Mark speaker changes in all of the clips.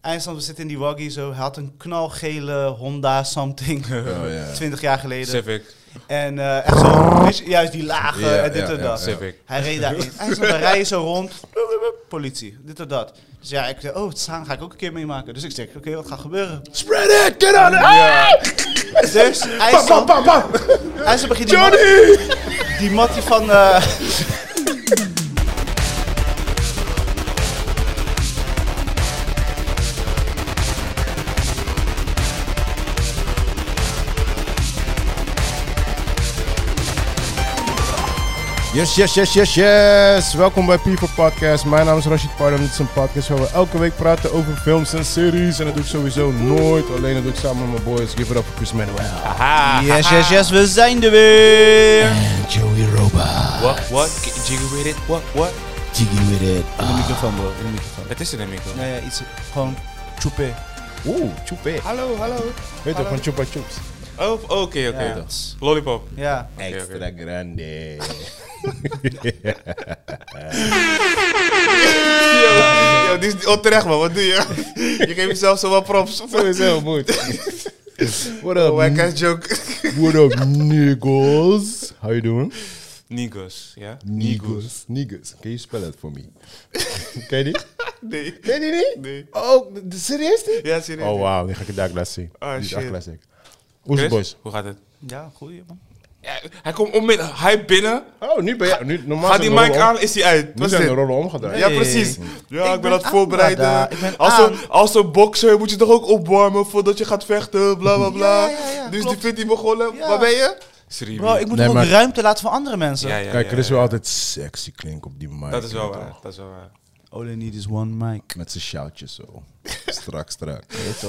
Speaker 1: eindstand, we zitten in die waggie zo. Hij had een knalgele Honda something,
Speaker 2: Oh, ja.
Speaker 1: 20 jaar geleden.
Speaker 3: Civic.
Speaker 1: En eh, echt zo, weet je, juist die lage
Speaker 2: Ja,
Speaker 1: en dit
Speaker 2: ja,
Speaker 1: en
Speaker 2: ja,
Speaker 1: dat.
Speaker 3: Civic.
Speaker 1: Hij reed daarin. Hij stond daar rijden zo rond. Politie, dit en dat. Dus ja, ik zei, oh, het staan ga ik ook een keer meemaken. Dus ik zeg, oké, wat gaat gebeuren?
Speaker 2: Spread it! Get on it!
Speaker 1: Dus
Speaker 2: Bam, bam,
Speaker 1: IJsland,
Speaker 2: bam, bam.
Speaker 1: IJsland begint die mat-
Speaker 2: Johnny!
Speaker 1: die mattie van... eh,
Speaker 2: Yes, yes, yes, yes, yes. Welkom bij People Podcast. Mijn naam is Rashid Pardon. Dit is een podcast waar we elke week praten over films en series. En dat doe ik sowieso nooit. Alleen dat doe ik samen met mijn boys. Give it up for Chris Manuel.
Speaker 3: Ah,
Speaker 1: Yes, yes, yes, we zijn er weer.
Speaker 2: En Joey Roba.
Speaker 3: What, what? Get Jiggy with it. What, what?
Speaker 2: Jiggy with it.
Speaker 1: In de microfoon, bro. In de microfoon.
Speaker 3: Het is er namelijk wel.
Speaker 1: Nee, iets gewoon choepen.
Speaker 2: Oeh, choepé.
Speaker 3: Hallo, hallo.
Speaker 2: Weet toch, van Chupa Chups.
Speaker 3: Oh, oké, oké.
Speaker 1: Ja.
Speaker 3: Lollipop.
Speaker 1: Ja.
Speaker 3: Extra
Speaker 2: grande.
Speaker 3: Yo, yo, dit is onterecht man, wat doe je? Je geeft jezelf zo wat props.
Speaker 2: Sowieso moet. What up,
Speaker 3: Wack joke.
Speaker 2: what up, niggas? How you doing?
Speaker 3: Nigos, ja?
Speaker 2: Niggas. Niggas. Can you spell it for me? Ken je die?
Speaker 3: Nee.
Speaker 2: Ken je die niet?
Speaker 3: Nee.
Speaker 2: Oh, d- serieus niet?
Speaker 3: Ja, serieus.
Speaker 2: Oh, wauw. Die ga ik in de dagles zien.
Speaker 3: Oh,
Speaker 2: Die is echt
Speaker 3: shit.
Speaker 2: classic. Hoe is het,
Speaker 3: Chris,
Speaker 2: boys?
Speaker 3: Hoe gaat het?
Speaker 1: Ja, goeie man.
Speaker 3: Ja, hij komt onmiddellijk, hij binnen,
Speaker 2: Oh, nu ben je... Nu, normaal
Speaker 3: gaat
Speaker 2: zijn
Speaker 3: die
Speaker 2: de rollen
Speaker 3: mic
Speaker 2: om-
Speaker 3: aan, is hij uit.
Speaker 2: Nu
Speaker 3: Wat is
Speaker 2: zijn de
Speaker 3: dit?
Speaker 2: rollen omgedraaid.
Speaker 3: Ja,
Speaker 1: Nee.
Speaker 3: precies. Ja, ik,
Speaker 1: Ik
Speaker 3: ben
Speaker 1: ben
Speaker 3: aan het
Speaker 1: aan,
Speaker 3: voorbereiden.
Speaker 1: Wada. Ik ben
Speaker 3: Als een,
Speaker 1: aan.
Speaker 3: als een bokser moet je toch ook opwarmen voordat je gaat vechten, bla bla
Speaker 1: Ja,
Speaker 3: bla.
Speaker 1: ja, ja,
Speaker 3: dus die
Speaker 1: klopt.
Speaker 3: vindt die begonnen.
Speaker 1: Ja.
Speaker 3: Waar ben je? Sribi.
Speaker 1: Bro, ik moet
Speaker 2: Nee,
Speaker 1: hem ook
Speaker 2: maar-
Speaker 1: ruimte laten voor andere mensen.
Speaker 3: ja, ja,
Speaker 2: Kijk,
Speaker 3: ja,
Speaker 2: Chris
Speaker 3: ja.
Speaker 2: wil altijd sexy klinken op die mic.
Speaker 3: Dat is wel
Speaker 2: Met-
Speaker 3: waar. Dat is wel waar.
Speaker 1: All I need is one mic.
Speaker 2: Met zijn shoutjes zo. strak, strak.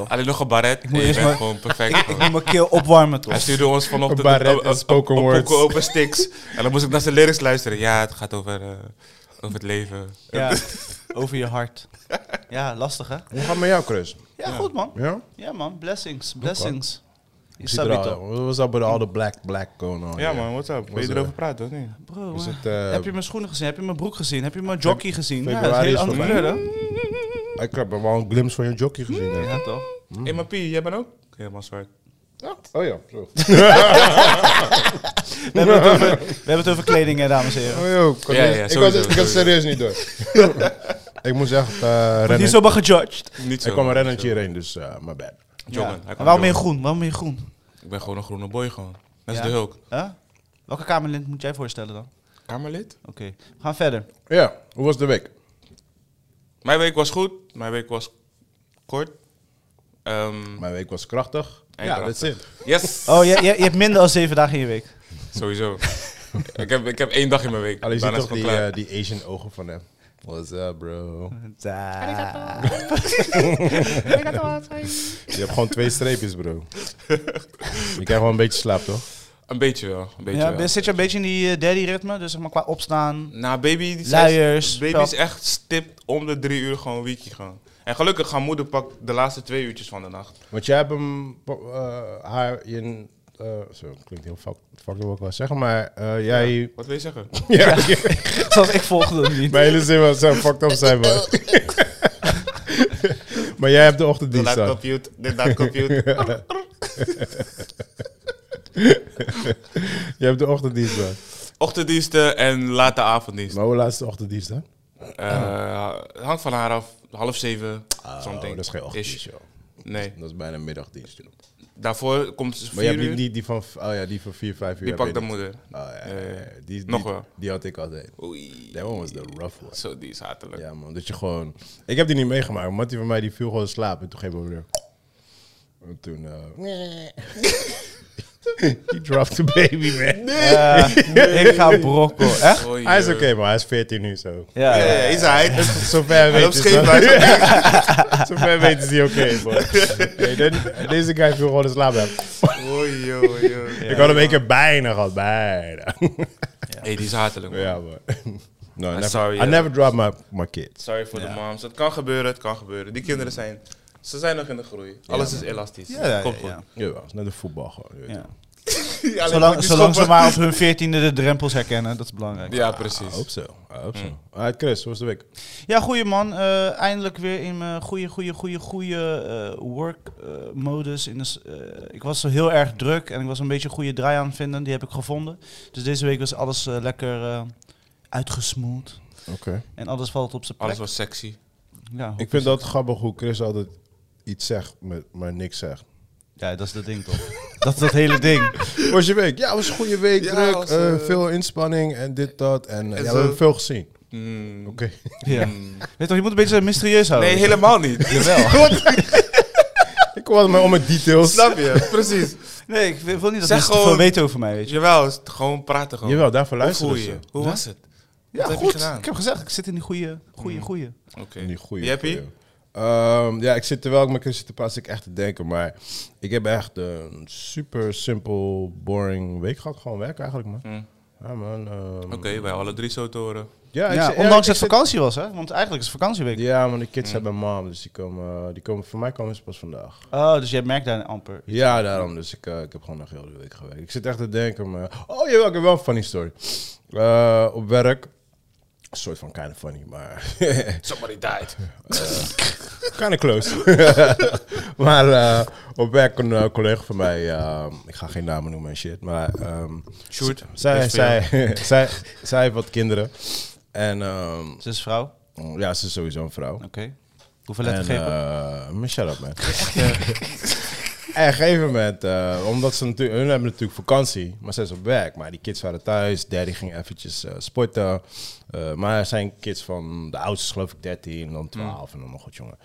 Speaker 3: Alleen nog een baret. Nee, je
Speaker 1: eerst
Speaker 3: bent
Speaker 1: maar-
Speaker 3: gewoon perfect.
Speaker 1: Ik
Speaker 3: gewoon.
Speaker 1: moet mijn keel opwarmen
Speaker 3: Hij
Speaker 1: toch?
Speaker 3: stuurde ons vanochtend
Speaker 2: Een baret
Speaker 3: een- een-
Speaker 2: en spoken
Speaker 3: een- een
Speaker 2: words.
Speaker 3: pokoe over sticks. En dan moest ik naar zijn lyrics luisteren. Ja, het gaat over, eh, over het leven.
Speaker 1: Ja, over je hart. Ja, lastig hè?
Speaker 2: Hoe gaat het met jou, Chris?
Speaker 1: Ja, goed man.
Speaker 2: Ja?
Speaker 1: Ja man, blessings, blessings.
Speaker 2: Ik
Speaker 1: Is
Speaker 2: zie er al- Wat was dat bij de all the black black going on?
Speaker 3: Ja
Speaker 2: here?
Speaker 3: man, what's up? Wil
Speaker 2: Was,
Speaker 3: je
Speaker 2: eh,
Speaker 3: erover praten of niet?
Speaker 1: Bro,
Speaker 2: Is
Speaker 1: eh,
Speaker 2: het, eh,
Speaker 1: heb je mijn schoenen gezien? Heb je mijn broek gezien? Heb je mijn jockey gezien? Ja, dat is een
Speaker 2: februari
Speaker 1: hele
Speaker 2: is
Speaker 1: andere
Speaker 2: voorbij.
Speaker 1: kleur hè?
Speaker 2: Ik heb wel een glimps van je jockey gezien. hè?
Speaker 1: Ja toch?
Speaker 2: Mm.
Speaker 3: Hé, maar Pie, jij bent ook helemaal zwart.
Speaker 2: Oh ja, zo.
Speaker 1: We hebben het over, we hebben het over kleding hè, dames en heren.
Speaker 2: Oh ja, ik had
Speaker 3: Ja, ja,
Speaker 2: ik
Speaker 3: sowieso,
Speaker 2: had het- ik had het
Speaker 3: sowieso.
Speaker 2: serieus niet door. ik moest echt eh,
Speaker 1: Die
Speaker 2: rennen.
Speaker 1: is zomaar gejudged.
Speaker 3: Niet zo.
Speaker 2: Ik kwam een
Speaker 3: man,
Speaker 2: rennetje
Speaker 3: zo.
Speaker 2: hierheen, dus eh my bad.
Speaker 3: Jongen,
Speaker 1: Ja.
Speaker 3: hij
Speaker 1: Maar
Speaker 3: kwam
Speaker 1: Waarom ben je
Speaker 3: jongen.
Speaker 1: groen? Waarom ben je groen?
Speaker 3: Ik ben gewoon een groene boy gewoon. Dat is
Speaker 1: Ja.
Speaker 3: de Hulk.
Speaker 1: Huh? Welke Kamerlid moet jij voorstellen dan?
Speaker 3: Kamerlid?
Speaker 1: Oké, we gaan verder.
Speaker 2: Ja, hoe was de week?
Speaker 3: Mijn week was goed. Mijn week was kort. Ehm,
Speaker 2: Mijn week was krachtig.
Speaker 3: En
Speaker 2: ja,
Speaker 3: krachtig.
Speaker 2: dat is het.
Speaker 3: yes!
Speaker 1: Oh, je, je, je hebt minder dan zeven dagen in je week.
Speaker 3: Sowieso. ik, heb, ik heb één dag in mijn week.
Speaker 2: Alleen zie
Speaker 3: Daarna
Speaker 2: toch
Speaker 3: is het
Speaker 2: die,
Speaker 3: gewoon klaar.
Speaker 2: eh, die Asian ogen van hem. What's up, bro? Je hebt gewoon twee streepjes, bro. je krijgt wel een beetje slaap, toch?
Speaker 3: Een beetje wel. Een beetje
Speaker 1: Ja,
Speaker 3: wel.
Speaker 1: ben- zit je een beetje in die eh, daddy ritme? Dus zeg maar qua opstaan.
Speaker 3: Nou, baby, die
Speaker 1: Luiers,
Speaker 3: baby
Speaker 1: pap.
Speaker 3: is echt stipt om de drie uur gewoon weekje gaan. En gelukkig gaan moeder pakt de laatste twee uurtjes van de nacht.
Speaker 2: Want jij hebt hem, eh, haar, je, eh, zo, klinkt heel fuck, fuck wil ik wel zeggen, maar eh, jij...
Speaker 3: Wat wil je zeggen?
Speaker 2: Ja,
Speaker 1: Zoals ik volgde hem niet.
Speaker 2: mijn hele zin was zo fucked up zijn, man. maar jij hebt de ochtenddienst
Speaker 3: De
Speaker 2: aan.
Speaker 3: compute, dit dat compute.
Speaker 2: Jij hebt de ochtenddienst aan.
Speaker 3: Ochtenddiensten en late avonddienst.
Speaker 2: Maar hoe laat is de ochtenddienst, hè?
Speaker 3: Eh, hangt van haar af. Half zeven, something.
Speaker 2: Oh, dat is geen ochtenddienst,
Speaker 3: Ish.
Speaker 2: joh.
Speaker 3: Nee,
Speaker 2: Dat is bijna middagdienst, joh.
Speaker 3: daarvoor komt ze
Speaker 2: Maar je
Speaker 3: vier
Speaker 2: hebt die,
Speaker 3: uur. Die,
Speaker 2: die, die van, oh ja, die van 4, 5 uur. heb
Speaker 3: pakt
Speaker 2: je
Speaker 3: de
Speaker 2: niet.
Speaker 3: moeder.
Speaker 2: Oh, ja, ja,
Speaker 3: Eh,
Speaker 2: ja, Die, die,
Speaker 3: nog wel.
Speaker 2: Die had ik altijd.
Speaker 3: Oei.
Speaker 2: That one was the rough one.
Speaker 3: Zo, die is hatelijk.
Speaker 2: Ja, man. Dat je gewoon... Ik heb die niet meegemaakt. maar die van mij die viel gewoon slapen. En toen geef ik weer... En toen... eh He dropped the baby, man.
Speaker 1: Eh, ik ga brokkel. Echt?
Speaker 3: Oei,
Speaker 2: Hij is oké,
Speaker 3: joh.
Speaker 2: man. Hij is 14 nu, zo.
Speaker 1: Ja,
Speaker 3: Ja,
Speaker 1: ja.
Speaker 3: ja, is hij.
Speaker 2: Zover
Speaker 3: Hij loopt
Speaker 2: weten
Speaker 3: scheef
Speaker 2: ze.
Speaker 3: uit.
Speaker 2: Zover weten ze niet oké, man. Nee, dit- Deze guy viel gewoon slapen.
Speaker 3: Oei, oei, oei.
Speaker 2: Ik had hem een keer bijna gehad. Bijna.
Speaker 3: Hey, die is hatelijk. man.
Speaker 2: ja, man. No, I Nou, never,
Speaker 3: sorry,
Speaker 2: I
Speaker 3: eh.
Speaker 2: never drop my, my kids.
Speaker 3: Sorry voor de moms. Het kan gebeuren, het kan gebeuren. Die kinderen zijn, ze zijn nog in de groei. Alles is elastisch.
Speaker 1: Ja, ja,
Speaker 3: Komt
Speaker 1: ja, ja.
Speaker 3: goed.
Speaker 2: Jawel, het is net een voetbal gewoon. je weet
Speaker 1: Ja.
Speaker 2: wel.
Speaker 3: Ja,
Speaker 1: Zolang, zolang ze maar op hun veertiende de drempels herkennen, dat is belangrijk.
Speaker 3: Ja,
Speaker 2: I
Speaker 3: precies.
Speaker 2: hope so. I hope so. Alright, Chris, hoe was de week?
Speaker 1: Ja, goeie man. Eh, eindelijk weer in mijn goede, goede, goede, goede eh, work-modus. eh, ik was heel erg druk en ik was een beetje een goede draai aan het vinden. Die heb ik gevonden. Dus deze week was alles eh, lekker eh, uitgesmoeld.
Speaker 2: Oké.
Speaker 1: En alles valt op zijn plek.
Speaker 3: Alles was sexy.
Speaker 1: Ja,
Speaker 2: Ik vind dat grappig hoe Chris altijd iets zegt, maar- maar niks zegt.
Speaker 1: ja, dat is dat ding toch? dat is dat hele ding.
Speaker 2: Hoe was je week? Ja, het was een goede week.
Speaker 3: Ja,
Speaker 2: druk,
Speaker 3: was,
Speaker 2: eh,
Speaker 3: eh,
Speaker 2: veel inspanning en dit, dat. En, eh,
Speaker 3: en
Speaker 2: ja,
Speaker 3: zo.
Speaker 2: we hebben veel gezien.
Speaker 3: Mm.
Speaker 2: Oké.
Speaker 1: Ja. Weet toch, je moet een beetje mysterieus houden.
Speaker 3: Nee, helemaal niet.
Speaker 1: Jawel.
Speaker 2: ik kwam maar om met details.
Speaker 3: Snap je? Precies.
Speaker 1: Nee, ik wil niet dat
Speaker 3: Zeg
Speaker 1: mensen te veel
Speaker 3: gewoon-
Speaker 1: weten over mij, weet je.
Speaker 3: Jawel, het- gewoon praten gewoon.
Speaker 2: Oh. Jawel, daarvoor
Speaker 3: Hoe
Speaker 2: luisteren
Speaker 3: voel je
Speaker 2: ze.
Speaker 3: je? Hoe was het?
Speaker 1: Ja,
Speaker 3: Wat heb je
Speaker 1: goed.
Speaker 3: gedaan?
Speaker 1: ik heb Mm. gezegd, ik zit in die goede, goede, goede.
Speaker 3: Oké.
Speaker 2: Niet goeie.
Speaker 3: Je hebt hier?
Speaker 2: goeie. Ehm, ja, ik zit terwijl ik met Chris zit te praten, zit ik echt te denken. Maar ik heb echt een super simpel, boring week gehad. Gewoon werk eigenlijk, man.
Speaker 3: Mm.
Speaker 2: Ja, man. ehm,
Speaker 3: Oké, bij alle drie zo te horen.
Speaker 2: Ja, ik
Speaker 1: Ja,
Speaker 2: zit- ja,
Speaker 1: ondanks
Speaker 2: ik
Speaker 1: het
Speaker 2: zit-
Speaker 1: vakantie was, hè? Want eigenlijk is het vakantieweek.
Speaker 2: Ja, want de kids
Speaker 3: Mm.
Speaker 2: hebben mom, dus die komen, eh, die komen, voor mij komen ze pas vandaag.
Speaker 1: Oh, dus jij merkt daar amper.
Speaker 2: Ja, daarom. Dus ik, eh, ik heb gewoon nog heel de week gewerkt. Ik zit echt te denken, maar... Oh, jawel, ik heb wel een funny story. Eh, op werk... Een soort van kind of funny, maar... Eh,
Speaker 3: Somebody died.
Speaker 2: kind of close. maar eh, op werk een eh, collega van mij... eh, ik ga geen namen noemen en shit, maar... ehm,
Speaker 3: Shoot.
Speaker 2: zij, zij, zij, zij heeft wat kinderen. En ehm,
Speaker 1: Ze is vrouw. Oké.
Speaker 2: ja, ze is sowieso een vrouw.
Speaker 1: Hoeveel lettergrepen? eh.
Speaker 2: En, eh, maar shut up, man. en op een gegeven moment, eh, omdat ze natuurlijk, hun hebben natuurlijk vakantie, maar zij is op werk. Maar die kids waren thuis, daddy ging eventjes eh, sporten. Eh, maar er zijn kids van, de oudste is geloof ik 13, en dan 12 en dan nog wat jongen.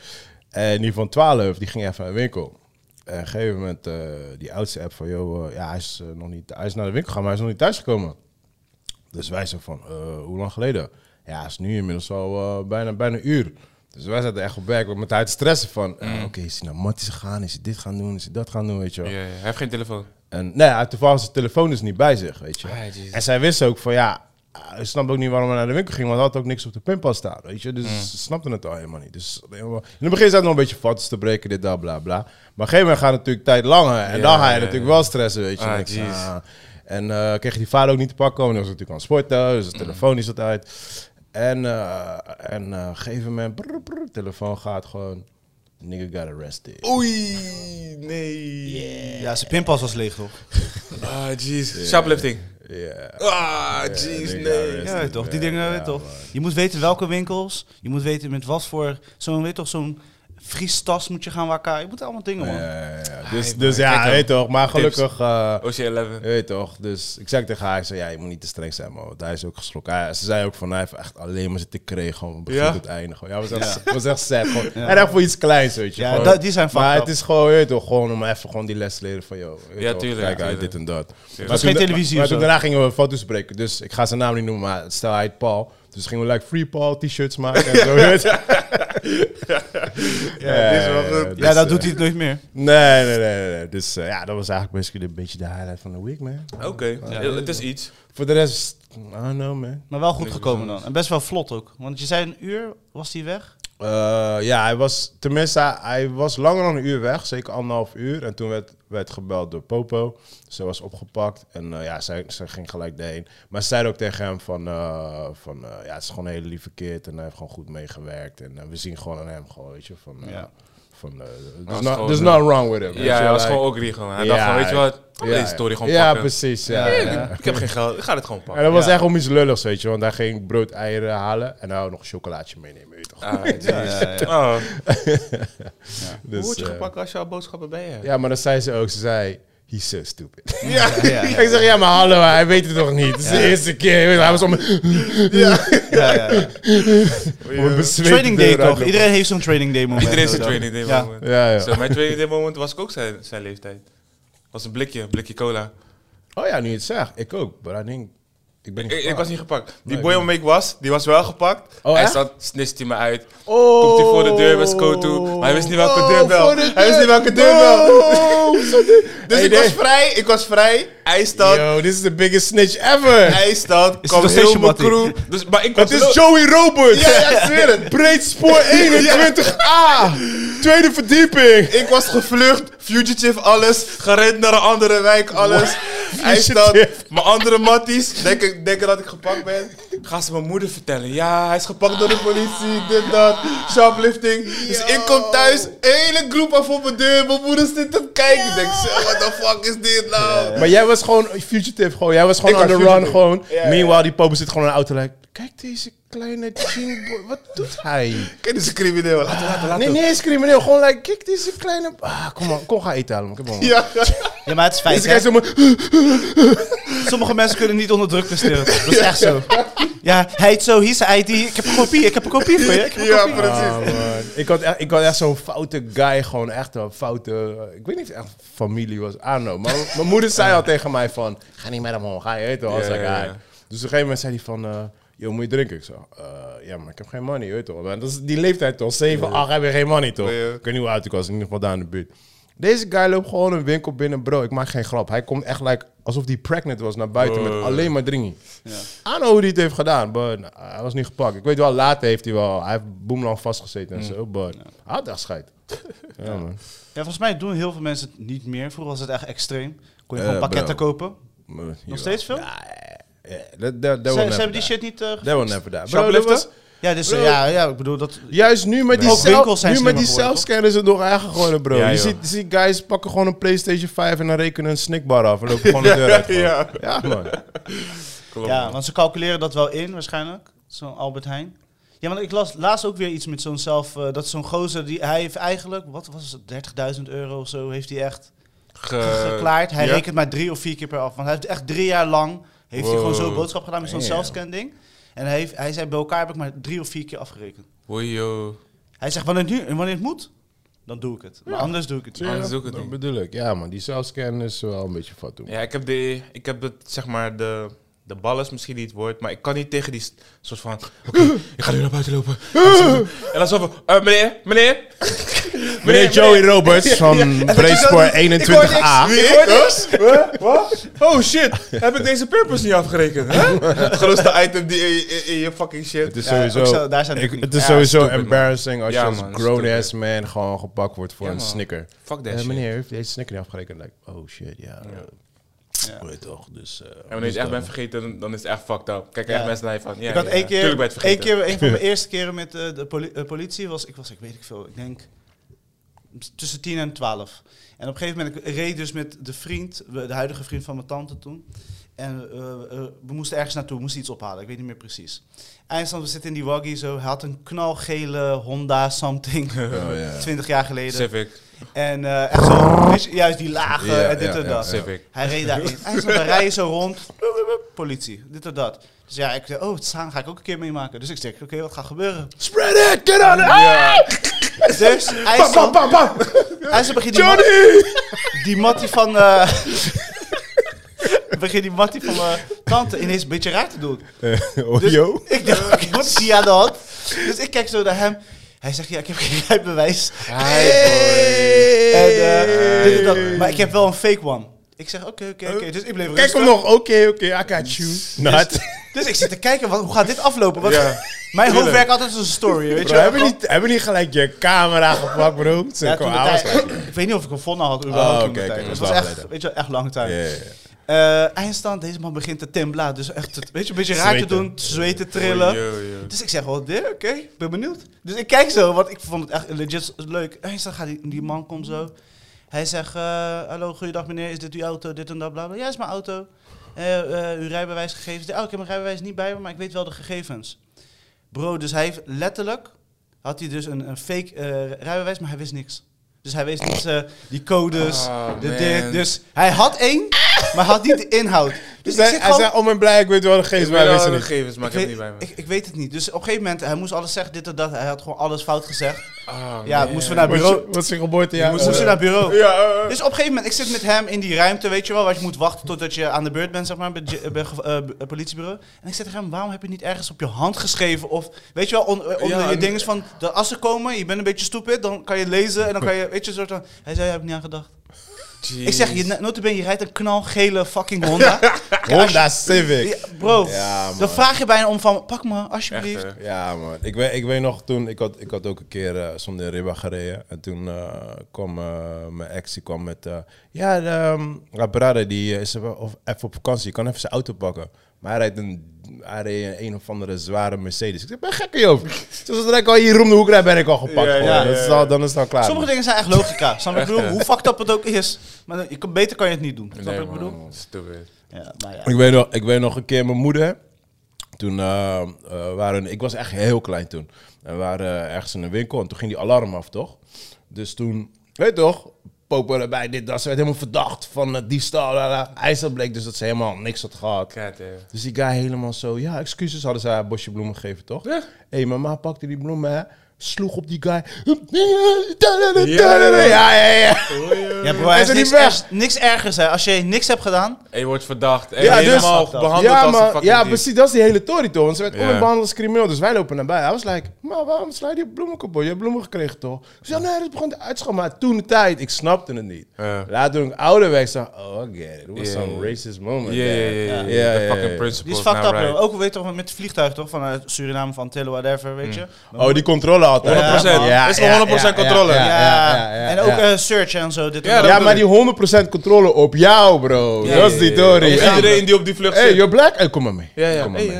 Speaker 2: En die van 12, die ging even naar de winkel. En op een gegeven moment, eh, die oudste app van, joh, eh, ja, hij is, eh, nog niet, hij is naar de winkel gegaan, maar hij is nog niet thuisgekomen. Dus wij zo van, eh, hoe lang geleden? Ja, het is nu inmiddels al eh, bijna, bijna een uur. Dus wij zaten echt op werk met haar te stressen van... eh, Oké, is hij naar Matties gegaan? Is hij dit gaan doen? Is hij dat gaan doen? Weet je wel.
Speaker 3: Ja, ja, Hij heeft geen telefoon.
Speaker 2: En nee, hij- toevallig was zijn telefoon dus niet bij zich, weet je wel.
Speaker 3: Ah, jezus.
Speaker 2: en zij wist ook van, ja... Hij snapt ook niet waarom hij naar de winkel ging, want hij had ook niks op de pinpas staan, weet je. Dus
Speaker 3: Mm.
Speaker 2: ze snapte het al helemaal niet. Dus helemaal- in het begin zaten nog een beetje vatters te breken, dit, dat, bla, bla. Maar op een gegeven moment gaat het natuurlijk tijd langer. En
Speaker 3: Ja,
Speaker 2: dan ga je
Speaker 3: ja,
Speaker 2: natuurlijk
Speaker 3: ja.
Speaker 2: wel stressen, weet je.
Speaker 3: Ah,
Speaker 2: En ik zei,
Speaker 3: jeez.
Speaker 2: ah. En eh, kreeg je die vader ook niet te pakken, want hij was natuurlijk aan het sporten. Dus de
Speaker 3: Mm.
Speaker 2: telefoon is dat uit. En, eh, en eh, op een gegeven moment, brr, brr, telefoon gaat gewoon... Nigga got arrested.
Speaker 3: Oei, nee.
Speaker 1: Ja, zijn pinpas was leeg, toch?
Speaker 3: Ah, jeez. Shoplifting.
Speaker 2: Ja.
Speaker 3: Ah, jeez,
Speaker 2: nee,
Speaker 3: nee.
Speaker 1: Ja, weet toch? Die dingen,
Speaker 2: Ja,
Speaker 1: weet toch?
Speaker 2: man.
Speaker 1: Je moet weten welke winkels. Je moet weten met wat voor... Zo'n, weet toch, zo'n vriestas moet je gaan wakker. Je moet allemaal dingen, man.
Speaker 3: Ah,
Speaker 2: Ja, ja, ja. Dus,
Speaker 3: man,
Speaker 2: dus ja,
Speaker 3: kijk dan.
Speaker 2: weet toch. Maar gelukkig... eh,
Speaker 3: Ocean 11.
Speaker 2: weet toch. Dus ik zei tegen haar, ik zei, ja, je moet niet te streng zijn, man. Want hij is ook geschrokken. Hij- ze zei ook van, hij heeft echt alleen maar zitten kregen. Gewoon van begin
Speaker 3: Ja?
Speaker 2: tot einde. Gewoon. Ja, was echt, was echt sad. Gewoon.
Speaker 1: Ja.
Speaker 2: En echt voor iets kleins, weet je.
Speaker 1: Ja,
Speaker 2: gewoon.
Speaker 1: dat- die zijn fucked
Speaker 2: Maar
Speaker 1: up.
Speaker 2: het is gewoon, weet toch, gewoon om even gewoon die les te leren van, joh. weet
Speaker 3: Ja,
Speaker 2: toch,
Speaker 3: tuurlijk,
Speaker 2: Kijk, hij
Speaker 3: tuurlijk.
Speaker 2: dit en dat. Maar
Speaker 1: was
Speaker 2: toen-
Speaker 1: geen televisie
Speaker 2: Maar
Speaker 1: of
Speaker 2: toen
Speaker 1: zo.
Speaker 2: daarna gingen we foto's spreken. Dus ik ga zijn naam niet noemen, maar stel hij heet Paul. Dus gingen we like Free Paul t-shirts maken en zo. weet je.
Speaker 3: Ja, dit is wel goed.
Speaker 2: dus,
Speaker 1: Ja, dat
Speaker 2: eh,
Speaker 1: doet hij het nooit meer.
Speaker 2: Nee, nee, nee, nee. Dus eh, ja, dat was eigenlijk basically een beetje de highlight van de week, man.
Speaker 3: Oké, het is iets.
Speaker 2: Voor de rest, I don't know, man.
Speaker 1: Maar wel goed gekomen dan. En best wel vlot ook. Want je zei een uur was hij weg.
Speaker 2: Eh, ja, hij was, tenminste, hij, hij was langer dan een uur weg, zeker anderhalf uur. En toen werd, werd gebeld door Popo. Ze was opgepakt en eh, ja, zij, zij ging gelijk daarheen. Maar ze zei ook tegen hem van, eh, van eh, ja, het is gewoon een hele lieve kid en hij heeft gewoon goed meegewerkt. En eh, we zien gewoon aan hem, gewoon, weet je, van... eh,
Speaker 1: Ja.
Speaker 2: Van, eh,
Speaker 3: was
Speaker 2: there's, not,
Speaker 3: gewoon,
Speaker 2: there's
Speaker 3: eh,
Speaker 2: not wrong with him. weet je
Speaker 3: Ja, hij
Speaker 2: wel,
Speaker 3: was
Speaker 2: like-
Speaker 3: gewoon ook Rigo. Hij
Speaker 2: Ja,
Speaker 3: dacht van, weet je wat?
Speaker 2: Ja,
Speaker 3: Deze story gewoon
Speaker 2: ja,
Speaker 3: pakken.
Speaker 2: precies. Ja, ja.
Speaker 3: Ik heb geen geld, ik ga dit gewoon
Speaker 2: En
Speaker 3: pakken.
Speaker 2: dat was
Speaker 1: Ja.
Speaker 2: echt om iets lulligs, weet je. Want hij ging brood, eieren halen en hij wou nog een chocolaatje meenemen, weet je toch.
Speaker 3: Ah, jeez. Oh. Hoe word je
Speaker 2: eh,
Speaker 3: gepakt als je al boodschappen bij hebt?
Speaker 2: ja, maar dat zei ze ook. Ze zei, he's so stupid.
Speaker 1: Ja, ja, ja.
Speaker 2: ik zeg, ja, maar hallo, hij weet het toch niet. Het is de eerste keer. weet je, Hij was om,
Speaker 1: ja, ja, ja.
Speaker 2: om een bezweet
Speaker 1: Training day
Speaker 2: deur
Speaker 1: toch?
Speaker 2: uitlopen.
Speaker 1: Iedereen heeft zo'n training day moment.
Speaker 3: Iedereen zijn
Speaker 1: Ja.
Speaker 3: training day
Speaker 1: Ja.
Speaker 3: moment.
Speaker 2: Ja, ja.
Speaker 3: Zo, mijn training day moment was ik ook zijn, zijn leeftijd. Was een blikje, een blikje cola.
Speaker 2: Oh ja, nu je het zegt. Ik ook. Maar I think, ik ben niet
Speaker 3: Ik, ik
Speaker 2: gevraagd.
Speaker 3: was niet gepakt. Die
Speaker 2: Nee,
Speaker 3: boy waarmee ik was, die was wel gepakt.
Speaker 2: Oh,
Speaker 3: hij
Speaker 2: echt?
Speaker 3: zat, snist hij me uit.
Speaker 2: Oh.
Speaker 3: Komt hij voor de deur met scoot toe. Maar hij wist niet welke
Speaker 2: Oh,
Speaker 3: deurbel.
Speaker 2: voor de
Speaker 3: Hij wist niet welke
Speaker 2: deur.
Speaker 3: deurbel.
Speaker 2: Oh, zo dit-
Speaker 3: Dus
Speaker 2: Hey,
Speaker 3: ik was
Speaker 2: dit-
Speaker 3: vrij, ik was vrij. Hij staat,
Speaker 2: Yo, this is the biggest snitch ever.
Speaker 3: hij staat,
Speaker 1: Is het nog
Speaker 3: kwam heel
Speaker 1: steeds
Speaker 3: mijn
Speaker 1: je mattie?
Speaker 3: crew. Dus, maar ik
Speaker 2: Dat
Speaker 3: was
Speaker 2: is Joey Roberts.
Speaker 3: Ja, ja, ik zweer het.
Speaker 2: Breed spoor 21a. Tweede verdieping.
Speaker 3: Ik was gevlucht, fugitive, alles. Gerend naar een andere wijk, alles. Hij staat, mijn andere matties denken, denken dat ik gepakt ben. Gaan ze mijn moeder vertellen. Ja, hij is gepakt door de politie, dit, dat, shoplifting. Dus ik kom thuis, hele groep af op mijn deur. Mijn moeder zit te kijken. Ik denk, zo, what the fuck is dit nou?
Speaker 2: Maar jij was gewoon fugitive, gewoon. Jij was gewoon
Speaker 3: Ik
Speaker 2: on the
Speaker 3: was
Speaker 2: run,
Speaker 3: fugitive.
Speaker 2: gewoon.
Speaker 3: Ja, ja.
Speaker 2: Meanwhile, die popo zit gewoon in de auto, like, kijk deze kleine chinboy, wat doet hij?
Speaker 3: Kijk, dit is een crimineel. Laten, laten, laten.
Speaker 2: Nee, nee, is crimineel, gewoon like, kijk deze kleine, ah, kom maar, kom ga eten halen, man. ik heb honger.
Speaker 3: Ja.
Speaker 1: Ja, maar het is
Speaker 2: Dus
Speaker 1: feit.
Speaker 2: ik kijk
Speaker 1: hè.
Speaker 2: zo maar,
Speaker 1: Sommige mensen kunnen niet onder druk presteren. Dat is echt zo. Ja, hij heet zo, hier is zijn ID. Ik heb een kopie, ik heb een kopie voor je. Ik heb een
Speaker 3: Ja,
Speaker 1: kopie.
Speaker 3: precies.
Speaker 2: Ah, man. Ik had echt, ik had echt zo'n foute guy, gewoon echt een foute, eh, ik weet niet of het echt familie was, I don't know. Maar mijn moeder zei al tegen mij van, ga niet met hem om, ga je eten, als
Speaker 3: Ja,
Speaker 2: ik
Speaker 3: ja,
Speaker 2: ga.
Speaker 3: ja.
Speaker 2: Dus op een gegeven moment zei hij van, eh yo, moet je drinken? Ik zo, "Eh, ja, maar ik heb geen money, weet je wel. Maar Dat is die leeftijd toch, 7, 8 heb je geen money toch?
Speaker 3: Ja, ja.
Speaker 2: Ik weet niet hoe oud ik was, in ieder geval daar in de buurt. Deze guy loopt gewoon een winkel binnen, bro. Ik maak geen grap. Hij komt echt like, alsof hij pregnant was naar buiten met alleen maar drinken. I don't know hoe hij het heeft gedaan, maar nou, hij was niet gepakt. Ik weet wel, later heeft hij wel. Hij heeft boemlang vastgezeten
Speaker 1: Mm.
Speaker 2: en zo, maar hij had echt scheid. ja, man.
Speaker 1: Ja, volgens mij doen heel veel mensen het niet meer. Vroeger was het echt extreem. Kon je
Speaker 2: Eh,
Speaker 1: gewoon pakketten
Speaker 2: bro.
Speaker 1: kopen.
Speaker 2: Maar,
Speaker 1: Nog steeds veel?
Speaker 2: Ah, dat
Speaker 1: Ze, ze hebben die shit niet eh
Speaker 2: Dat
Speaker 1: gefixt.
Speaker 2: will never die. Bro, dat
Speaker 1: Shopliften?
Speaker 2: was,
Speaker 1: Ja, dus,
Speaker 2: Bro.
Speaker 1: eh, ja, ja, ik bedoel dat...
Speaker 2: juist nu met die,
Speaker 1: Ook
Speaker 2: cel,
Speaker 1: winkels zijn
Speaker 2: nu met die
Speaker 1: slimmer geworden,
Speaker 2: zelfscanners er door eigen geworden, bro.
Speaker 3: Ja,
Speaker 2: je,
Speaker 3: joh.
Speaker 2: ziet, je ziet guys pakken gewoon een PlayStation 5 en dan rekenen een snackbar af. En lopen gewoon de deur uit. gewoon.
Speaker 3: Ja.
Speaker 2: ja, man.
Speaker 3: Klopt.
Speaker 1: Ja, want ze calculeren dat wel in waarschijnlijk. Zo'n Albert Heijn. Ja, want ik las laatst ook weer iets met zo'n zelf... eh, dat zo'n gozer, die, hij heeft eigenlijk... Wat was het? 30.000 euro of zo heeft hij echt
Speaker 3: Ge-
Speaker 1: geklaard. Hij
Speaker 3: ja.
Speaker 1: rekent maar drie of vier keer per af. Want hij heeft echt drie jaar lang... Heeft hij gewoon
Speaker 3: Wow.
Speaker 1: zo'n boodschap gedaan met zo'n
Speaker 2: Damn.
Speaker 1: zelfscan ding. En hij, heeft, hij zei, bij elkaar heb ik maar drie of vier keer afgerekend.
Speaker 3: Hoi, yo.
Speaker 1: Hij zegt, wanneer het, nu, en wanneer het moet, dan doe ik het. Maar anders doe ik het niet.
Speaker 3: Ja. Anders doe ik het
Speaker 2: dat
Speaker 3: niet.
Speaker 2: bedoel ik. Ja, man. Die zelfscan is wel een beetje fat, doen.
Speaker 3: Ja, ik heb, de, ik heb het, zeg maar, de, de bal is misschien niet het woord, maar ik kan niet tegen die s- soort van, oké, ik ga nu naar buiten lopen. en dan zo van, eh, meneer, meneer.
Speaker 2: Meneer Joey Roberts van Breedspoor 21A.
Speaker 3: Ik hoor niks. Huh? Wat? Oh shit, heb ik deze purpose niet afgerekend? Hè? Het grootste item die in, in- in je fucking shit.
Speaker 2: Het is
Speaker 1: Ja,
Speaker 2: sowieso,
Speaker 1: ook zo- daar zijn de
Speaker 2: ik-
Speaker 1: dingen.
Speaker 2: het is
Speaker 3: Ja,
Speaker 2: sowieso
Speaker 3: stupid, man.
Speaker 2: embarrassing als
Speaker 3: Ja,
Speaker 2: je
Speaker 3: man,
Speaker 2: als grown-ass man gewoon gepakt wordt voor
Speaker 3: Ja,
Speaker 2: een
Speaker 3: man.
Speaker 2: snicker.
Speaker 3: Fuck that
Speaker 2: Eh,
Speaker 3: shit.
Speaker 2: meneer, heeft deze snicker niet afgerekend? Like, oh shit, ja. eh,
Speaker 1: Ja.
Speaker 2: Weet toch, dus... eh,
Speaker 3: En wanneer je het echt bent vergeten, dan- dan is het echt fucked up. Kijk, echt
Speaker 1: Ja.
Speaker 3: mensen naar je van, ja,
Speaker 1: ik had
Speaker 3: ja,
Speaker 1: één
Speaker 3: ja.
Speaker 1: keer,
Speaker 3: Tuurlijk ben je het
Speaker 1: één
Speaker 3: vergeten.
Speaker 1: keer, een van mijn eerste keren met eh, de poli- eh, politie was, ik was, ik weet ik veel, ik denk s- tussen 10 en 12. En op een gegeven moment ik reed dus met de vriend, we- de huidige vriend van mijn tante toen. En eh, eh, we moesten ergens naartoe, we moesten iets ophalen, ik weet niet meer precies. Eindstand, we zitten in die waggie zo, hij had een knalgele Honda
Speaker 3: Oh,
Speaker 1: something,
Speaker 2: ja.
Speaker 1: 20 jaar geleden.
Speaker 3: Civic,
Speaker 1: En eh, echt zo, weet je, juist die lage
Speaker 2: Ja,
Speaker 1: en dit
Speaker 2: ja,
Speaker 1: en
Speaker 2: ja,
Speaker 1: dat.
Speaker 3: Civic.
Speaker 1: Hij reed daarin. Hij zat daar rijden zo rond. Politie, dit en dat. Dus ja, ik zei, oh, het staan ga ik ook een keer meemaken. Dus ik zeg, oké, wat gaat gebeuren?
Speaker 2: eh, Spread it! Get on it!
Speaker 1: Dus
Speaker 2: Bam, bam,
Speaker 1: IJssel,
Speaker 2: bam, bam.
Speaker 1: IJssel begint die, mat,
Speaker 2: Johnny!
Speaker 1: die mattie van... eh begint die mattie van mijn tante ineens een beetje raar te doen.
Speaker 2: Oh,
Speaker 1: Dus
Speaker 2: yo.
Speaker 1: ik dacht, oké, wat is die aan de hand? Dus ik kijk zo naar hem. Hij zegt, ja, ik heb geen rijbewijs. En, eh, dit en dat. Maar ik heb wel een fake one. Ik zeg, oké, oké, oké. Dus ik bleef
Speaker 2: Kijk
Speaker 1: rustig.
Speaker 2: hem nog. Oké, oké, I got you. Not.
Speaker 1: Dus ik zit te kijken, wat, hoe gaat dit aflopen? Want
Speaker 3: Ja.
Speaker 1: mijn hoofd
Speaker 3: Tuurlijk.
Speaker 1: werkt altijd als een story, weet je
Speaker 2: Bro,
Speaker 1: wel.
Speaker 2: hebben niet, hebben niet gelijk je camera gepakt, bro? Ze
Speaker 1: Ja,
Speaker 2: komen
Speaker 1: toen de
Speaker 2: alles
Speaker 1: tijd-
Speaker 2: uit.
Speaker 1: ik weet niet of ik een Vonna had überhaupt
Speaker 2: Oh,
Speaker 1: toen de
Speaker 2: oké,
Speaker 1: tijd. Het
Speaker 2: oké, dat is
Speaker 1: was
Speaker 2: wel
Speaker 1: echt,
Speaker 2: geleden.
Speaker 1: weet je wel, echt lang
Speaker 2: Ja,
Speaker 1: tijd.
Speaker 2: ja, ja.
Speaker 1: Eh, eindstand, deze man begint te tembla. Dus echt, het- weet je, een beetje raar te
Speaker 2: Zweten.
Speaker 1: doen, te zweten,
Speaker 3: Hoi,
Speaker 1: trillen.
Speaker 3: yo, yo.
Speaker 1: Dus ik zeg wel, dit, oké, ik ben benieuwd. Dus ik kijk zo, want ik vond het echt legit leuk. Eindstand gaat die, die man komt zo. Hij zegt, eh, hallo, goeiedag meneer, is dit uw auto, dit en dat, bla bla. Ja, is mijn auto. Eh, eh, uw rijbewijsgegevens. Oh, ik heb mijn rijbewijs niet bij me, maar ik weet wel de gegevens. Bro, dus hij heeft letterlijk, had hij dus een, een fake eh, rijbewijs, maar hij wist niks. Dus hij wist niet eh, die codes,
Speaker 3: Ah,
Speaker 1: de
Speaker 3: man.
Speaker 1: dit. Dus hij had één, maar had niet de inhoud. Dus
Speaker 2: Dus
Speaker 1: ik
Speaker 2: hij,
Speaker 1: zit
Speaker 2: hij
Speaker 1: gewoon-
Speaker 2: zei, oh mijn blij, ik weet wel de geest,
Speaker 3: Ik
Speaker 2: maar hij
Speaker 3: weet
Speaker 2: wist
Speaker 3: wel
Speaker 2: het
Speaker 3: de
Speaker 2: niet.
Speaker 3: gegevens, maar ik heb
Speaker 1: weet,
Speaker 3: het niet bij me.
Speaker 1: Ik, ik weet het niet. Dus op een gegeven moment, hij moest alles zeggen, dit en dat. Hij had gewoon alles fout gezegd.
Speaker 3: Ah,
Speaker 1: Ja,
Speaker 3: man.
Speaker 1: moesten we naar bureau.
Speaker 2: Wat is zijn geboortejaar?
Speaker 1: moesten we
Speaker 2: Eh,
Speaker 1: naar bureau.
Speaker 3: Ja, eh,
Speaker 1: Dus op een gegeven moment, ik zit met hem in die ruimte, weet je wel, waar je moet wachten totdat je aan de beurt bent, zeg maar, bij, het bij ge- eh, bij het politiebureau. En ik zeg tegen hem, waarom heb je niet ergens op je hand geschreven? Of, weet je wel, on- eh, onder
Speaker 3: Ja,
Speaker 1: je
Speaker 3: en-
Speaker 1: dingen van, dat als ze komen, je bent een beetje stupid, dan kan je lezen en dan kan je, weet je, soort van... Hij zei, daar heb ik niet aan gedacht.
Speaker 3: eh,
Speaker 1: Ik zeg, je, notabene, je rijdt een knalgele fucking Honda.
Speaker 2: Honda Civic.
Speaker 1: Ja, bro,
Speaker 2: Ja, man.
Speaker 1: dan vraag je bijna om van, pak me
Speaker 3: Echt,
Speaker 1: alsjeblieft.
Speaker 3: hè?
Speaker 2: Ja, man. Ik weet, ik weet nog toen, ik had, ik had ook een keer eh, zonder ribba gereden. En toen eh, kwam eh, mijn ex, die kwam met... eh, ja, de, ehm, Brada, die eh, is even, of, even op vakantie. Je kan even zijn auto pakken. Maar hij rijdt een, hij reed een, een of andere zware Mercedes. Ik zeg, ben je gek in je hoofd. Dus zodra ik al hier om de hoek rijd, ben ik al gepakt.
Speaker 3: Ja, ja,
Speaker 2: gewoon.
Speaker 3: ja,
Speaker 2: Dat is
Speaker 3: ja.
Speaker 2: al, dan is het al klaar.
Speaker 1: Sommige
Speaker 2: man.
Speaker 1: dingen zijn echt logica. Snap je wat ik bedoel? Hoe fucked up het ook is. Maar dan- je, kan- beter kan je het niet doen. Snap je
Speaker 3: Nee,
Speaker 1: wat ik bedoel?
Speaker 3: man. Stupid.
Speaker 1: Ja, maar ja.
Speaker 2: Ik weet, nog, ik weet nog een keer mijn moeder. Toen eh, eh, waren, ik was echt heel klein toen. En we waren eh, ergens in een winkel en toen ging die alarm af, toch? Dus toen, weet je toch, popen erbij, dit, dat. Ze werd helemaal verdacht van eh, diefstal. la, la. IJssel bleek dus dat ze helemaal niks had gehad.
Speaker 3: Cat, hè.
Speaker 2: Dus die guy helemaal zo, ja, excuses hadden ze haar een bosje bloemen gegeven, toch? Hé,
Speaker 3: Ja.
Speaker 2: hey, mama pakte die bloemen, hè? sloeg op die guy.
Speaker 3: ja, ja.
Speaker 2: ja, ja, ja.
Speaker 1: Ja, bro, er
Speaker 2: Hij
Speaker 1: is
Speaker 2: is er
Speaker 1: niks,
Speaker 2: niet weg.
Speaker 1: ergs- niks ergers, hè. Als je niks hebt gedaan...
Speaker 3: En je wordt verdacht. En
Speaker 2: Ja, dus-
Speaker 3: helemaal behandeld
Speaker 2: ja,
Speaker 3: als een
Speaker 2: maar-
Speaker 3: fucking
Speaker 2: Ja,
Speaker 3: dief.
Speaker 2: precies. Dat is die hele tory, toch? Want ze werd
Speaker 3: Ja.
Speaker 2: onbehandeld als crimineel. Dus wij lopen naar buiten. Hij was like, maar waarom sla je die bloemen kapot? Je hebt bloemen gekregen, toch? Ik zei, nee, dat begon te uitschouwen. Maar toen de tijd, ik snapte het niet.
Speaker 3: Ja.
Speaker 2: Later toen ik ouder werd, zag oh, I get it. It was
Speaker 3: Ja,
Speaker 2: some
Speaker 3: ja.
Speaker 2: racist moment.
Speaker 3: Ja, ja, ja, ja,
Speaker 2: Ja,
Speaker 3: ja.
Speaker 2: ja,
Speaker 3: De
Speaker 2: ja.
Speaker 3: fucking principle.
Speaker 1: Die is
Speaker 3: is
Speaker 1: fucked up,
Speaker 3: not
Speaker 1: bro. Oh,
Speaker 3: right.
Speaker 1: Ook weet toch, met het vliegtuig, toch? Vanuit Suriname, van Tillen, whatever,
Speaker 3: Mm.
Speaker 1: weet je?
Speaker 2: Oh, die controle altijd.
Speaker 1: 100%.
Speaker 3: Is gewoon 100% controle.
Speaker 2: Ja,
Speaker 1: Ja,
Speaker 2: ja, ja, ja,
Speaker 1: en ook
Speaker 2: ja.
Speaker 1: eh, search en zo. Dit en
Speaker 3: Ja,
Speaker 1: dat.
Speaker 2: Ja,
Speaker 3: bedoel
Speaker 2: maar die 100% controle op jou, bro.
Speaker 3: Ja,
Speaker 2: dat
Speaker 3: ja,
Speaker 2: is die
Speaker 3: ja, ja.
Speaker 2: tory.
Speaker 3: Op Iedereen die op die vlucht
Speaker 2: Hey,
Speaker 3: zit.
Speaker 2: you're black? Hey, kom maar mee.
Speaker 3: Ja, ja.
Speaker 2: Kom maar
Speaker 3: Hey,
Speaker 2: mee.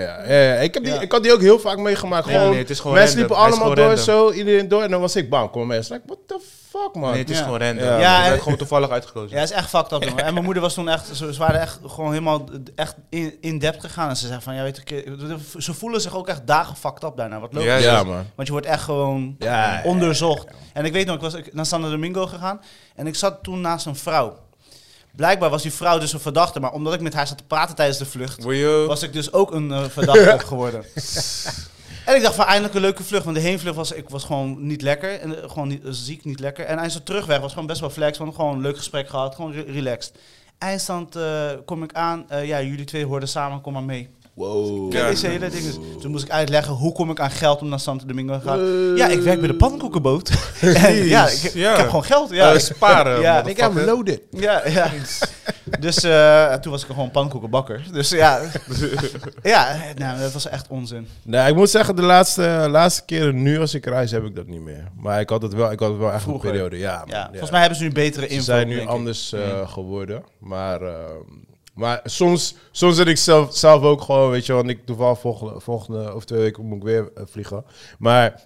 Speaker 2: Ja, ja, ja, ja, ja. Ik, heb die, ik had die ook heel vaak meegemaakt.
Speaker 3: Nee,
Speaker 2: Gewoon,
Speaker 3: nee, het is gewoon
Speaker 2: mensen
Speaker 3: random.
Speaker 2: liepen
Speaker 3: Hij is
Speaker 2: allemaal door,
Speaker 3: gewoon
Speaker 2: zo, iedereen door. En dan was ik, bam, kom maar mee. Ik was like, what the fuck, man.
Speaker 3: Nee, het is
Speaker 1: Ja.
Speaker 3: gewoon random.
Speaker 2: Ja,
Speaker 3: Ja,
Speaker 1: man.
Speaker 3: je
Speaker 1: en-
Speaker 3: bent gewoon toevallig uitgekozen.
Speaker 1: Ja, is echt fucked up. jongen. En mijn moeder was toen echt, ze, ze waren echt gewoon helemaal echt in, in depth gegaan. En ze zei van, ja, weet ik, ze voelen zich ook echt dagen fucked up daarna. Wat logisch
Speaker 3: Ja,
Speaker 1: is.
Speaker 2: ja, man.
Speaker 1: Want je wordt echt gewoon
Speaker 2: Ja, ja,
Speaker 1: onderzocht. En ik weet nog, ik was ik- naar Santo Domingo gegaan en ik zat toen naast een vrouw. Blijkbaar was die vrouw dus een verdachte, maar omdat ik met haar zat te praten tijdens de vlucht,
Speaker 3: Were you?
Speaker 1: was ik dus ook een eh, verdachte geworden. En ik dacht van eindelijk een leuke vlucht, want de heenvlucht was, ik was gewoon niet lekker. En eh, gewoon niet, eh, ziek, niet lekker. En eindstand terugweg was gewoon best wel flex, want gewoon een leuk gesprek gehad, gewoon re- relaxed. Eindstand eh, kom ik aan, eh, ja jullie twee hoorden samen, kom maar mee.
Speaker 2: Wow.
Speaker 1: Kijk, deze hele ding. Dus toen moest ik uitleggen hoe kom ik aan geld om naar Santo Domingo te gaan.
Speaker 2: Eh.
Speaker 1: Ja, ik werk bij de pannenkoekenboot. en ja, ik, ik
Speaker 3: ja.
Speaker 1: heb gewoon geld. Ja,
Speaker 3: Ja,
Speaker 2: Eh.
Speaker 3: sparen.
Speaker 1: Ja,
Speaker 2: Ik
Speaker 3: motherfucker.
Speaker 2: heb loaded.
Speaker 1: ja, ja. Dus eh, toen was ik gewoon pannenkoekenbakker. Dus ja, ja nou, dat was echt onzin.
Speaker 2: Nee, Nou, ik moet zeggen, de laatste, laatste keren nu als ik reis, heb ik dat niet meer. Maar ik had het wel, ik had het wel echt
Speaker 1: Vroeger.
Speaker 2: een periode. Ja, man.
Speaker 1: Ja,
Speaker 2: Ja.
Speaker 1: Volgens mij hebben ze nu betere
Speaker 2: Ze
Speaker 1: info.
Speaker 2: zijn nu
Speaker 1: denk ik.
Speaker 2: anders eh, geworden. Maar, eh, maar soms, soms zit ik zelf, zelf ook gewoon, weet je, want ik toevallig volgende, volgende of twee weken moet ik weer eh, vliegen. Maar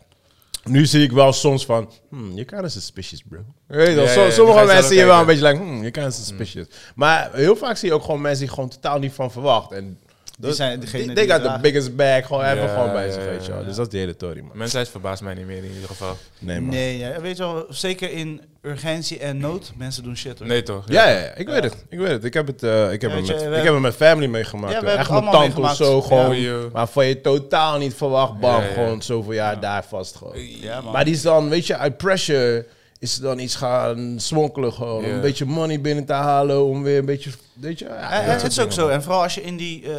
Speaker 2: nu zie ik wel soms van, hmm, you're kind of suspicious, bro. Weet je wel,
Speaker 3: Ja,
Speaker 2: so-
Speaker 3: ja, ja,
Speaker 2: sommige
Speaker 3: die ga
Speaker 2: mensen
Speaker 3: je zelf
Speaker 2: zie je wel een
Speaker 3: kijken.
Speaker 2: beetje like, hmm, you're kind of suspicious. Maar heel vaak zie je ook gewoon mensen die gewoon totaal niet van verwacht. En dat-
Speaker 1: zijn degene
Speaker 2: they
Speaker 1: die
Speaker 2: got the
Speaker 1: dragen.
Speaker 2: biggest bag, gewoon even
Speaker 3: Ja,
Speaker 2: gewoon bij
Speaker 3: ja,
Speaker 2: zich,
Speaker 3: ja,
Speaker 2: weet je wel.
Speaker 3: ja.
Speaker 2: Dus dat is de hele tory, man.
Speaker 3: Mensheid verbaast mij niet meer in ieder geval.
Speaker 2: Nee, man.
Speaker 1: Nee, ja, weet je wel, zeker in urgentie en nood, mensen doen shit hoor.
Speaker 3: Nee toch?
Speaker 2: Ja, ja, ja, ik weet het. Ik weet het. Ik heb het, eh, ik heb
Speaker 1: Ja, weet je,
Speaker 2: het met,
Speaker 1: we
Speaker 2: ik
Speaker 1: hebben-
Speaker 2: heb het met family meegemaakt.
Speaker 1: Ja, we
Speaker 2: hoor. Echt
Speaker 1: hebben
Speaker 2: mijn
Speaker 1: het
Speaker 2: tante
Speaker 1: allemaal
Speaker 2: of zo
Speaker 1: meegemaakt.
Speaker 2: gewoon.
Speaker 3: Ja.
Speaker 2: Maar van je totaal niet verwacht, bam,
Speaker 3: Ja, ja.
Speaker 2: gewoon zoveel jaar daar vast gewoon.
Speaker 1: Ja, man.
Speaker 2: Maar die is dan, weet je, uit pressure is ze dan iets gaan smokkelen gewoon. Om
Speaker 3: Ja.
Speaker 2: een beetje money binnen te halen, om weer een beetje, weet je. ja,
Speaker 1: Eh, eh, het
Speaker 2: dat soort
Speaker 1: is ook
Speaker 2: dingen.
Speaker 1: zo. En vooral als je in die, eh,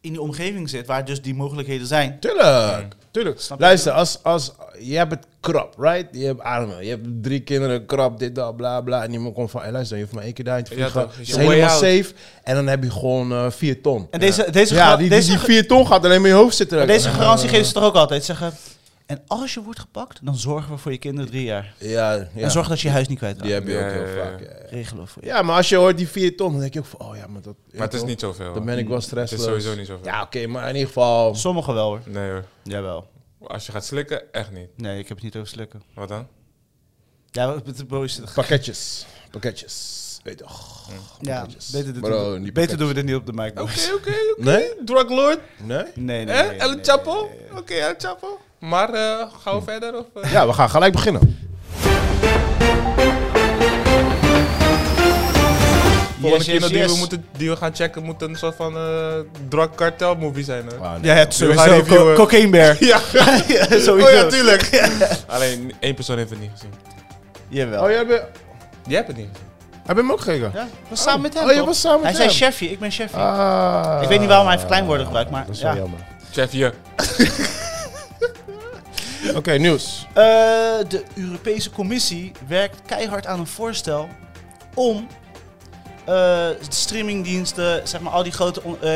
Speaker 1: in die omgeving zit, waar dus die mogelijkheden zijn.
Speaker 2: Tuurlijk, tuurlijk.
Speaker 1: Snap je?
Speaker 2: Luister, als, als, je hebt het krap, right? Je hebt armen, je hebt drie kinderen, krap, dit, dat, bla, bla. En iemand komt van, hey, luister, je hoeft maar één keer daarheen te
Speaker 3: Ja,
Speaker 2: vliegen.
Speaker 3: toch,
Speaker 2: Het
Speaker 3: is
Speaker 2: is
Speaker 3: je way
Speaker 2: helemaal
Speaker 3: out.
Speaker 2: safe. En dan heb je gewoon eh, vier ton.
Speaker 1: En deze, deze,
Speaker 2: ja,
Speaker 1: gra-
Speaker 2: die, die,
Speaker 1: deze
Speaker 2: die vier ton gaat alleen maar in je hoofd zitten.
Speaker 1: Maar deze garantie geven ze toch ook altijd. Zeggen, en als je wordt gepakt, dan zorgen we voor je kinderen drie jaar.
Speaker 2: Ja, ja.
Speaker 1: En zorg dat je je huis niet kwijtraakt.
Speaker 2: die heb je
Speaker 3: Ja,
Speaker 2: ook heel
Speaker 3: ja, ja.
Speaker 2: vaak. Ja.
Speaker 1: Regelen voor je.
Speaker 2: ja, maar als je hoort die vier ton, dan denk je ook van, oh ja, maar dat...
Speaker 3: Maar het is niet zoveel.
Speaker 2: Dan ben ik wel
Speaker 3: Het is
Speaker 2: stressloos.
Speaker 3: sowieso niet zoveel.
Speaker 2: Ja, oké, maar in ieder geval...
Speaker 1: Sommigen wel hoor.
Speaker 3: Nee hoor.
Speaker 1: Jawel.
Speaker 3: Als je gaat slikken, echt niet.
Speaker 1: Nee, ik heb het niet over slikken.
Speaker 3: Wat dan?
Speaker 1: Ja, wat- het boos is.
Speaker 2: Pakketjes. Pakketjes. Weet je toch.
Speaker 1: Ja,
Speaker 2: pakketjes.
Speaker 1: beter, dit
Speaker 2: Bro,
Speaker 1: doen,
Speaker 2: die
Speaker 1: we-
Speaker 2: pakketjes.
Speaker 1: beter doen we dit niet op de mic, boys.
Speaker 3: oké.
Speaker 2: Nee?
Speaker 3: Drug lord.
Speaker 2: Nee?
Speaker 1: Nee, nee, nee.
Speaker 3: Hè?
Speaker 1: nee,
Speaker 3: El
Speaker 1: nee,
Speaker 3: Chapo?
Speaker 1: nee, nee.
Speaker 3: Oké, El Chapo. Maar eh, gaan we verder? Of, eh?
Speaker 2: Ja, we gaan gelijk beginnen.
Speaker 3: Volgende
Speaker 1: Yes,
Speaker 3: keer
Speaker 1: yes,
Speaker 3: die,
Speaker 1: yes.
Speaker 3: we moeten, die we gaan checken moet een soort van eh drug cartel movie zijn. Hè?
Speaker 2: Ah, nee.
Speaker 1: Ja, het
Speaker 3: We gaan
Speaker 1: sowieso. Co
Speaker 3: reviewen.
Speaker 1: cocaine bear.
Speaker 3: Ja.
Speaker 1: Ja, sowieso.
Speaker 3: Oh ja, tuurlijk. Alleen één persoon heeft het niet gezien.
Speaker 1: Jawel.
Speaker 2: Oh, jij hebt, jij
Speaker 3: Jij hebt het niet gezien.
Speaker 2: hebt hem ook gekeken?
Speaker 1: Ja, ik was samen met hem
Speaker 2: Oh, je
Speaker 1: toch?
Speaker 2: was samen met
Speaker 1: Hij
Speaker 2: hem.
Speaker 1: zei Chefy, ik ben Chefy.
Speaker 2: Ah.
Speaker 1: Ik weet niet waarom hij verkleinwoorden gebruikt, maar
Speaker 2: Dat is wel
Speaker 1: ja.
Speaker 2: jammer.
Speaker 3: Chef, je.
Speaker 2: Oké, nieuws.
Speaker 1: Eh, de Europese Commissie werkt keihard aan een voorstel om eh, de streamingdiensten, zeg maar al die grote eh,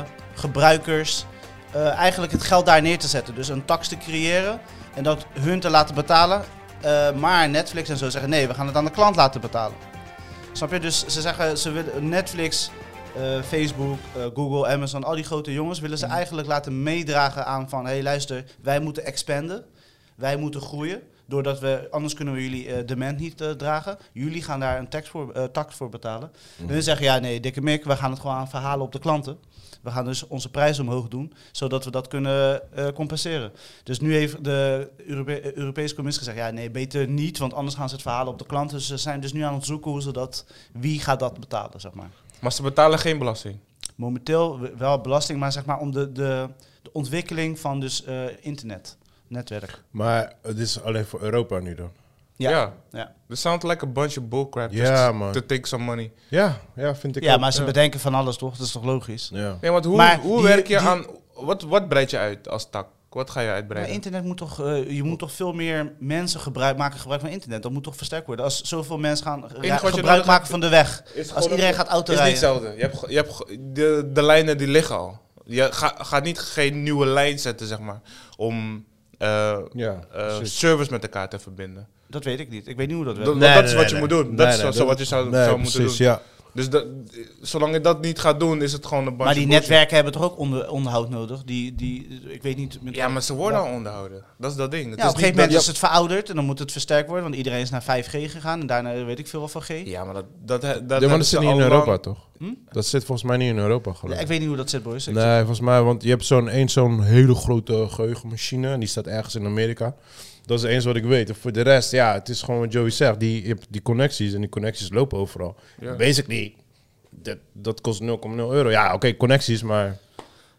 Speaker 1: internetgebruikers, eh, eigenlijk het geld daar neer te zetten. Dus een tax te creëren en dat hun te laten betalen. Eh, maar Netflix en zo zeggen nee, we gaan het aan de klant laten betalen. Snap je? Dus ze zeggen ze willen Netflix, eh, Facebook, eh, Google, Amazon, al die grote jongens willen ze eigenlijk laten meedragen aan van hé hey, luister, wij moeten expanden. Wij moeten groeien. Doordat we, anders kunnen we jullie eh, dement niet eh, dragen. Jullie gaan daar een tax voor, eh, tax voor betalen. En dan zeggen ja, nee, dikke mik, we gaan het gewoon aan verhalen op de klanten. We gaan dus onze prijs omhoog doen, zodat we dat kunnen eh, compenseren. Dus nu heeft de Europe- eh, Europese Commissie gezegd, ja, nee, beter niet, want anders gaan ze het verhalen op de klanten. Dus ze zijn dus nu aan het zoeken hoe ze dat, wie gaat dat betalen, zeg maar.
Speaker 3: Maar ze betalen geen belasting.
Speaker 1: Momenteel w- wel belasting, maar zeg maar om de, de, de ontwikkeling van dus eh, internet, netwerk.
Speaker 2: Maar het is alleen voor Europa nu dan.
Speaker 3: Ja.
Speaker 1: ja.
Speaker 3: This sounds like a bunch of bullcrap.
Speaker 2: Ja,
Speaker 3: just
Speaker 2: man.
Speaker 3: To take some money.
Speaker 2: Ja, ja vind ik
Speaker 1: Ja,
Speaker 2: ook.
Speaker 1: maar ze bedenken van alles toch? Dat is toch logisch?
Speaker 2: Ja.
Speaker 3: Nee, want hoe,
Speaker 1: Maar
Speaker 3: hoe
Speaker 1: die-
Speaker 3: werk je
Speaker 1: die-
Speaker 3: aan... Wat, wat breid je uit als tak? Wat ga je
Speaker 1: Maar
Speaker 3: uitbreiden?
Speaker 1: internet moet toch, eh, je moet toch veel meer mensen gebruik maken gebruik van internet. Dat moet toch versterkt worden. Als zoveel mensen gaan ra-
Speaker 3: wat je nodig
Speaker 1: gebruik
Speaker 3: hebt-
Speaker 1: maken van de weg.
Speaker 3: gewoon
Speaker 1: Als iedereen
Speaker 3: een-
Speaker 1: gaat auto
Speaker 3: is niet
Speaker 1: rijden.
Speaker 3: hetzelfde. Je hebt, ge- je hebt ge- de, de lijnen die liggen al. Je ga- gaat niet geen nieuwe lijn zetten, zeg maar. Om eh,
Speaker 2: Ja,
Speaker 3: eh,
Speaker 2: precies.
Speaker 3: service met elkaar te verbinden.
Speaker 1: Dat weet ik niet. Ik weet niet hoe dat
Speaker 3: Dat-
Speaker 1: werkt.
Speaker 3: want dat is wat je moet doen. Dat is zo- zo wat je zou- zou moeten
Speaker 2: precies,
Speaker 3: doen.
Speaker 2: Ja.
Speaker 3: Dus dat, zolang je dat niet gaat doen, is het gewoon een bunch
Speaker 1: Maar die
Speaker 3: of bullshit.
Speaker 1: netwerken hebben toch ook onder, onderhoud nodig? Die, die, ik weet niet. met-
Speaker 3: Ja, maar ze worden al onderhouden. Dat is dat ding. Het
Speaker 1: Ja, op een
Speaker 3: is
Speaker 1: gegeven
Speaker 3: niet dat-
Speaker 1: moment is het verouderd en dan moet het versterkt worden. Want iedereen is naar 5G gegaan en daarna weet ik veel van G.
Speaker 3: Ja, maar dat... dat, dat, dat
Speaker 2: Ja, maar
Speaker 3: hebben
Speaker 2: dat
Speaker 3: ze
Speaker 2: zit niet in
Speaker 3: al
Speaker 2: Europa,
Speaker 3: lang-
Speaker 2: toch? Dat zit volgens mij niet in Europa, geloof
Speaker 1: Ja,
Speaker 2: ik.
Speaker 1: ik weet niet hoe dat zit, boys. Ik-
Speaker 2: Nee, volgens mij, want je hebt zo'n één zo'n hele grote geheugenmachine. En die staat ergens in Amerika. Dat is het eens wat ik weet. En voor de rest, ja, het is gewoon wat Joey zegt. Die, je hebt die connecties en die connecties lopen overal.
Speaker 3: Ja.
Speaker 2: Basically, dat, dat kost 0,0 euro. Ja, oké, connecties, maar...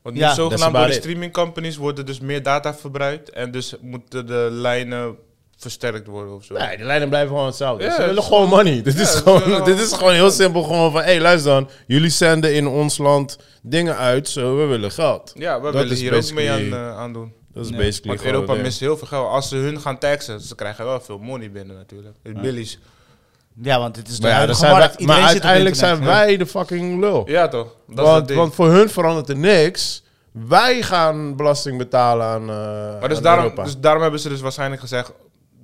Speaker 3: Want
Speaker 1: Ja.
Speaker 3: nu
Speaker 2: That's
Speaker 3: zogenaamd
Speaker 2: about
Speaker 3: door de
Speaker 2: it.
Speaker 3: streaming companies worden dus meer data verbruikt. En dus moeten de lijnen versterkt worden of zo.
Speaker 2: Nee, de lijnen blijven gewoon hetzelfde.
Speaker 3: Ja,
Speaker 2: Ze willen
Speaker 3: het is
Speaker 2: gewoon money. Dit,
Speaker 3: Ja,
Speaker 2: is
Speaker 3: ze
Speaker 2: gewoon,
Speaker 3: willen
Speaker 2: dit is
Speaker 3: gewoon-
Speaker 2: gewoon heel simpel. Gewoon van, hé, hey, luister dan. Jullie zenden in ons land dingen uit, zo, we willen geld.
Speaker 3: Ja, we
Speaker 2: Dat
Speaker 3: willen
Speaker 2: is
Speaker 3: hier ook mee aan,
Speaker 2: basically-
Speaker 3: eh, aan doen.
Speaker 2: Dat is
Speaker 1: Nee.
Speaker 2: basically
Speaker 3: Want
Speaker 2: gewoon
Speaker 3: Europa
Speaker 2: het ding.
Speaker 3: mist heel veel geld. Als ze hun gaan taxen, ze krijgen wel veel money binnen natuurlijk. De Billies.
Speaker 1: Ja, want het is de
Speaker 2: Maar, ja, dan
Speaker 1: huidige
Speaker 2: zijn wij,
Speaker 1: markt.
Speaker 2: maar
Speaker 1: Iedereen zit op
Speaker 2: uiteindelijk
Speaker 1: internet.
Speaker 2: zijn wij de fucking lul.
Speaker 3: Ja toch? Dat is het
Speaker 2: want,
Speaker 3: ding.
Speaker 2: want voor hun verandert er niks. Wij gaan belasting betalen aan, eh
Speaker 3: maar dus
Speaker 2: aan
Speaker 3: daarom,
Speaker 2: Europa.
Speaker 3: dus daarom hebben ze dus waarschijnlijk gezegd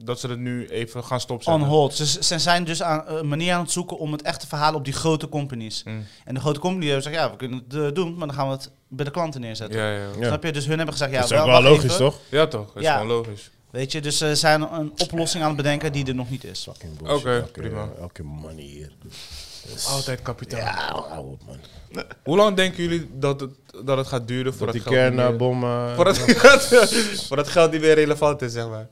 Speaker 3: dat ze het nu even gaan
Speaker 1: On
Speaker 3: stopzetten.
Speaker 1: hold. Ze, ze zijn dus aan, een manier aan het zoeken om het echt te verhalen op die grote companies.
Speaker 2: Hmm.
Speaker 3: Mm.
Speaker 1: En de grote companies hebben gezegd, ja, we kunnen het eh, doen, maar dan gaan we het bij de klanten neerzetten.
Speaker 3: Ja, ja.
Speaker 2: Ja.
Speaker 1: Snap je? Dus hun hebben gezegd, ja,
Speaker 2: dat is ook wel
Speaker 1: wacht
Speaker 2: logisch,
Speaker 1: even.
Speaker 2: toch?
Speaker 3: ja toch? Dat is
Speaker 1: Ja.
Speaker 3: gewoon logisch.
Speaker 1: Weet je, dus ze zijn een oplossing aan het bedenken die er nog niet is.
Speaker 2: Fucking
Speaker 3: Oké,
Speaker 2: elke-
Speaker 3: prima.
Speaker 2: Elke money hier. Dus-
Speaker 3: Altijd kapitaal.
Speaker 2: Ja, hou op, man.
Speaker 3: Hoe lang denken jullie dat het, dat het gaat duren
Speaker 2: Dat
Speaker 3: voordat
Speaker 2: die
Speaker 3: het geld niet meer-
Speaker 2: kernbom... eh,
Speaker 3: Voordat geld, voordat geld niet meer relevant is, zeg maar.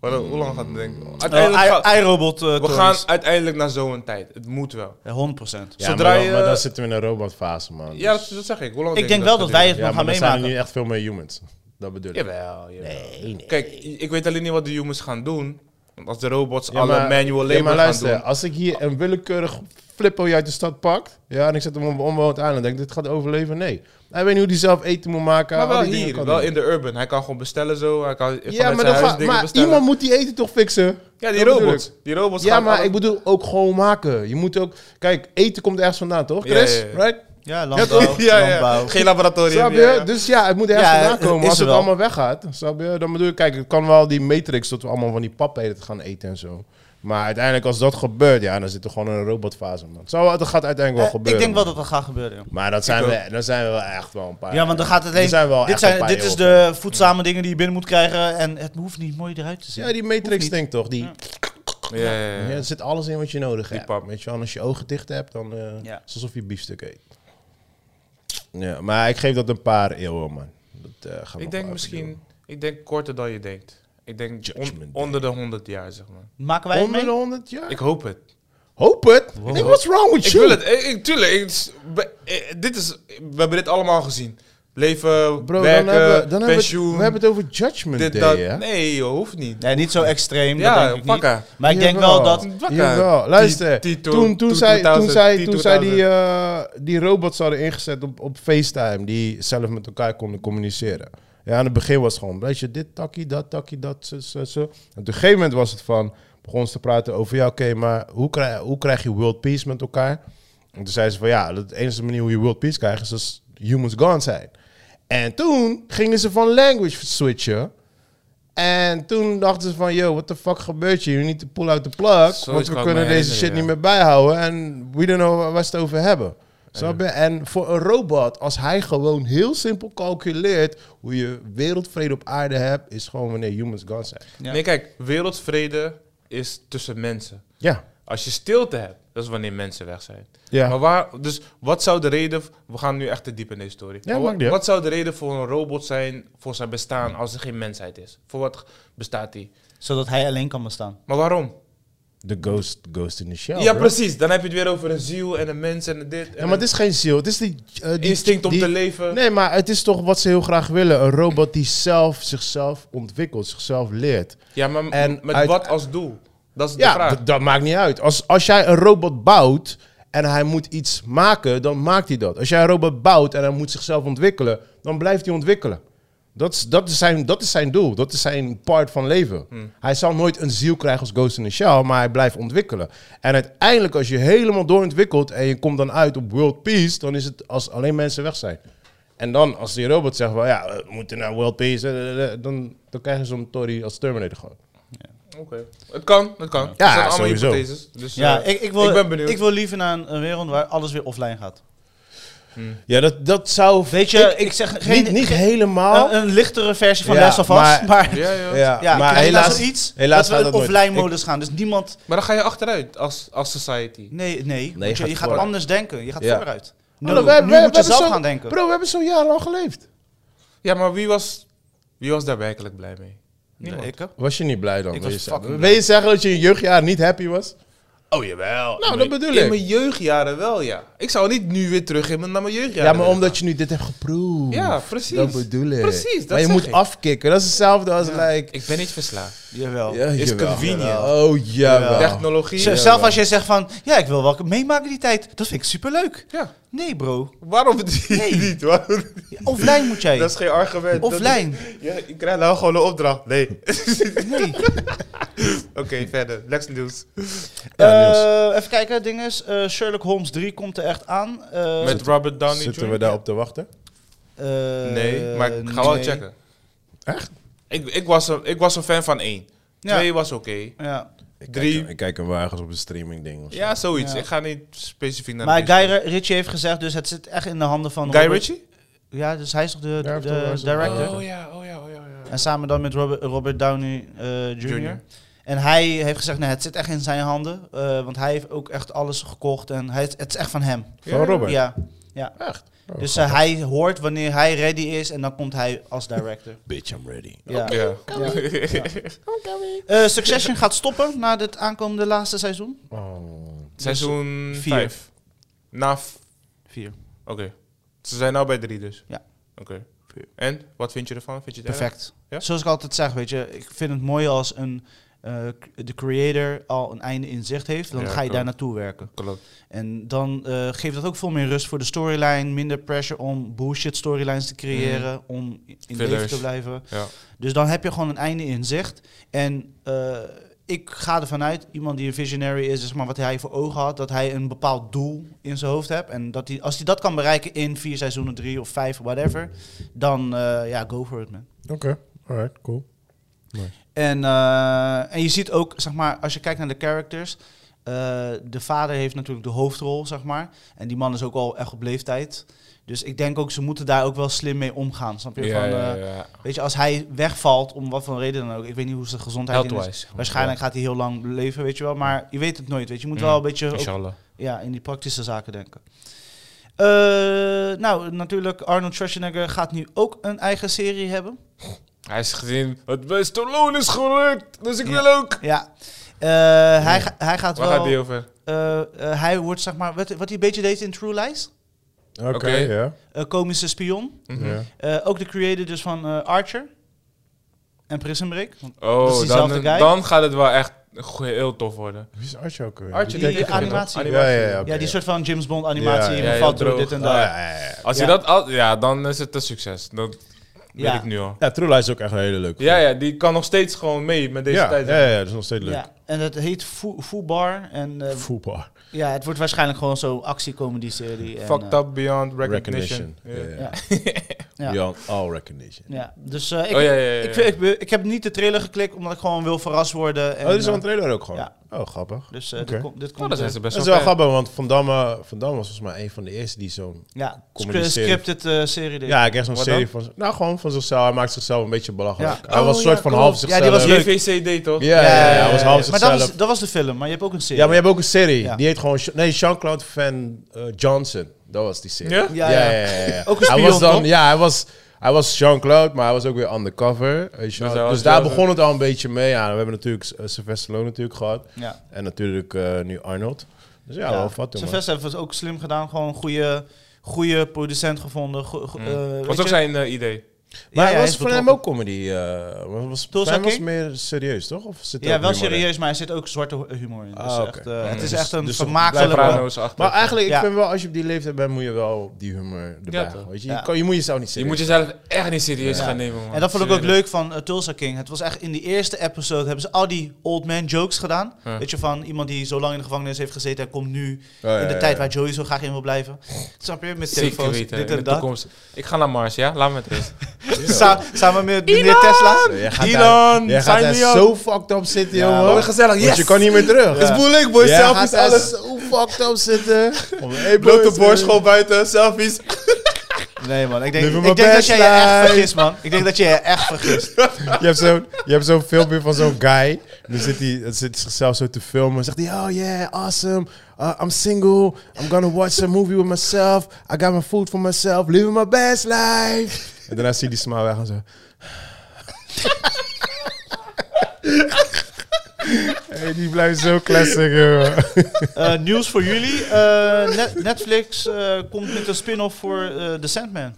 Speaker 3: Maar dan- hoe lang gaat het denken? Uiteindelijk gaat-
Speaker 1: Oh, I- iRobot. eh,
Speaker 3: we
Speaker 1: Toys.
Speaker 3: gaan uiteindelijk naar zo'n tijd. Het moet wel.
Speaker 1: Ja, 100%.
Speaker 2: ja,
Speaker 3: zodra
Speaker 2: maar, dan,
Speaker 3: je-
Speaker 2: maar dan zitten we in een robotfase, man.
Speaker 3: Ja,
Speaker 2: Dus-
Speaker 3: dat, dat zeg ik. Hoe lang
Speaker 1: Ik
Speaker 3: je
Speaker 1: denk wel dat
Speaker 3: gaat
Speaker 1: wij
Speaker 3: duren?
Speaker 1: het
Speaker 2: ja
Speaker 1: nog
Speaker 2: maar
Speaker 1: gaan
Speaker 2: dan zijn er
Speaker 1: meemaken.
Speaker 2: niet echt veel meer humans. Dat bedoel ik.
Speaker 3: Jawel, jawel. Kijk, ik weet alleen niet wat de humans gaan doen. Want als de robots
Speaker 2: Ja,
Speaker 3: alle
Speaker 2: maar-
Speaker 3: manual labor
Speaker 2: ja, maar luister,
Speaker 3: gaan doen...
Speaker 2: als ik hier een willekeurig flippo uit de stad pak, ja, en ik zet hem op een onbewoond eiland, denk ik, dit gaat overleven? Nee. Hij weet niet hoe hij zelf eten moet maken.
Speaker 3: Maar
Speaker 2: al
Speaker 3: wel
Speaker 2: die dingen
Speaker 3: hier,
Speaker 2: kan
Speaker 3: wel
Speaker 2: hij.
Speaker 3: in de urban. Hij kan gewoon bestellen zo. Hij kan vanuit
Speaker 2: Ja, maar,
Speaker 3: zijn
Speaker 2: dan
Speaker 3: huis
Speaker 2: ga-
Speaker 3: dingen
Speaker 2: maar
Speaker 3: bestellen.
Speaker 2: iemand moet die eten toch fixen?
Speaker 3: ja, die
Speaker 2: Dat bedoel
Speaker 3: robots.
Speaker 2: ik.
Speaker 3: Die robots
Speaker 2: Ja,
Speaker 3: gaan
Speaker 2: maar
Speaker 3: alle-
Speaker 2: ik bedoel ook gewoon maken. Je moet ook... Kijk, eten komt ergens vandaan, toch,
Speaker 3: Ja,
Speaker 2: Chris?
Speaker 3: ja, ja.
Speaker 2: Right?
Speaker 1: Ja, landbouw,
Speaker 3: ja, ja.
Speaker 1: landbouw.
Speaker 3: Geen laboratorium.
Speaker 2: Snap je?
Speaker 3: ja, ja.
Speaker 2: Dus ja, het moet ergens
Speaker 1: Ja,
Speaker 2: vandaan
Speaker 1: het-
Speaker 2: komen.
Speaker 1: is
Speaker 2: Als
Speaker 1: er
Speaker 2: het
Speaker 1: wel.
Speaker 2: allemaal weggaat, snap je? Dan bedoel ik, kijk, het kan wel die matrix dat we allemaal van die papheden gaan eten en zo. Maar uiteindelijk als dat gebeurt, ja, dan zitten we gewoon in een robotfase, man. Zo, dat gaat uiteindelijk wel
Speaker 1: Eh,
Speaker 2: gebeuren.
Speaker 1: ik denk wel
Speaker 2: man.
Speaker 1: dat dat gaat gebeuren. joh.
Speaker 2: Maar dat zijn,
Speaker 3: ook.
Speaker 2: we, dan zijn we wel echt wel een paar...
Speaker 1: Ja, want dan gaat het alleen.
Speaker 2: Er zijn wel
Speaker 1: dit
Speaker 2: echt een
Speaker 1: zijn,
Speaker 2: paar
Speaker 1: dit is de voedzame dingen die je binnen moet krijgen. En het hoeft niet mooi eruit te zien.
Speaker 2: Ja, die matrix ding toch? Die,
Speaker 3: Ja, ja, ja.
Speaker 2: ja, er zit alles in wat je nodig hebt.
Speaker 3: pap.
Speaker 2: Weet je wel, en als je ogen dicht hebt, dan eh,
Speaker 1: Ja.
Speaker 2: is het alsof je biefstuk eet. Ja, maar ik geef dat een paar eeuwen, man. Dat, eh, gaan we nog
Speaker 3: Ik
Speaker 2: wel
Speaker 3: denk
Speaker 2: even
Speaker 3: misschien...
Speaker 2: doen.
Speaker 3: Ik denk korter dan je denkt. Ik denk on-
Speaker 2: Judgment Day.
Speaker 3: onder de 100 jaar, zeg maar.
Speaker 1: Maken wij het
Speaker 2: Onder
Speaker 1: mee?
Speaker 2: de 100 jaar?
Speaker 3: Ik hoop het.
Speaker 2: Hoop het. Ik denk, what's wrong with
Speaker 3: Ik
Speaker 2: you?
Speaker 3: wil het, ik, ik- tuurlijk. ik- s- be- eh, dit is, we hebben dit allemaal gezien. Leven,
Speaker 2: Bro,
Speaker 3: werken,
Speaker 2: dan hebben, we- dan hebben we,
Speaker 3: pensioen,
Speaker 2: het, we hebben het over Judgment
Speaker 3: dit,
Speaker 2: Day,
Speaker 3: dat.
Speaker 2: hè?
Speaker 3: Nee, joh, hoeft niet.
Speaker 1: Nee, niet zo extreem. dat
Speaker 3: ja,
Speaker 1: denk ik niet.
Speaker 3: pakken.
Speaker 1: Maar ik denk wel dat.
Speaker 3: Wat dan?
Speaker 2: Jawel, luister.
Speaker 3: T- T-
Speaker 2: toen, toen,
Speaker 3: T-
Speaker 2: zij, toen,
Speaker 3: 2000,
Speaker 2: zij,
Speaker 3: T-
Speaker 2: toen zij die,
Speaker 3: 2000.
Speaker 2: eh, die robots hadden ingezet op, op FaceTime, die zelf met elkaar konden communiceren. Ja, aan het begin was het gewoon, weet je, dit takkie, dat takkie, dat, zo, zo, zo. En op een gegeven moment was het van, begonnen ze te praten over, ja, oké, maar hoe krijg, hoe krijg je world peace met elkaar? En toen zei ze van, ja, de enige manier hoe je world peace krijgt is als humans gone zijn. En toen gingen ze van language switchen. En toen dachten ze van, yo, what the fuck gebeurt hier? You need to pull out the plug.
Speaker 3: Zoiets
Speaker 2: want
Speaker 3: kan
Speaker 2: we
Speaker 3: ik
Speaker 2: kunnen
Speaker 3: me
Speaker 2: deze
Speaker 3: herinneren,
Speaker 2: shit
Speaker 3: ja.
Speaker 2: niet meer bijhouden. En we don't know waar we het over hebben. Snap je? En voor een robot, als hij gewoon heel simpel calculeert... hoe je wereldvrede op aarde hebt, is gewoon wanneer humans gone zijn.
Speaker 1: Ja.
Speaker 3: Nee, kijk, wereldvrede is tussen mensen.
Speaker 2: Ja.
Speaker 3: Als je stilte hebt, dat is wanneer mensen weg zijn.
Speaker 2: Ja.
Speaker 3: Maar waar, dus wat zou de reden, we gaan nu echt te diep in deze story.
Speaker 2: Ja,
Speaker 3: Maar wa-
Speaker 2: maakt niet uit.
Speaker 3: wat zou de reden voor een robot zijn, voor zijn bestaan, als er geen mensheid is? Voor wat bestaat die?
Speaker 1: Zodat hij alleen kan bestaan.
Speaker 3: Maar waarom?
Speaker 2: The ghost, ghost in the shell.
Speaker 3: ja,
Speaker 2: bro.
Speaker 3: precies. Dan heb je het weer over een ziel en een mens en dit. En
Speaker 2: Ja, maar het is geen ziel. Het is die, eh, die
Speaker 3: Instinct om
Speaker 2: die-
Speaker 3: te leven.
Speaker 2: Nee, maar het is toch wat ze heel graag willen. Een robot die zelf zichzelf ontwikkelt, zichzelf leert.
Speaker 3: ja, maar m-
Speaker 2: En
Speaker 3: met
Speaker 2: uit-
Speaker 3: wat als doel? Dat is de
Speaker 2: Ja,
Speaker 3: vraag.
Speaker 2: dat- dat maakt niet uit. Als, als jij een robot bouwt en hij moet iets maken, dan maakt hij dat. Als jij een robot bouwt en hij moet zichzelf ontwikkelen, dan blijft hij ontwikkelen. Dat is, dat, is zijn, dat is zijn doel. Dat is zijn part van leven.
Speaker 1: Hmm.
Speaker 2: Hij zal nooit een ziel krijgen als Ghost in the Shell, maar hij blijft ontwikkelen. En uiteindelijk, als je helemaal doorontwikkelt en je komt dan uit op World Peace, dan is het als alleen mensen weg zijn. En dan, als die robot zegt van ja, we moeten naar World Peace, eh, eh, eh, dan, dan krijgen ze hem Tory als Terminator gewoon.
Speaker 3: Oké. Het kan, het kan.
Speaker 2: Ja,
Speaker 3: het zijn allemaal
Speaker 2: sowieso.
Speaker 3: hypotheses. Dus,
Speaker 1: Ja,
Speaker 3: eh,
Speaker 1: ik, ik, wil, ik,
Speaker 3: ben benieuwd.
Speaker 1: wil liever naar een, een wereld waar alles weer offline gaat.
Speaker 2: Ja, dat, dat zou.
Speaker 1: Weet je, ik, zeg geen,
Speaker 2: niet niet
Speaker 1: geen-
Speaker 2: helemaal.
Speaker 1: een, een lichtere versie van
Speaker 2: Ja,
Speaker 1: Last of Us,
Speaker 2: maar-
Speaker 1: maar,
Speaker 3: ja,
Speaker 1: ja,
Speaker 3: oh, ja.
Speaker 2: ja, maar
Speaker 1: krijg je daar
Speaker 2: helaas,
Speaker 1: zoiets
Speaker 2: helaas
Speaker 1: dat we
Speaker 2: gaat
Speaker 1: in
Speaker 2: dat nooit.
Speaker 1: offline modus gaan. Dus niemand,
Speaker 3: Maar dan ga je achteruit als, als society.
Speaker 1: nee, nee, want je,
Speaker 2: gaat
Speaker 1: je gaat
Speaker 2: vooruit.
Speaker 1: anders denken, je gaat
Speaker 2: Ja.
Speaker 1: vooruit. Nu,
Speaker 2: Hallo,
Speaker 1: nu moet je
Speaker 2: hebben
Speaker 1: zelf
Speaker 2: zo-
Speaker 1: gaan denken.
Speaker 2: Bro, we hebben zo'n jaar lang geleefd.
Speaker 3: Ja, maar wie was, wie was daar werkelijk blij mee?
Speaker 1: Nee,
Speaker 3: Niemand.
Speaker 1: ik heb-
Speaker 2: Was je niet blij dan?
Speaker 1: Ik
Speaker 2: wil,
Speaker 1: was
Speaker 2: je zeggen?
Speaker 1: fucking
Speaker 2: wil je zeggen dat je in je jeugdjaar niet happy was?
Speaker 3: Oh jawel.
Speaker 2: Nou,
Speaker 3: In
Speaker 2: dat
Speaker 3: mijn-
Speaker 2: bedoel ik.
Speaker 3: In mijn jeugdjaren wel, ja. Ik zou niet nu weer terug in mijn, naar mijn
Speaker 2: Ja,
Speaker 3: jeugdjaren
Speaker 2: maar
Speaker 3: willen
Speaker 2: omdat je nu dit hebt geproefd.
Speaker 3: Ja, precies.
Speaker 2: Dat bedoel ik.
Speaker 3: Precies, dat
Speaker 2: Maar je
Speaker 3: zeg
Speaker 2: moet
Speaker 3: ik.
Speaker 2: afkicken. Dat is hetzelfde als
Speaker 3: gaan.
Speaker 2: like...
Speaker 3: Ik ben niet verslaafd.
Speaker 1: Jawel.
Speaker 2: Ja,
Speaker 3: Is
Speaker 2: jawel,
Speaker 3: convenient.
Speaker 2: jawel. Oh, jawel.
Speaker 3: Technologie.
Speaker 1: Z- Zelf als jij zegt van, ja, ik wil wel meemaken die tijd, dat vind ik superleuk.
Speaker 3: Ja.
Speaker 1: Nee bro,
Speaker 3: Waarom niet?
Speaker 1: Nee.
Speaker 3: niet? Waarom?
Speaker 1: offline moet jij.
Speaker 3: Dat is geen argument. Dat-
Speaker 1: Offline.
Speaker 3: Ja, ik krijg nou gewoon een opdracht. Nee. Oké,
Speaker 1: Nee.
Speaker 3: verder. Next news.
Speaker 2: Ja, Niels.
Speaker 1: Eh, even kijken, ding is, eh, Sherlock Holmes 3 komt er echt aan. Eh,
Speaker 3: Met Robert Downey
Speaker 2: Zitten
Speaker 3: Jr.?
Speaker 2: we daarop te wachten?
Speaker 1: eh,
Speaker 3: Nee, maar ik ga wel
Speaker 1: nee.
Speaker 3: checken.
Speaker 2: Echt?
Speaker 3: Ik, ik, was een, ik was een fan van één.
Speaker 1: Ja.
Speaker 3: Twee was oké.
Speaker 1: Ja.
Speaker 2: Ik
Speaker 3: Drie.
Speaker 2: Kijk, ik kijk hem wel ergens op een streaming ding of zo.
Speaker 3: Ja, zoiets.
Speaker 1: Ja.
Speaker 3: Ik ga niet specifiek naar
Speaker 1: Maar
Speaker 3: de
Speaker 1: Guy Ritchie heeft gezegd, dus het zit echt in de handen van...
Speaker 3: Guy
Speaker 1: Robert-
Speaker 3: Ritchie?
Speaker 1: Ja, dus hij is toch de,
Speaker 2: Ja,
Speaker 1: de,
Speaker 2: toch, hij is toch-
Speaker 1: director.
Speaker 3: Oh ja, oh ja, oh ja. oh ja.
Speaker 1: En samen dan met Robert, Robert Downey eh, Jr.
Speaker 3: Junior.
Speaker 1: En hij heeft gezegd, nee, het zit echt in zijn handen. eh, want hij heeft ook echt alles gekocht en hij, het is echt van hem.
Speaker 2: Van Robert?
Speaker 1: Ja, ja.
Speaker 2: Echt? Oh,
Speaker 1: Dus eh, hij hoort wanneer hij ready is en dan komt hij als director.
Speaker 2: Bitch, I'm ready.
Speaker 1: ja.
Speaker 3: Ja.
Speaker 1: Eh, Succession gaat stoppen na dit aankomende laatste seizoen.
Speaker 2: Oh.
Speaker 3: Seizoen
Speaker 1: Dus Vier.
Speaker 3: 5. Na. v-
Speaker 1: Vier.
Speaker 3: Oké. Ze zijn nou bij drie dus.
Speaker 1: Ja.
Speaker 3: Oké. En wat vind je ervan? Vind je het erg?
Speaker 1: Perfect.
Speaker 3: Ja?
Speaker 1: Zoals ik altijd zeg, weet je, ik vind het mooi als een, eh, de creator al een einde in zicht heeft. Dan
Speaker 3: Ja,
Speaker 1: ga je
Speaker 3: klopt.
Speaker 1: daar naartoe werken.
Speaker 3: Klopt.
Speaker 1: En dan eh, geeft dat ook veel meer rust voor de storyline. Minder pressure om bullshit storylines te creëren. Om in
Speaker 3: Mhm. Fillers.
Speaker 1: leven te blijven.
Speaker 3: Ja.
Speaker 1: Dus dan heb je gewoon een einde in zicht. En eh, ik ga ervan uit, iemand die een visionary is, zeg maar wat hij voor ogen had, dat hij een bepaald doel in zijn hoofd hebt. En dat hij, als hij dat kan bereiken in vier seizoenen, drie of vijf, whatever, dan eh, ja, go for it, man.
Speaker 2: Oké, alright, cool.
Speaker 1: En, eh, en je ziet ook, zeg maar, als je kijkt naar de characters. eh, de vader heeft natuurlijk de hoofdrol, zeg maar. En die man is ook al echt op leeftijd. Dus ik denk ook, ze moeten daar ook wel slim mee omgaan. Snap je? van, eh, Weet je, als hij wegvalt, om wat voor reden dan ook. Ik weet niet hoe zijn gezondheid in is.
Speaker 3: Health-wise.
Speaker 1: Waarschijnlijk gaat hij heel lang leven, weet je wel. Maar je weet het nooit, weet je. Je moet
Speaker 3: Mm.
Speaker 1: wel een beetje ook
Speaker 3: Inshallah.
Speaker 1: ja, in die praktische zaken denken. Eh, nou, natuurlijk, Arnold Schwarzenegger gaat nu ook een eigen serie hebben.
Speaker 3: Hij is gezien. Het beste loon is gelukt. Dus ik
Speaker 1: Ja.
Speaker 3: wil ook.
Speaker 1: Ja. Eh, hij, ga- hij gaat
Speaker 3: Waar
Speaker 1: wel...
Speaker 3: gaat die over?
Speaker 1: eh, eh, hij wordt, zeg maar, wat, wat hij een beetje deed in True Lies.
Speaker 2: Oké,
Speaker 3: Oké.
Speaker 2: ja.
Speaker 1: Eh, komische spion.
Speaker 3: Mhm.
Speaker 2: ja.
Speaker 1: Eh, ook de creator dus van eh, Archer. En Prison Break. Want Dat is
Speaker 3: Oh, dan,
Speaker 1: diezelfde guy.
Speaker 3: dan gaat het wel echt go- heel tof worden.
Speaker 2: Wie is Archie ook weer?
Speaker 3: Archie,
Speaker 1: Die
Speaker 3: die tekening,
Speaker 1: animatie.
Speaker 3: toch?
Speaker 2: Ja, ja, ja. oké,
Speaker 1: ja, die
Speaker 2: ja.
Speaker 1: soort van James Bond animatie.
Speaker 2: Ja,
Speaker 1: Ja,
Speaker 3: ja,
Speaker 1: valt
Speaker 3: heel
Speaker 1: door
Speaker 3: droog.
Speaker 1: dit en
Speaker 2: Ah,
Speaker 1: dat.
Speaker 2: ja, ja, ja.
Speaker 3: Als
Speaker 1: Ja.
Speaker 3: je dat al, ja, dan is het een succes. Dat,
Speaker 1: Ja.
Speaker 3: Weet ik nu al.
Speaker 2: Ja, Trula is ook echt een hele leuke.
Speaker 3: Ja, ja, die kan nog steeds gewoon mee met deze
Speaker 2: ja,
Speaker 3: tijd.
Speaker 2: ja, ja, dat is nog steeds leuk.
Speaker 1: Ja, en dat heet Foo- Foobar. En eh,
Speaker 2: Voetbal.
Speaker 1: ja, het wordt waarschijnlijk gewoon zo'n actiecomedy-serie. en,
Speaker 3: Fucked
Speaker 1: eh,
Speaker 3: up beyond recognition.
Speaker 2: Recognition.
Speaker 3: Ja.
Speaker 2: Ja.
Speaker 1: Ja. Ja.
Speaker 2: Beyond all recognition.
Speaker 1: Ja, dus eh, ik,
Speaker 3: Oh, ja, ja, ja,
Speaker 1: Ik,
Speaker 3: ja.
Speaker 1: ik, ik heb niet de trailer geklikt, omdat ik gewoon wil verrast worden. En,
Speaker 2: oh, dit is al
Speaker 1: eh,
Speaker 2: een trailer ook gewoon.
Speaker 1: ja.
Speaker 2: Oh, grappig.
Speaker 1: dus eh,
Speaker 2: Oké.
Speaker 1: dit, komt- dit
Speaker 3: Nou,
Speaker 1: komt...
Speaker 3: dan zijn
Speaker 1: eh,
Speaker 3: ze best
Speaker 2: Dat is
Speaker 3: wel
Speaker 2: wel
Speaker 3: ver.
Speaker 2: grappig, want Van Damme, Van Damme was volgens mij een van de eerste die zo'n...
Speaker 1: ja,
Speaker 2: comedy
Speaker 1: sc-
Speaker 2: serie.
Speaker 1: scripted eh, serie. dit.
Speaker 2: Ja, ik heb zo'n
Speaker 3: Wat
Speaker 2: serie van... Nou, gewoon van zichzelf. Hij maakt zichzelf een beetje belachelijk.
Speaker 1: Ja.
Speaker 2: Hij
Speaker 3: Oh,
Speaker 2: was een soort
Speaker 3: ja,
Speaker 2: van
Speaker 3: klopt.
Speaker 2: half
Speaker 1: Ja, die was
Speaker 2: zichzelf.
Speaker 1: leuk.
Speaker 3: JVCD toch?
Speaker 2: Ja, ja, ja, ja, hij was half
Speaker 1: maar
Speaker 2: zichzelf.
Speaker 1: dat was, dat was de film, maar je hebt ook een serie.
Speaker 2: Ja, maar je hebt ook een serie.
Speaker 1: Ja.
Speaker 2: Die heet gewoon... Nee, Jean-Claude Van eh, Johnson. Dat was die serie.
Speaker 3: Ja?
Speaker 1: Ja, ja.
Speaker 2: ja, ja, ja, ja.
Speaker 1: Ook een
Speaker 2: hij
Speaker 1: spion,
Speaker 2: was dan,
Speaker 1: toch?
Speaker 2: Ja, hij was, hij was Jean-Claude, maar hij was ook weer undercover. Weet je wel.
Speaker 3: hij
Speaker 2: Dus,
Speaker 3: was
Speaker 2: daar
Speaker 3: Jean-
Speaker 2: begon het al een beetje mee. Ja, we hebben natuurlijk eh, Sylvester Stallone natuurlijk gehad.
Speaker 1: Ja.
Speaker 2: En natuurlijk eh, nu Arnold. Dus
Speaker 1: Ja.
Speaker 2: ja, wel wat doen, man.
Speaker 1: Sylvester heeft het ook slim gedaan. Gewoon een goede, goede producent gevonden. Go,
Speaker 2: Mm.
Speaker 1: go- eh, weet
Speaker 3: was ook
Speaker 1: je?
Speaker 3: zijn eh, idee.
Speaker 2: Maar
Speaker 1: Ja, ja,
Speaker 2: hij
Speaker 1: hij
Speaker 2: was
Speaker 1: is
Speaker 2: voor hem
Speaker 1: betrokken.
Speaker 2: ook comedy. eh was, was,
Speaker 1: Tulsa
Speaker 2: hij was
Speaker 1: King?
Speaker 2: meer serieus, toch? Of zit er
Speaker 1: Ja,
Speaker 2: ook
Speaker 1: wel
Speaker 2: humor in?
Speaker 1: serieus, maar er zit ook zwarte hu- humor in. Dus
Speaker 2: Ah, oké.
Speaker 1: echt, eh, het is
Speaker 2: Dus-
Speaker 1: echt een
Speaker 2: dus
Speaker 1: vermakelijke...
Speaker 2: blijft
Speaker 1: Ja,
Speaker 3: Soprano's achter.
Speaker 2: Maar eigenlijk, ik
Speaker 1: Ja.
Speaker 2: vind wel, als je op die leeftijd bent, moet je wel die humor erbij
Speaker 3: Ja,
Speaker 2: houden,
Speaker 3: toch?
Speaker 2: weet je?
Speaker 1: Ja.
Speaker 2: Je, kan, je moet jezelf niet
Speaker 3: je
Speaker 2: serieus
Speaker 3: moet jezelf echt niet serieus
Speaker 1: Ja.
Speaker 3: gaan nemen, man.
Speaker 1: En dat vond ik ook
Speaker 3: Serieus.
Speaker 1: leuk van eh, Tulsa King. Het was echt in die eerste episode hebben ze al die old man jokes gedaan.
Speaker 3: Ja.
Speaker 1: Weet je, van iemand die zo lang in de gevangenis heeft gezeten en komt nu
Speaker 2: Oh, ja,
Speaker 1: in de
Speaker 2: ja,
Speaker 1: tijd
Speaker 2: ja.
Speaker 1: waar Joey zo graag in wil blijven. Snap je? Met
Speaker 3: Zeker
Speaker 1: telefoons,
Speaker 3: weten.
Speaker 1: dit
Speaker 3: in
Speaker 1: en
Speaker 3: de
Speaker 1: dat.
Speaker 3: toekomst. Ik ga naar Mars, ja? Laat me het rust.
Speaker 1: Sa- samen met meneer Tesla.
Speaker 2: Jij gaat daar,
Speaker 3: Elon,
Speaker 2: jij gaat
Speaker 3: sign
Speaker 2: daar
Speaker 3: me up.
Speaker 2: zo fucked up zitten,
Speaker 1: Ja,
Speaker 2: jongen.
Speaker 1: man.
Speaker 3: Wat gezellig,
Speaker 2: Want
Speaker 3: yes.
Speaker 2: je kan niet meer terug.
Speaker 3: Het is moeilijk, boy.
Speaker 2: Ja,
Speaker 3: Selfies,
Speaker 2: gaat
Speaker 3: alles.
Speaker 2: daar zo fucked up zitten.
Speaker 3: Blote
Speaker 2: eh.
Speaker 3: borschool buiten, selfies.
Speaker 1: Nee man, ik
Speaker 2: Living
Speaker 1: denk,
Speaker 2: my
Speaker 1: ik denk dat jij je
Speaker 2: best
Speaker 1: echt
Speaker 2: life.
Speaker 1: vergist man. Ik denk dat je je echt vergist.
Speaker 2: Je hebt zo'n je hebt zo'n filmpje van zo'n guy. Dan zit hij dan zit hij zichzelf zo te filmen. Dan zegt hij, oh yeah, awesome. Uh, I'm single. I'm gonna watch a movie with myself. I got my food for myself. Living my best life. En daarna zie je die smile weg en zo. Hey, die blijft zo classic, jongen.
Speaker 1: Eh, nieuws voor jullie. Eh, Net- Netflix eh, komt met een spin-off voor eh The Sandman.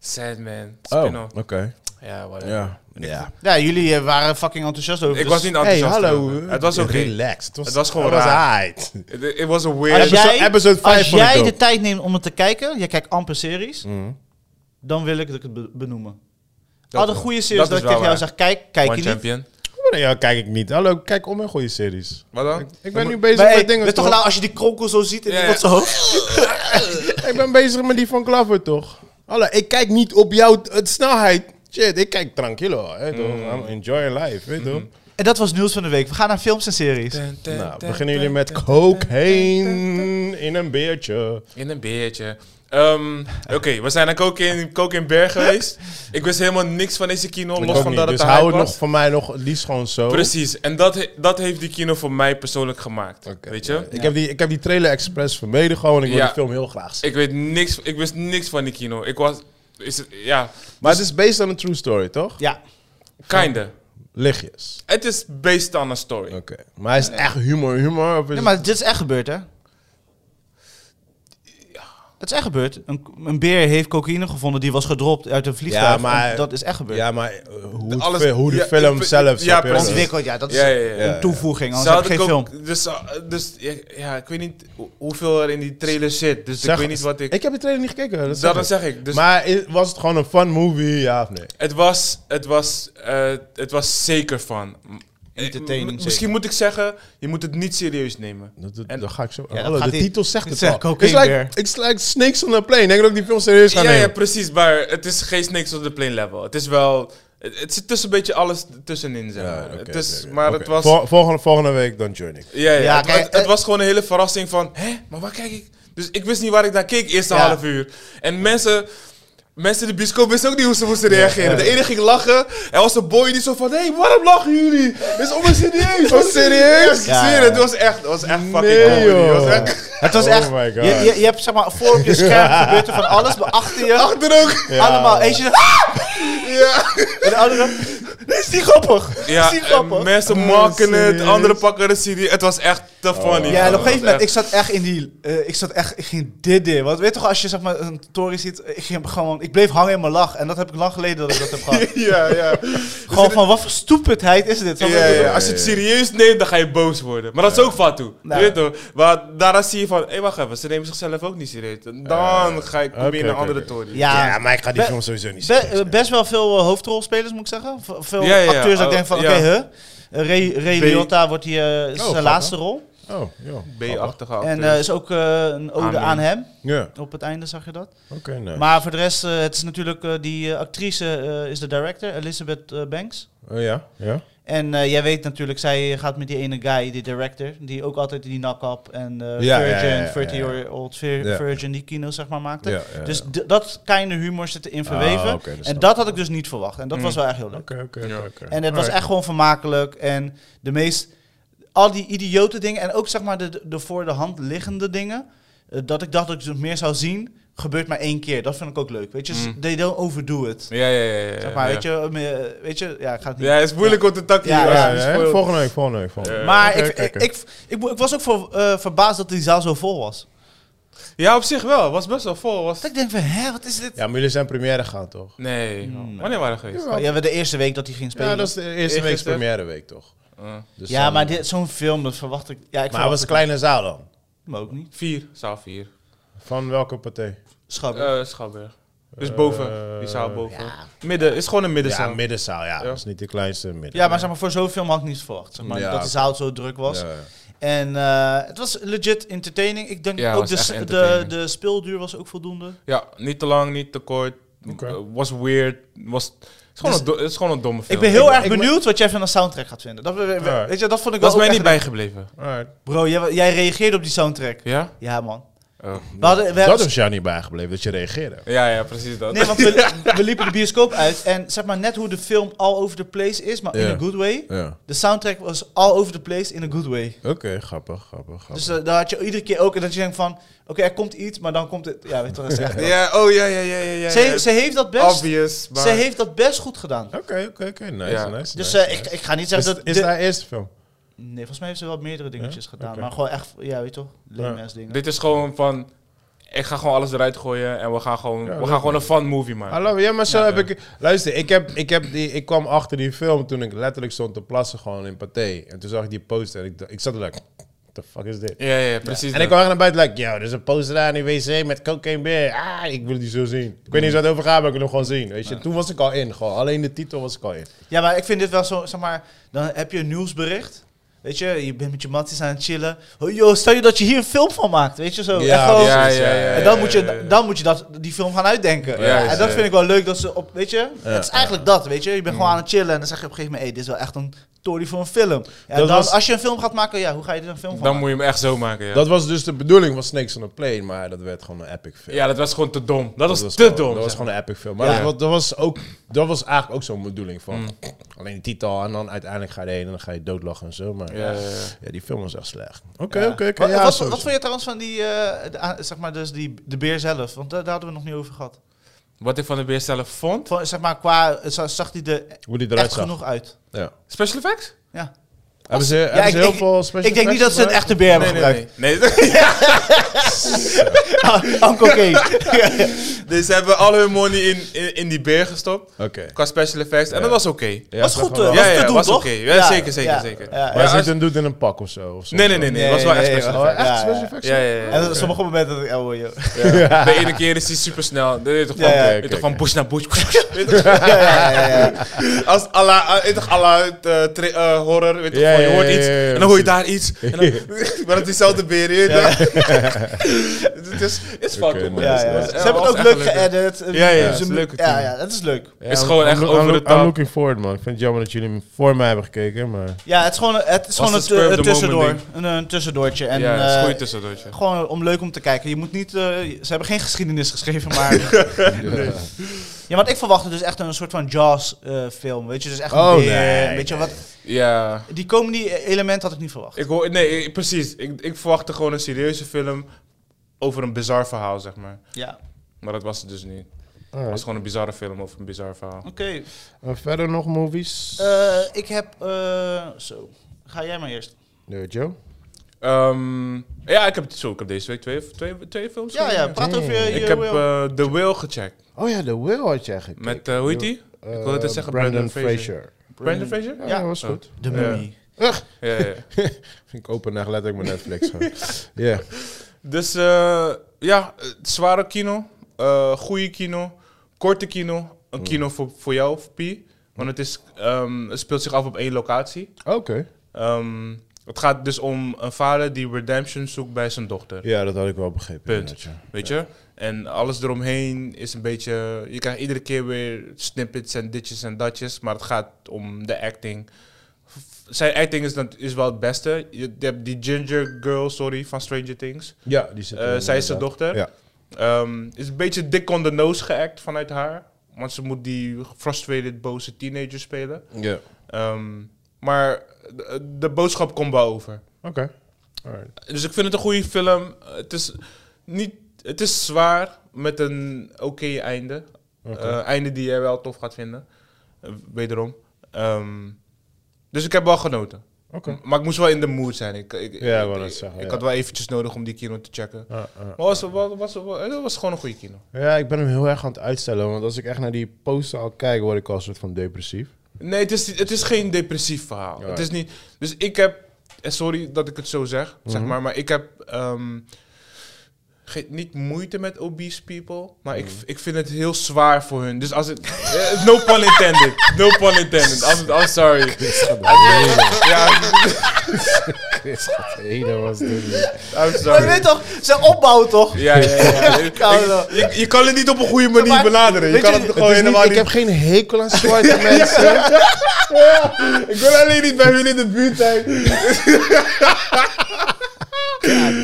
Speaker 3: Sad, man.
Speaker 2: Oh,
Speaker 3: Spin-off.
Speaker 2: oké.
Speaker 3: Ja, whatever.
Speaker 2: Ja. ja.
Speaker 1: Ja, jullie eh, waren fucking enthousiast over.
Speaker 3: Ik
Speaker 1: dus-
Speaker 3: was niet
Speaker 2: Hey,
Speaker 3: enthousiast.
Speaker 2: hallo.
Speaker 3: erover. Het was ook
Speaker 2: relaxed. Het was,
Speaker 3: Het was gewoon
Speaker 2: het was
Speaker 3: raar.
Speaker 2: aight.
Speaker 3: It, it was a
Speaker 1: Als
Speaker 3: weird...
Speaker 2: Episode-
Speaker 1: jij,
Speaker 2: episode vijf
Speaker 1: als
Speaker 2: vond ik
Speaker 1: jij
Speaker 2: dope.
Speaker 1: de tijd neemt om het te kijken, jij kijkt amper series, dan wil ik het be- benoemen. Al de
Speaker 3: is-
Speaker 1: goede series
Speaker 3: Mhm. dat
Speaker 1: dat,
Speaker 3: is
Speaker 1: ik tegen
Speaker 3: wel
Speaker 1: jou
Speaker 3: waar.
Speaker 1: zeg, kijk, kijk je
Speaker 3: One
Speaker 1: niet.
Speaker 3: champion.
Speaker 2: Oh, nee, ja, kijk ik niet. Hallo, kijk om en goede series.
Speaker 3: Wat dan?
Speaker 2: Ik ben nu bezig
Speaker 1: Maar hey,
Speaker 2: met dingen.
Speaker 1: weet toch
Speaker 2: toch?
Speaker 1: nou, als je die kronkel zo ziet en
Speaker 3: Ja,
Speaker 1: die
Speaker 3: ja.
Speaker 1: wordt zo hoog.
Speaker 2: Ik ben bezig met die van Klaver, toch? Hallo, ik kijk niet op jouw t- het snelheid. Shit, ik kijk tranquilo. Hè,
Speaker 3: Mm.
Speaker 2: toch? I'm enjoying life, weet je toch?
Speaker 3: Mm-hmm.
Speaker 1: En dat was nieuws van de week. We gaan naar films en series.
Speaker 2: Nou, beginnen jullie met cocaine in een beertje.
Speaker 3: In een beertje. Ehm, Oké, we zijn naar Coke in Berg geweest. Ik wist helemaal niks van deze kino,
Speaker 2: Ik
Speaker 3: los
Speaker 2: ook
Speaker 3: van
Speaker 2: niet,
Speaker 3: dat het
Speaker 2: dus
Speaker 3: een
Speaker 2: hou
Speaker 3: hype
Speaker 2: het
Speaker 3: was.
Speaker 2: nog voor mij nog het liefst gewoon zo.
Speaker 3: Precies, en dat, he- dat heeft die kino voor mij persoonlijk gemaakt.
Speaker 2: Oké,
Speaker 3: weet je?
Speaker 2: ja. Ik, heb die, ik heb die trailer expres vermeden gewoon. Ik wil
Speaker 3: Ja.
Speaker 2: die film heel graag zien.
Speaker 3: Ik weet niks, ik wist niks van die kino. Ik was, is het, ja,
Speaker 2: Maar het is based on a true story, toch?
Speaker 1: Ja.
Speaker 3: kinda.
Speaker 2: Lichtjes.
Speaker 3: Het is based on a story.
Speaker 2: Oké. Maar hij is echt humor, humor. Of is
Speaker 1: Nee,
Speaker 2: het-
Speaker 1: maar dit is echt gebeurd, hè? Dat is echt gebeurd. Een, een beer heeft cocaïne gevonden die was gedropt uit een vliegtuig.
Speaker 2: Ja, maar-
Speaker 1: En Dat is echt gebeurd.
Speaker 2: Ja, maar eh, hoe, het
Speaker 3: Alles-
Speaker 2: fi- hoe de
Speaker 3: ja,
Speaker 2: film
Speaker 3: ik-
Speaker 2: zelf.
Speaker 3: ja,
Speaker 2: snap je?
Speaker 3: precies.
Speaker 1: Ontwikkeld, ja, dat is
Speaker 3: Ja, ja, ja.
Speaker 1: een toevoeging,
Speaker 3: Ze
Speaker 1: anders heb je
Speaker 3: hadden
Speaker 1: geen film.
Speaker 3: ook- Dus, eh, dus ja, ja, ik weet niet hoe- hoeveel er in die trailer zit. Dus
Speaker 2: Zeg-
Speaker 3: ik weet niet wat ik...
Speaker 2: Ik heb de trailer niet gekeken. Dat zeg
Speaker 3: Daarom
Speaker 2: ik.
Speaker 3: zeg ik. Dus
Speaker 2: maar i- was het gewoon een fun movie, ja of nee?
Speaker 3: Het was, het was, eh, het was zeker van.
Speaker 1: Entertaining
Speaker 3: M-
Speaker 1: zeker.
Speaker 3: Misschien moet ik zeggen, je moet het niet serieus nemen.
Speaker 2: Dat, dat,
Speaker 3: En-
Speaker 2: dat ga ik zo.
Speaker 1: Ja, dat
Speaker 2: Hallo,
Speaker 1: gaat
Speaker 2: de
Speaker 1: die-
Speaker 2: titel zegt
Speaker 1: dit
Speaker 2: het
Speaker 1: zegt
Speaker 2: al.
Speaker 1: Cocaine
Speaker 2: It's like,
Speaker 1: Bear.
Speaker 2: it's like Snakes on a Plane. Ik denk dat ik die film serieus ga
Speaker 3: Ja, ja,
Speaker 2: nemen.
Speaker 3: precies, maar het is geen snakes op the plane level. Het is wel, het, het zit tussen een beetje alles tussenin, zeg
Speaker 2: Ja,
Speaker 3: maar.
Speaker 2: Ah, oké,
Speaker 3: het is,
Speaker 2: oké, oké.
Speaker 3: maar
Speaker 2: Oké.
Speaker 3: het was,
Speaker 2: Vol- volgende, volgende week dan Journey.
Speaker 3: ja, ja,
Speaker 1: Ja,
Speaker 3: het,
Speaker 1: kijk,
Speaker 3: het- het
Speaker 1: eh,
Speaker 3: was gewoon een hele verrassing van, hè, maar waar kijk ik? Dus ik wist niet waar ik naar keek, eerste
Speaker 1: Ja.
Speaker 3: half uur. En mensen, mensen in de bioscoop wisten ook niet hoe ze moesten reageren. De ene ging lachen, en was de boy die zo van, hé, hey, waarom lachen jullie? Het is om serieus.
Speaker 2: Oh, serieus?
Speaker 3: Ja,
Speaker 1: Ja,
Speaker 3: ik zweer
Speaker 1: ja,
Speaker 3: het,
Speaker 1: ja.
Speaker 3: het was echt, het was echt fucking
Speaker 2: Nee,
Speaker 3: comedy. Het was
Speaker 2: joh.
Speaker 3: echt-
Speaker 1: Het was
Speaker 2: Oh
Speaker 1: echt.
Speaker 2: my God.
Speaker 1: Je, je, je hebt zeg maar voor op je scherm gebeurt er van alles, maar achter je.
Speaker 3: Achter ook.
Speaker 2: Ja.
Speaker 1: Allemaal. Eentje. zegt, "Ah!"
Speaker 3: Ja,
Speaker 1: En de andere. "Nee, Is die grappig? Is die
Speaker 3: en
Speaker 1: grappig?
Speaker 3: mensen
Speaker 2: Oh,
Speaker 3: maken het,
Speaker 2: serieus? Oh.
Speaker 3: anderen pakken de serie. Het was echt te funny.
Speaker 1: Ja, en op een
Speaker 3: Het was
Speaker 1: gegeven moment, ik
Speaker 3: echt-
Speaker 1: zat echt in die, eh, ik zat echt, ik ging dit dit. Want weet toch, als je zeg maar een tory ziet, ik ging gewoon, ik bleef hangen in mijn lach. En dat heb ik lang geleden dat ik dat heb gehad.
Speaker 3: Ja, ja.
Speaker 1: gewoon van, wat voor stupidheid is dit? Snap je
Speaker 3: Ja,
Speaker 1: wat ik
Speaker 3: ja,
Speaker 1: bedoel?
Speaker 3: Als je het serieus neemt, dan ga je boos worden. Maar dat is ook Fatou.
Speaker 1: Nou.
Speaker 3: Weet je toch? Maar daarna zie je van, hé, wacht even, ze nemen zichzelf ook niet serieus. Dan ga ik proberen
Speaker 2: oké,
Speaker 3: een
Speaker 2: oké,
Speaker 3: andere
Speaker 2: oké.
Speaker 3: tory.
Speaker 1: Ja.
Speaker 2: Ja, maar ik ga die
Speaker 1: Be-
Speaker 2: film sowieso niet
Speaker 1: Be-
Speaker 2: zien.
Speaker 1: eh, best wel veel veel eh, hoofdrolspelers, moet ik zeggen. V- veel
Speaker 3: Ja, ja, ja.
Speaker 1: acteurs dat ik denk van,
Speaker 3: Oh,
Speaker 1: oké,
Speaker 3: ja.
Speaker 1: huh? Eh, Ray, Ray
Speaker 3: B.
Speaker 1: Liotta wordt hier eh, zijn
Speaker 2: Oh, grappig.
Speaker 1: laatste rol.
Speaker 2: Oh, ja.
Speaker 3: B-achtige
Speaker 1: En
Speaker 3: acteur.
Speaker 1: eh, is ook eh, een ode
Speaker 3: Aan
Speaker 1: aan hem.
Speaker 2: Ja,
Speaker 1: Op het einde zag je dat.
Speaker 2: oké, nou. nee.
Speaker 1: Maar voor de rest, eh, het is natuurlijk eh, die eh, actrice eh, is de director, Elizabeth eh, Banks.
Speaker 2: Oh ja, ja.
Speaker 1: En eh, jij weet natuurlijk, zij gaat met die ene guy, die director, die ook altijd die knock-up en eh,
Speaker 2: Ja, ja, ja,
Speaker 1: Virgin,
Speaker 2: ja, ja.
Speaker 1: 30 year old vir-
Speaker 2: Ja.
Speaker 1: Virgin, die kino zeg maar maakte.
Speaker 2: Ja, ja,
Speaker 1: dus
Speaker 2: ja.
Speaker 1: d- dat kleine humor zit erin verweven.
Speaker 2: Ah, oké, dat Mm. snap
Speaker 1: en
Speaker 2: ik
Speaker 1: dat had ik dus niet verwacht. En dat was wel echt heel leuk.
Speaker 2: Oké, oké,
Speaker 3: Ja.
Speaker 2: oké, oké.
Speaker 1: En het was
Speaker 2: Alright.
Speaker 1: echt gewoon vermakelijk. En de meest. Al die idiote dingen. En ook zeg maar de, de voor de hand liggende dingen. eh, dat ik dacht dat ik ze meer zou zien. Gebeurt maar één keer. Dat vind ik ook leuk. Weet je, Dus
Speaker 3: Mm.
Speaker 1: they don't overdo it.
Speaker 3: Ja, ja, ja. ja, ja
Speaker 1: eh, Zeg maar,
Speaker 3: ja.
Speaker 1: weet, je, um, eh, weet je, ja, ik ga het niet.
Speaker 3: Ja, het is moeilijk om te takken.
Speaker 1: Ja,
Speaker 2: Ja,
Speaker 3: hier, als
Speaker 1: ja, dus
Speaker 3: je
Speaker 2: ja,
Speaker 3: niet
Speaker 2: hè?
Speaker 3: speelt.
Speaker 2: volgende week, volgende week, volgende week.
Speaker 1: Maar
Speaker 2: Oké,
Speaker 1: ik, ik,
Speaker 2: kijken.
Speaker 1: ik, ik, mo- ik was ook voor, eh, verbaasd dat die zaal zo vol was.
Speaker 3: Ja, op zich wel. Was best wel vol. Was...
Speaker 1: Dat ik denk van, hè, wat is dit?
Speaker 2: Ja, maar jullie zijn première gaan, toch?
Speaker 3: Nee.
Speaker 1: Hmm.
Speaker 3: Wanneer waren we geweest?
Speaker 2: Ja,
Speaker 1: Ja, we de eerste week dat hij ging spelen.
Speaker 2: Ja, dat is de eerste week
Speaker 3: Eergisteren.
Speaker 2: première week, toch?
Speaker 3: Eh,
Speaker 2: Dus
Speaker 1: Ja,
Speaker 2: dan-
Speaker 1: maar dit- zo'n film, dat verwacht ik. Ja, ik
Speaker 2: Maar het was
Speaker 1: verwacht
Speaker 2: een kleine zaal dan.
Speaker 1: hem ook niet.
Speaker 3: vier. Zaal vier.
Speaker 2: Van welke partij?
Speaker 1: Schabber.
Speaker 3: Eh Schouwburg. Dus boven. Die zaal boven. Midden. Is gewoon een
Speaker 2: Ja,
Speaker 3: middenzaal.
Speaker 2: middenzaal, ja.
Speaker 3: Ja.
Speaker 2: Dat is niet de kleinste midden.
Speaker 1: ja, maar zeg maar, voor zo'n film had ik niet verwacht. Zeg maar,
Speaker 2: Ja.
Speaker 1: Dat de zaal zo druk was.
Speaker 2: Ja, ja.
Speaker 1: En eh, het was legit entertaining. Ik denk
Speaker 3: Ja, het
Speaker 1: ook
Speaker 3: was
Speaker 1: de,
Speaker 3: echt
Speaker 1: s- de,
Speaker 3: entertaining.
Speaker 1: de speelduur was ook voldoende.
Speaker 3: Ja, niet te lang, niet te kort.
Speaker 2: Oké.
Speaker 3: Eh, Was weird. Was... Het, is gewoon
Speaker 1: Dus-
Speaker 3: een do- het is gewoon een domme film.
Speaker 1: Ik ben heel erg
Speaker 2: ik ben-
Speaker 1: benieuwd wat jij van de soundtrack gaat vinden. Dat, we- we-
Speaker 2: Ja.
Speaker 1: Weet je, dat vond ik
Speaker 3: Dat is
Speaker 1: wel
Speaker 3: mij
Speaker 1: ook
Speaker 3: niet
Speaker 1: echt-
Speaker 3: bijgebleven.
Speaker 2: Alright.
Speaker 1: Bro, jij, jij reageerde op die soundtrack.
Speaker 3: Ja?
Speaker 1: Ja, man.
Speaker 3: Oh.
Speaker 1: We hadden, we
Speaker 2: Dat
Speaker 1: hadden-
Speaker 2: is jou niet bijgebleven, dat je reageerde.
Speaker 3: Ja, ja, precies dat.
Speaker 1: nee, want we, we liepen de bioscoop uit en zeg maar net hoe de film all over the place is, maar
Speaker 2: Ja.
Speaker 1: in a good way.
Speaker 2: Ja.
Speaker 1: De soundtrack was all over the place in a good way.
Speaker 2: Oké, grappig, grappig, grappig.
Speaker 1: Dus eh, daar had je iedere keer ook en dat je denkt van, oké, er komt iets, maar dan komt het. Ja, weet je wel, dat is echt.
Speaker 3: Ja, oh ja, ja, ja, ja. ja ja.
Speaker 1: Ze, ze heeft dat best.
Speaker 3: Obvious, maar...
Speaker 1: Ze heeft dat best goed gedaan.
Speaker 2: Oké, oké, oké. Nice,
Speaker 3: Ja.
Speaker 2: nice.
Speaker 1: eh, Dus
Speaker 2: nice,
Speaker 1: eh, ik,
Speaker 2: nice.
Speaker 1: ik ga niet
Speaker 2: Is,
Speaker 1: zeggen dat...
Speaker 2: is
Speaker 1: de-
Speaker 2: haar eerste film?
Speaker 1: Nee, volgens mij heeft ze wel meerdere dingetjes gedaan.
Speaker 2: Oké.
Speaker 1: Maar gewoon echt, ja, weet je toch? Lame
Speaker 2: Ja.
Speaker 1: ass dingen.
Speaker 3: Dit is gewoon van... Ik ga gewoon alles eruit gooien en we gaan gewoon, we
Speaker 2: leuk,
Speaker 3: gaan gewoon een fun movie maken.
Speaker 2: Hallo, ja, maar zo
Speaker 3: Ja,
Speaker 2: heb ik... Luister, ik, heb, ik, heb die, ik kwam achter die film toen ik letterlijk stond te plassen gewoon in Pathé. En toen zag ik die poster en ik, dacht- ik zat er like, what the fuck is dit?
Speaker 3: Ja, ja, precies
Speaker 2: En ik
Speaker 3: dat.
Speaker 2: kwam echt naar buiten, like, yo, er is een poster daar in de wc met cocaine beer. Ah, ik wil die zo zien. Ik weet niet eens wat het over gaat, maar ik wil hem gewoon zien. Weet je, toen was ik al in, gewoon. Alleen de titel was ik al in.
Speaker 1: Ja, maar ik vind dit wel zo, zeg maar, dan heb je een nieuwsbericht. Weet je, je bent met je matties aan het chillen. Oh, joh, stel je dat je hier een film van maakt, weet je zo. echt gewoon-
Speaker 3: ja,
Speaker 2: precies,
Speaker 3: ja, ja,
Speaker 1: En dan
Speaker 3: ja,
Speaker 1: moet
Speaker 3: ja, ja.
Speaker 1: je, dan moet je dat, die film gaan uitdenken.
Speaker 3: Juist,
Speaker 1: en dat
Speaker 3: ja.
Speaker 1: vind ik wel leuk dat ze op, weet je, het is eigenlijk dat, weet je. Je bent gewoon aan het chillen en dan zeg je op een gegeven moment, hé, dit is wel echt een story voor een film. En
Speaker 2: Dat
Speaker 1: dan,
Speaker 2: was-
Speaker 1: als je een film gaat maken, ja, hoe ga je er een film van
Speaker 3: Dan
Speaker 1: maken?
Speaker 3: moet je hem echt zo maken, ja.
Speaker 2: Dat was dus de bedoeling van Snakes on a Plane, maar dat werd gewoon een epic film.
Speaker 3: ja, dat was gewoon te dom. Dat, was, te
Speaker 2: gewoon-
Speaker 3: dom.
Speaker 2: Dat was
Speaker 3: zeg maar.
Speaker 2: gewoon een epic film. Maar
Speaker 3: Ja.
Speaker 2: dat, was- dat was ook, dat was eigenlijk ook zo'n bedoeling van alleen de titel en dan uiteindelijk ga je heen en dan ga je doodlachen en zo. Maar
Speaker 3: Ja,
Speaker 2: ja,
Speaker 3: ja, ja.
Speaker 2: die film was echt slecht. Oké,
Speaker 1: Ja.
Speaker 2: oké, oké.
Speaker 1: Wat,
Speaker 2: ja,
Speaker 1: wat,
Speaker 2: zo-
Speaker 1: wat vond je trouwens van die, eh, de, a- zeg maar, dus die, de beer zelf? Want daar, daar hadden we nog niet over gehad.
Speaker 3: Wat ik van de beer zelf vond...
Speaker 1: Van, zeg maar, qua, za- zag die er
Speaker 2: Hoe die
Speaker 1: echt
Speaker 2: eruit zag.
Speaker 1: genoeg uit?
Speaker 2: Ja.
Speaker 3: Special effects?
Speaker 1: Ja.
Speaker 2: Hebben ze, hebben ze
Speaker 1: ik-
Speaker 2: heel
Speaker 1: ik-
Speaker 2: veel special
Speaker 1: ik denk niet dat
Speaker 2: effects
Speaker 1: ze een
Speaker 2: gebruikt?
Speaker 1: echte beer hebben gebruikt.
Speaker 3: nee. nee.
Speaker 1: Uncle Kane.
Speaker 3: dus ze hebben al hun money in, in, in die beer gestopt.
Speaker 2: Oké.
Speaker 3: Qua special effects. En dat was oké.
Speaker 2: Ja,
Speaker 1: was
Speaker 2: ze
Speaker 1: goed,
Speaker 2: gewoon-
Speaker 1: eh,
Speaker 3: Ja,
Speaker 1: was
Speaker 3: ja,
Speaker 1: te doen,
Speaker 3: was
Speaker 1: toch?
Speaker 3: oké. Ja, zeker, zeker, zeker.
Speaker 1: ja.
Speaker 2: Maar
Speaker 3: Ja,
Speaker 2: ze
Speaker 3: als-
Speaker 2: zit een dude in een pak of zo. of zo.
Speaker 3: Nee, nee, nee, nee. Het was wel echt special
Speaker 1: was-
Speaker 2: Oh, echt
Speaker 1: ja,
Speaker 2: special
Speaker 1: ja.
Speaker 2: effects?
Speaker 3: Ja, ja, ja.
Speaker 1: En op sommige momenten dacht ik, oh joh.
Speaker 3: Ja. De ene keer is hij super snel. De toch
Speaker 1: Ja,
Speaker 3: van,
Speaker 1: ja,
Speaker 3: weet
Speaker 2: oké,
Speaker 3: toch van
Speaker 2: oké.
Speaker 3: bush naar bush. Weet toch? Als Allah, eh, weet toch, Allah het, eh, tra- eh, horror, weet toch,
Speaker 2: Ja,
Speaker 3: van, je
Speaker 2: ja,
Speaker 3: hoort
Speaker 2: ja,
Speaker 3: iets
Speaker 2: ja, ja,
Speaker 3: en dan hoor je
Speaker 2: precies.
Speaker 3: daar iets. En dan, maar het is dezelfde beer. je weet toch? Het is, is fucking
Speaker 2: Oké,
Speaker 3: man.
Speaker 2: nice,
Speaker 1: Ja, ja.
Speaker 3: Het was-
Speaker 1: Ze
Speaker 3: eh,
Speaker 1: hebben
Speaker 3: was
Speaker 1: het ook
Speaker 3: echt
Speaker 1: leuk
Speaker 3: een leuke-
Speaker 1: geëdit.
Speaker 3: Ja, ja,
Speaker 1: Ze-
Speaker 3: het is een leuke
Speaker 1: Ja,
Speaker 3: team.
Speaker 1: ja, dat is leuk.
Speaker 2: Ja,
Speaker 3: is gewoon
Speaker 2: I'm
Speaker 3: echt
Speaker 2: look-
Speaker 3: over
Speaker 2: I'm
Speaker 3: de
Speaker 2: look-
Speaker 3: top.
Speaker 2: I'm looking forward, man. Ik vind het jammer dat jullie hem voor mij hebben gekeken, maar...
Speaker 1: Ja, het is gewoon, het is gewoon
Speaker 3: de
Speaker 1: het,
Speaker 3: spur of
Speaker 1: eh,
Speaker 3: the
Speaker 1: een
Speaker 3: moment
Speaker 1: tussendoor.
Speaker 3: ding.
Speaker 1: Een, eh, een tussendoortje. En,
Speaker 3: Ja, het is
Speaker 1: eh,
Speaker 3: goed tussendoortje.
Speaker 1: gewoon om leuk om te kijken. Je moet niet, eh, ze hebben geen geschiedenis geschreven, maar... Ja, want ik verwachtte dus echt een soort van Jaws-film, weet je. Dus echt
Speaker 2: Oh,
Speaker 1: een beer,
Speaker 2: nee,
Speaker 1: weet je, wat,
Speaker 3: Ja.
Speaker 1: die comedy-element had ik niet verwacht.
Speaker 3: Ik hoor, nee, ik- precies. Ik, ik verwachtte gewoon een serieuze film over een bizar verhaal, zeg maar.
Speaker 1: Ja,
Speaker 3: Maar dat was het dus niet. Het was
Speaker 2: Alright.
Speaker 3: gewoon een bizarre film over een bizar verhaal.
Speaker 1: oké.
Speaker 2: En verder nog movies?
Speaker 1: Eh, ik heb... eh, zo, ga jij maar eerst.
Speaker 2: Nee, Joe?
Speaker 3: Ehm, ja, ik heb, zo, ik heb deze week twee, twee, twee films
Speaker 1: Ja, ja,
Speaker 3: gezien.
Speaker 1: praat over je... je
Speaker 3: Ik heb
Speaker 1: wil.
Speaker 3: eh, The Will gecheckt.
Speaker 2: Oh ja, The Will had je eigenlijk.
Speaker 3: Met, eh, hoe heet die?
Speaker 2: Eh,
Speaker 3: Ik wilde het zeggen, Brandon Brandon Fraser?
Speaker 2: Ja,
Speaker 1: Ja.
Speaker 2: dat was
Speaker 3: Oh.
Speaker 2: goed.
Speaker 1: De
Speaker 2: Ja.
Speaker 1: Mummy.
Speaker 3: Ja, ja, ja.
Speaker 2: Ik open echt letterlijk mijn Netflix. gewoon. Ja.
Speaker 3: Dus eh, ja, eh, zware kino. eh goede kino. Korte kino. een kino voor, voor jou, voor Pi. Want het, is, ehm, het speelt zich af op één locatie.
Speaker 2: Oké.
Speaker 3: Ehm, het gaat dus om een vader die redemption zoekt bij zijn dochter.
Speaker 2: Ja, dat had ik wel begrepen.
Speaker 3: Punt.
Speaker 2: inderdaad, ja.
Speaker 3: Weet je? En alles eromheen is een beetje. Je krijgt iedere keer weer snippets en ditjes en datjes. Maar het gaat om de acting. V- Zijn acting is, dan, is wel het beste. Je, je hebt die Ginger Girl, sorry, van Stranger Things.
Speaker 2: Ja, die zit
Speaker 3: Eh,
Speaker 2: er
Speaker 3: zij
Speaker 2: inderdaad.
Speaker 3: is zijn dochter.
Speaker 2: Ja.
Speaker 3: Ehm, is een beetje dik on the nose geact vanuit haar. Want ze moet die frustrated, boze teenager spelen.
Speaker 2: Ja.
Speaker 3: Ehm, maar de, de boodschap komt wel over.
Speaker 2: Oké. Alright.
Speaker 3: Dus ik vind het een goede film. Het is, niet, het is zwaar met een oké einde. Eh, einde die jij wel tof gaat vinden. Eh, wederom. Ehm, dus ik heb wel genoten.
Speaker 2: Oké.
Speaker 3: Maar ik moest wel in de mood zijn. Ik, ik,
Speaker 2: Ja, ik
Speaker 3: ik,
Speaker 2: wou net
Speaker 3: ik-
Speaker 2: zeggen,
Speaker 3: ik
Speaker 2: ja.
Speaker 3: had wel eventjes nodig om die kino te checken.
Speaker 2: Ah, ah.
Speaker 3: Maar was, was, was, was, het was gewoon een goede kino.
Speaker 2: Ja, ik ben hem heel erg aan het uitstellen. Want als ik echt naar die poster al kijk, word ik al een soort van depressief.
Speaker 3: Nee, het is, het is geen depressief verhaal.
Speaker 2: Ja.
Speaker 3: Het is niet, dus ik heb, eh, sorry dat ik het zo zeg, zeg maar, maar ik heb ehm, geen, niet moeite met obese people, maar ik, ik vind het heel zwaar voor hun. Dus als het, eh, no pun intended, no pun intended, I'm, I'm sorry. Ja,
Speaker 2: Chris gaat heden was dit.
Speaker 3: I'm
Speaker 1: Maar Oh, je
Speaker 3: sorry.
Speaker 1: weet toch, zijn opbouw toch?
Speaker 3: Ja, ja, ja. ja. Ik-
Speaker 1: Koude.
Speaker 3: je, je kan het niet op een goede manier
Speaker 1: Maar-
Speaker 3: benaderen. Je
Speaker 1: weet
Speaker 3: kan
Speaker 1: je,
Speaker 3: het
Speaker 1: het
Speaker 3: gewoon helemaal
Speaker 2: ik
Speaker 3: niet.
Speaker 2: heb geen hekel aan zwarte mensen.
Speaker 3: Ik wil alleen niet bij hun in de buurt zijn.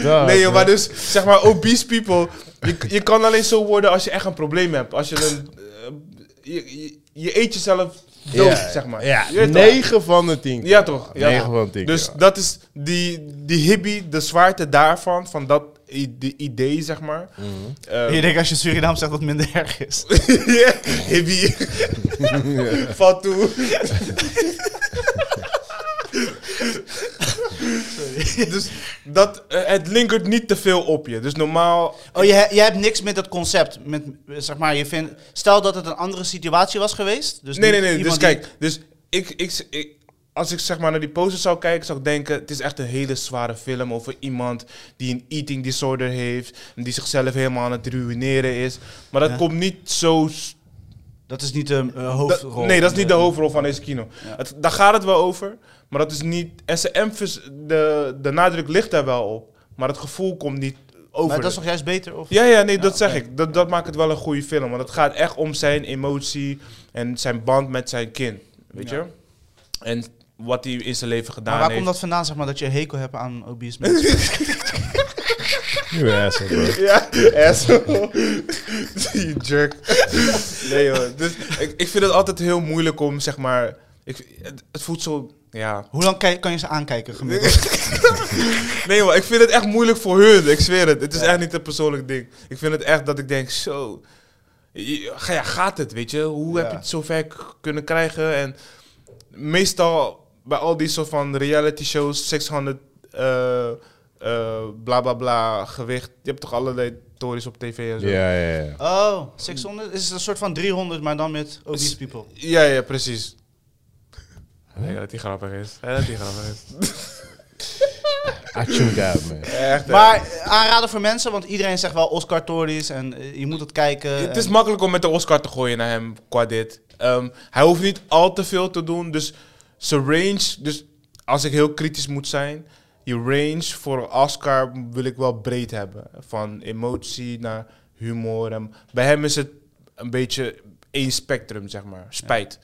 Speaker 2: Oh,
Speaker 3: Nee,
Speaker 2: eh,
Speaker 3: joh, maar dus zeg maar, obese people. Je, je kan alleen zo worden als je echt een probleem hebt. Als je een. eh, je, je, je eet jezelf dood, zeg maar.
Speaker 2: Ja,
Speaker 3: Je weet toch?
Speaker 2: 9 van de 10.
Speaker 3: Ja, toch? Ja,
Speaker 2: Negen
Speaker 3: toch?
Speaker 2: van de tien
Speaker 3: Dus
Speaker 2: keer, ja.
Speaker 3: dat is die, die hippie, de zwaarte daarvan, van dat i- de idee, zeg maar.
Speaker 2: Mhm.
Speaker 3: Eh,
Speaker 1: Je denkt als je Surinaam zegt dat het minder erg is.
Speaker 3: ja, hippie. Vat toe. dus dat, eh, het linkert niet te veel op je. Dus normaal
Speaker 1: Oh, je, he- je hebt niks met dat concept. Met, eh, zeg maar, je vindt, stel dat het een andere situatie was geweest. Dus
Speaker 3: nee,
Speaker 1: niet
Speaker 3: nee, nee. Dus
Speaker 1: iemand die-
Speaker 3: kijk, dus ik, ik, ik- als ik zeg maar naar die posters zou kijken, zou ik denken: het is echt een hele zware film over iemand die een eating disorder heeft en die zichzelf helemaal aan het ruïneren is. Maar dat
Speaker 1: Ja.
Speaker 3: komt niet zo. s-
Speaker 1: dat is niet de eh,
Speaker 3: dat-
Speaker 1: hoofdrol.
Speaker 3: nee, dat is niet de hoofdrol van deze kino. Het, daar gaat het wel over, maar dat is niet. En zijn emphasis, de, de nadruk ligt daar wel op, maar het gevoel komt niet over.
Speaker 1: Maar dat
Speaker 3: het.
Speaker 1: is toch juist beter? Of?
Speaker 3: Ja, ja, nee, dat zeg ik. Dat, dat maakt het wel een goede film. Want het gaat echt om zijn emotie en zijn band met zijn kind. Weet je? En wat hij in zijn leven gedaan
Speaker 1: maar waar
Speaker 3: heeft.
Speaker 1: komt dat vandaan, zeg maar, dat je hekel hebt aan obese mensen?
Speaker 2: You asshole, bro.
Speaker 3: Ja, asshole. Die jerk. Nee hoor. Dus ik, ik vind het altijd heel moeilijk om, zeg maar... Ik, het, het voelt zo... Ja.
Speaker 1: Hoe lang kijk- kan je ze aankijken gemiddeld?
Speaker 3: Nee hoor, ik vind het echt moeilijk voor hun. Ik zweer het. Het is echt niet een persoonlijk ding. Ik vind het echt dat ik denk, zo... je- ga- Ja, gaat het, weet je? Hoe heb
Speaker 1: Ja.
Speaker 3: je het zo ver k- kunnen krijgen? En meestal bij al die soort van reality shows, 600 eh, eh, bla bla bla gewicht. Je hebt toch allerlei tories op tv en zo?
Speaker 2: Ja, ja, ja.
Speaker 1: Oh, 600? Is het een soort van 300, maar dan met obese people?
Speaker 3: Ja, ja, precies. Nee, dat die grappig is. Ja, dat die grappig is.
Speaker 2: Achtung out, man.
Speaker 3: Echt, hè.
Speaker 1: Maar eh, aanraden voor mensen, want iedereen zegt wel Oscar Tories en eh, je moet het kijken.
Speaker 3: Het is
Speaker 1: en-
Speaker 3: makkelijk om met de Oscar te gooien naar hem qua dit. Ehm, hij hoeft niet al te veel te doen. Dus zijn range, dus als ik heel kritisch moet zijn, je range voor een Oscar wil ik wel breed hebben. Van emotie naar humor. En bij hem is het een beetje één spectrum, zeg maar. Spijt.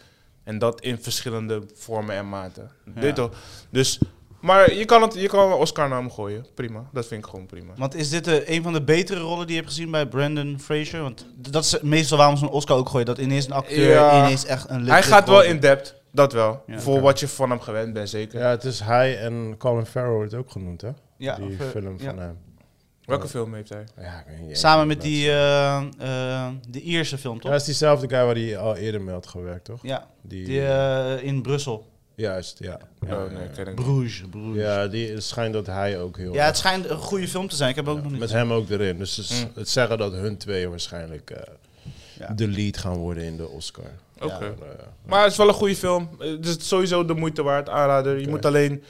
Speaker 3: En dat in verschillende vormen en maten. Weet je toch? Dus, maar je kan, het, je kan een Oscar naar hem gooien. Prima. Dat vind ik gewoon prima.
Speaker 1: Want is dit eh, een van de betere rollen die je hebt gezien bij Brandon Fraser? Want d- dat is eh, meestal waarom ze een Oscar ook gooien. Dat ineens een acteur
Speaker 3: Ja.
Speaker 1: ineens echt een
Speaker 3: Hij
Speaker 1: legit
Speaker 3: gaat wel
Speaker 1: rol-
Speaker 3: in depth, dat wel.
Speaker 1: Ja,
Speaker 3: voor wat je van hem gewend bent, zeker.
Speaker 2: Ja, het is hij en Colin Farrell wordt ook genoemd, hè?
Speaker 1: Ja,
Speaker 2: die
Speaker 1: of, eh,
Speaker 2: film
Speaker 1: ja.
Speaker 2: van hem.
Speaker 3: Welke film heeft hij?
Speaker 2: Ja, ik weet niet.
Speaker 1: Samen met die, eh, eh, de Ierse film,
Speaker 2: Ja, dat
Speaker 1: toch?
Speaker 2: is diezelfde guy waar hij al eerder mee had gewerkt, toch?
Speaker 1: Ja,
Speaker 2: Die,
Speaker 1: die eh, in Brussel.
Speaker 2: Juist, ja. Ja,
Speaker 3: oh, nee,
Speaker 2: ja.
Speaker 3: ken ik niet.
Speaker 1: Bruges, Bruges. Ja.
Speaker 2: Ja, die het schijnt dat hij ook heel...
Speaker 1: het schijnt een goede film te zijn. Ik heb ook nog niet
Speaker 2: met
Speaker 1: gezien. Mm.
Speaker 2: hem ook erin. Dus het, is- het zeggen dat hun twee waarschijnlijk eh,
Speaker 1: Ja.
Speaker 2: de lead gaan worden in de Oscar.
Speaker 3: Oké.
Speaker 2: Maar, eh,
Speaker 3: Maar het is wel een goede film. Eh, Dus het is sowieso de moeite waard, aanrader. Je moet alleen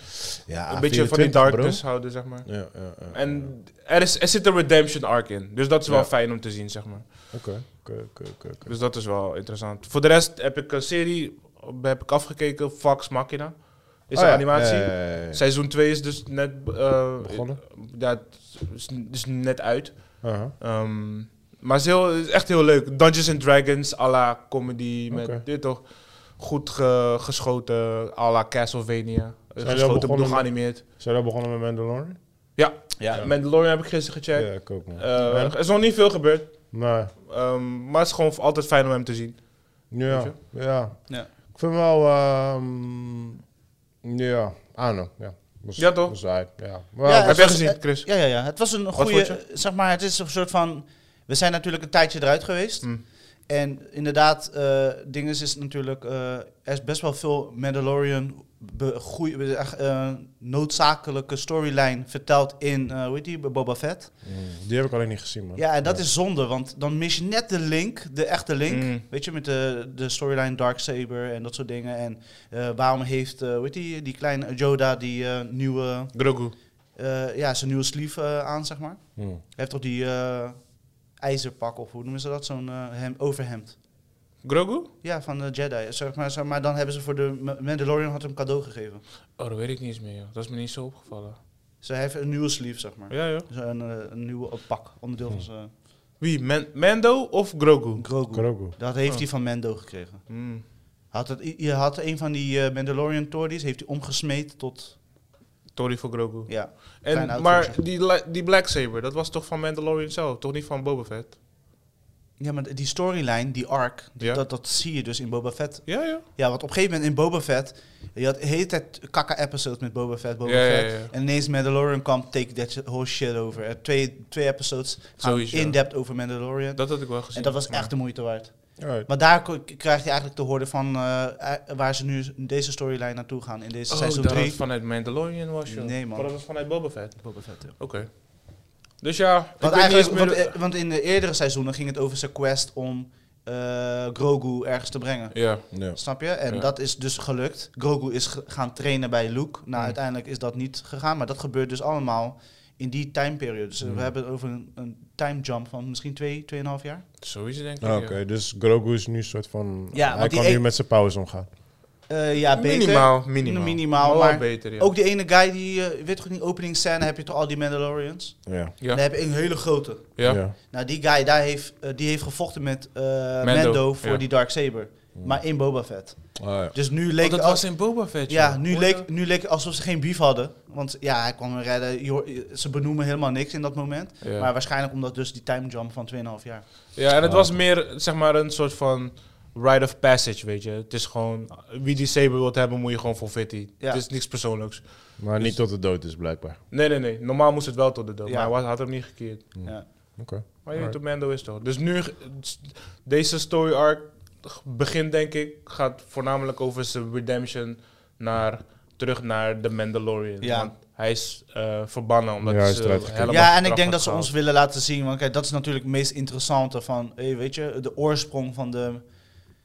Speaker 2: ja,
Speaker 3: een beetje van die
Speaker 2: A24, Ah, bro.
Speaker 3: darkness houden, zeg maar.
Speaker 2: Ja, ja, ja.
Speaker 3: En er, is, er zit een redemption arc in. Dus dat is wel
Speaker 2: Ja.
Speaker 3: fijn om te zien, zeg maar.
Speaker 2: Oké. oké, oké, oké, oké.
Speaker 3: Dus dat is wel interessant. Voor de rest heb ik een serie heb ik afgekeken, Fox Machina. Is
Speaker 2: Oh
Speaker 3: een
Speaker 2: ja,
Speaker 3: animatie.
Speaker 2: ja, ja, ja, ja.
Speaker 3: Seizoen 2 is dus net... eh,
Speaker 2: Begonnen?
Speaker 3: Ja, het is, is net uit.
Speaker 2: Aha.
Speaker 3: Ehm, maar het is, heel, het is echt heel leuk. Dungeons and Dragons, à la comedy.
Speaker 2: Oké.
Speaker 3: Met dit toch goed ge- geschoten, à la Castlevania.
Speaker 2: Zijn jullie al
Speaker 3: geschoten,
Speaker 2: begonnen
Speaker 3: bedoel,
Speaker 2: met-
Speaker 3: geanimeerd.
Speaker 2: Zijn we al begonnen met Mandalorian?
Speaker 3: Ja,
Speaker 1: Ja.
Speaker 3: Mandalorian heb ik gisteren gecheckt.
Speaker 2: Ja, ik ook, man.
Speaker 3: Eh,
Speaker 2: En?
Speaker 3: er is nog niet veel gebeurd.
Speaker 2: Nee.
Speaker 3: Ehm, maar het is gewoon altijd fijn om hem te zien.
Speaker 2: Ja,
Speaker 3: Weet
Speaker 2: ja.
Speaker 1: Ja.
Speaker 2: Ik vind wel, ehm, ja, Ano, ja. Was-
Speaker 3: Ja, toch?
Speaker 2: was hij, ja.
Speaker 1: Ja,
Speaker 2: Wel,
Speaker 3: heb jij
Speaker 1: was-
Speaker 3: gezien,
Speaker 1: eh,
Speaker 3: Chris?
Speaker 1: Ja, ja, ja. Het was een
Speaker 3: vond
Speaker 1: goede,
Speaker 3: je?
Speaker 1: zeg maar, het is een soort van, we zijn natuurlijk een tijdje eruit geweest.
Speaker 3: Hmm.
Speaker 1: En inderdaad, eh Dinges is natuurlijk, eh, er is best wel veel Mandalorian be, goeie, be- echt, eh, noodzakelijke storyline verteld in, eh hoe heet die, Boba Fett.
Speaker 2: mm, die heb ik alleen niet gezien, man.
Speaker 1: Ja, en dat is zonde, want dan mis je net de link, de echte link.
Speaker 3: Mm.
Speaker 1: Weet je, met de, de storyline Darksaber en dat soort dingen. En eh, waarom heeft, eh, hoe heet die, die kleine Yoda die eh, nieuwe,
Speaker 3: Grogu.
Speaker 1: eh, ja, zijn nieuwe sleeve eh, aan, zeg maar.
Speaker 2: Mm.
Speaker 1: Hij heeft toch die eh, ijzerpak of hoe noemen ze dat? Zo'n eh, hem, overhemd.
Speaker 3: Grogu?
Speaker 1: Ja, van de Jedi. Zeg maar, zeg maar dan hebben ze voor de Ma- Mandalorian had hem cadeau gegeven.
Speaker 3: Oh, dat weet ik niet eens meer. Dat is me niet zo opgevallen.
Speaker 1: Dus hij heeft een nieuwe sleeve, zeg maar.
Speaker 3: Ja, joh.
Speaker 1: Dus een, eh, een nieuwe eh, pak, onderdeel van zijn eh,
Speaker 3: Wie? Man- Mando of Grogu?
Speaker 1: Grogu.
Speaker 2: Grogu.
Speaker 1: Dat heeft
Speaker 3: Oh.
Speaker 1: hij van Mando gekregen.
Speaker 3: Mm.
Speaker 1: Had het, je had een van die eh, Mandalorian tories, heeft hij omgesmeed tot...
Speaker 3: Sorry voor Grogu.
Speaker 1: Ja, Klein
Speaker 3: En,
Speaker 1: outfit,
Speaker 3: maar
Speaker 1: zeg.
Speaker 3: die, la- die Black Saber, dat was toch van Mandalorian zelf? Toch niet van Boba Fett?
Speaker 1: ja maar die storyline, die arc, die-
Speaker 3: Ja.
Speaker 1: dat, dat zie je dus in Boba Fett.
Speaker 3: Ja, ja.
Speaker 1: Ja, want op een gegeven moment in Boba Fett, je had de hele tijd kakka-episodes met Boba Fett, Boba
Speaker 3: Ja, ja,
Speaker 1: Fett.
Speaker 3: ja.
Speaker 1: En ineens Mandalorian kwam, take that shit- whole shit over. Eh, twee, twee episodes gaan
Speaker 3: Sowieso.
Speaker 1: in-depth over Mandalorian.
Speaker 3: Dat had ik wel gezien.
Speaker 1: en dat was
Speaker 3: maar-
Speaker 1: echt de moeite waard.
Speaker 2: Alright.
Speaker 1: Maar daar ko- k- krijg je eigenlijk te horen van eh, eh, waar ze nu s- in deze storyline naartoe gaan. In deze
Speaker 3: Oh,
Speaker 1: seizoen
Speaker 3: dat
Speaker 1: 3.
Speaker 3: het vanuit Mandalorian was, joh.
Speaker 1: Nee, man.
Speaker 3: Maar dat was vanuit Boba Fett.
Speaker 1: Boba Fett, ja.
Speaker 3: Oké. Dus ja, ik
Speaker 1: Want,
Speaker 3: weet niet
Speaker 1: eigenlijk,
Speaker 3: eens meer-
Speaker 1: want, eh, want in de eerdere seizoenen ging het over zijn quest om eh, Grogu ergens te brengen.
Speaker 3: Ja.
Speaker 2: Ja.
Speaker 1: Snap je? En
Speaker 3: Ja.
Speaker 1: dat is dus gelukt. Grogu is ge- gaan trainen bij Luke. Nou,
Speaker 3: Mm.
Speaker 1: uiteindelijk is dat niet gegaan. Maar dat gebeurt dus allemaal in die time period. Dus eh,
Speaker 2: Mm.
Speaker 1: we hebben het over een, een time jump van misschien twee, tweeënhalf jaar.
Speaker 3: Sowieso denk ik,
Speaker 2: Ah,
Speaker 3: ja.
Speaker 2: Oké, dus Grogu is nu een soort van...
Speaker 1: Ja,
Speaker 2: hij
Speaker 1: want die
Speaker 2: kan nu
Speaker 1: e-
Speaker 2: met zijn powers omgaan.
Speaker 1: Eh, ja, beter.
Speaker 3: Minimaal, minimaal.
Speaker 1: Minimaal,
Speaker 3: Wel
Speaker 1: maar
Speaker 3: beter, ja.
Speaker 1: Ook die ene guy die, eh, weet goed, in die openingsscène heb je toch al die Mandalorians?
Speaker 2: Ja.
Speaker 3: Ja.
Speaker 1: Daar heb je een hele grote.
Speaker 3: ja.
Speaker 1: Nou, die guy daar heeft, eh, die heeft gevochten met eh, Mando, voor
Speaker 3: ja.
Speaker 1: die Darksaber. Maar in Boba Fett.
Speaker 2: Ah, ja.
Speaker 1: Dus nu
Speaker 3: Want
Speaker 1: leek
Speaker 3: dat
Speaker 1: al-
Speaker 3: was in Boba Fett,
Speaker 1: Ja,
Speaker 3: joh.
Speaker 1: nu
Speaker 3: Hoor
Speaker 1: leek,
Speaker 3: je?
Speaker 1: nu leek het alsof ze geen beef hadden. Want ja, hij kwam redden. Je hoor- je- Ze benoemen helemaal niks in dat moment.
Speaker 3: Ja.
Speaker 1: Maar waarschijnlijk omdat dus die time jump van 2,5 jaar.
Speaker 3: Ja, en het
Speaker 2: Ah.
Speaker 3: was meer zeg maar een soort van rite of passage, weet je. Het is gewoon, wie die saber wilt hebben, moet je gewoon voor fitty.
Speaker 1: Ja.
Speaker 3: Het is niks persoonlijks.
Speaker 2: Maar
Speaker 3: Dus-
Speaker 2: niet tot de dood is, blijkbaar.
Speaker 3: Nee, nee, nee. Normaal moest het wel tot de dood,
Speaker 1: Ja.
Speaker 3: maar hij was- had hem niet gekeerd.
Speaker 1: Ja.
Speaker 2: Oké.
Speaker 3: Maar je
Speaker 2: Alright.
Speaker 3: weet hoe Mando is toch. Dus nu, g- s- deze story arc g- begint denk ik, gaat voornamelijk over zijn redemption naar, terug naar de Mandalorian.
Speaker 1: Ja.
Speaker 3: Want hij is eh, verbannen omdat
Speaker 2: Ja, hij
Speaker 3: hij
Speaker 2: is
Speaker 3: ze
Speaker 2: eruit gekikt.
Speaker 3: helemaal
Speaker 1: Ja, en ik
Speaker 3: kracht
Speaker 1: denk
Speaker 3: had
Speaker 1: dat ze ons
Speaker 3: gehaald.
Speaker 1: willen laten zien. Want kijk, dat is natuurlijk het meest interessante van, hey, weet je, de oorsprong van de,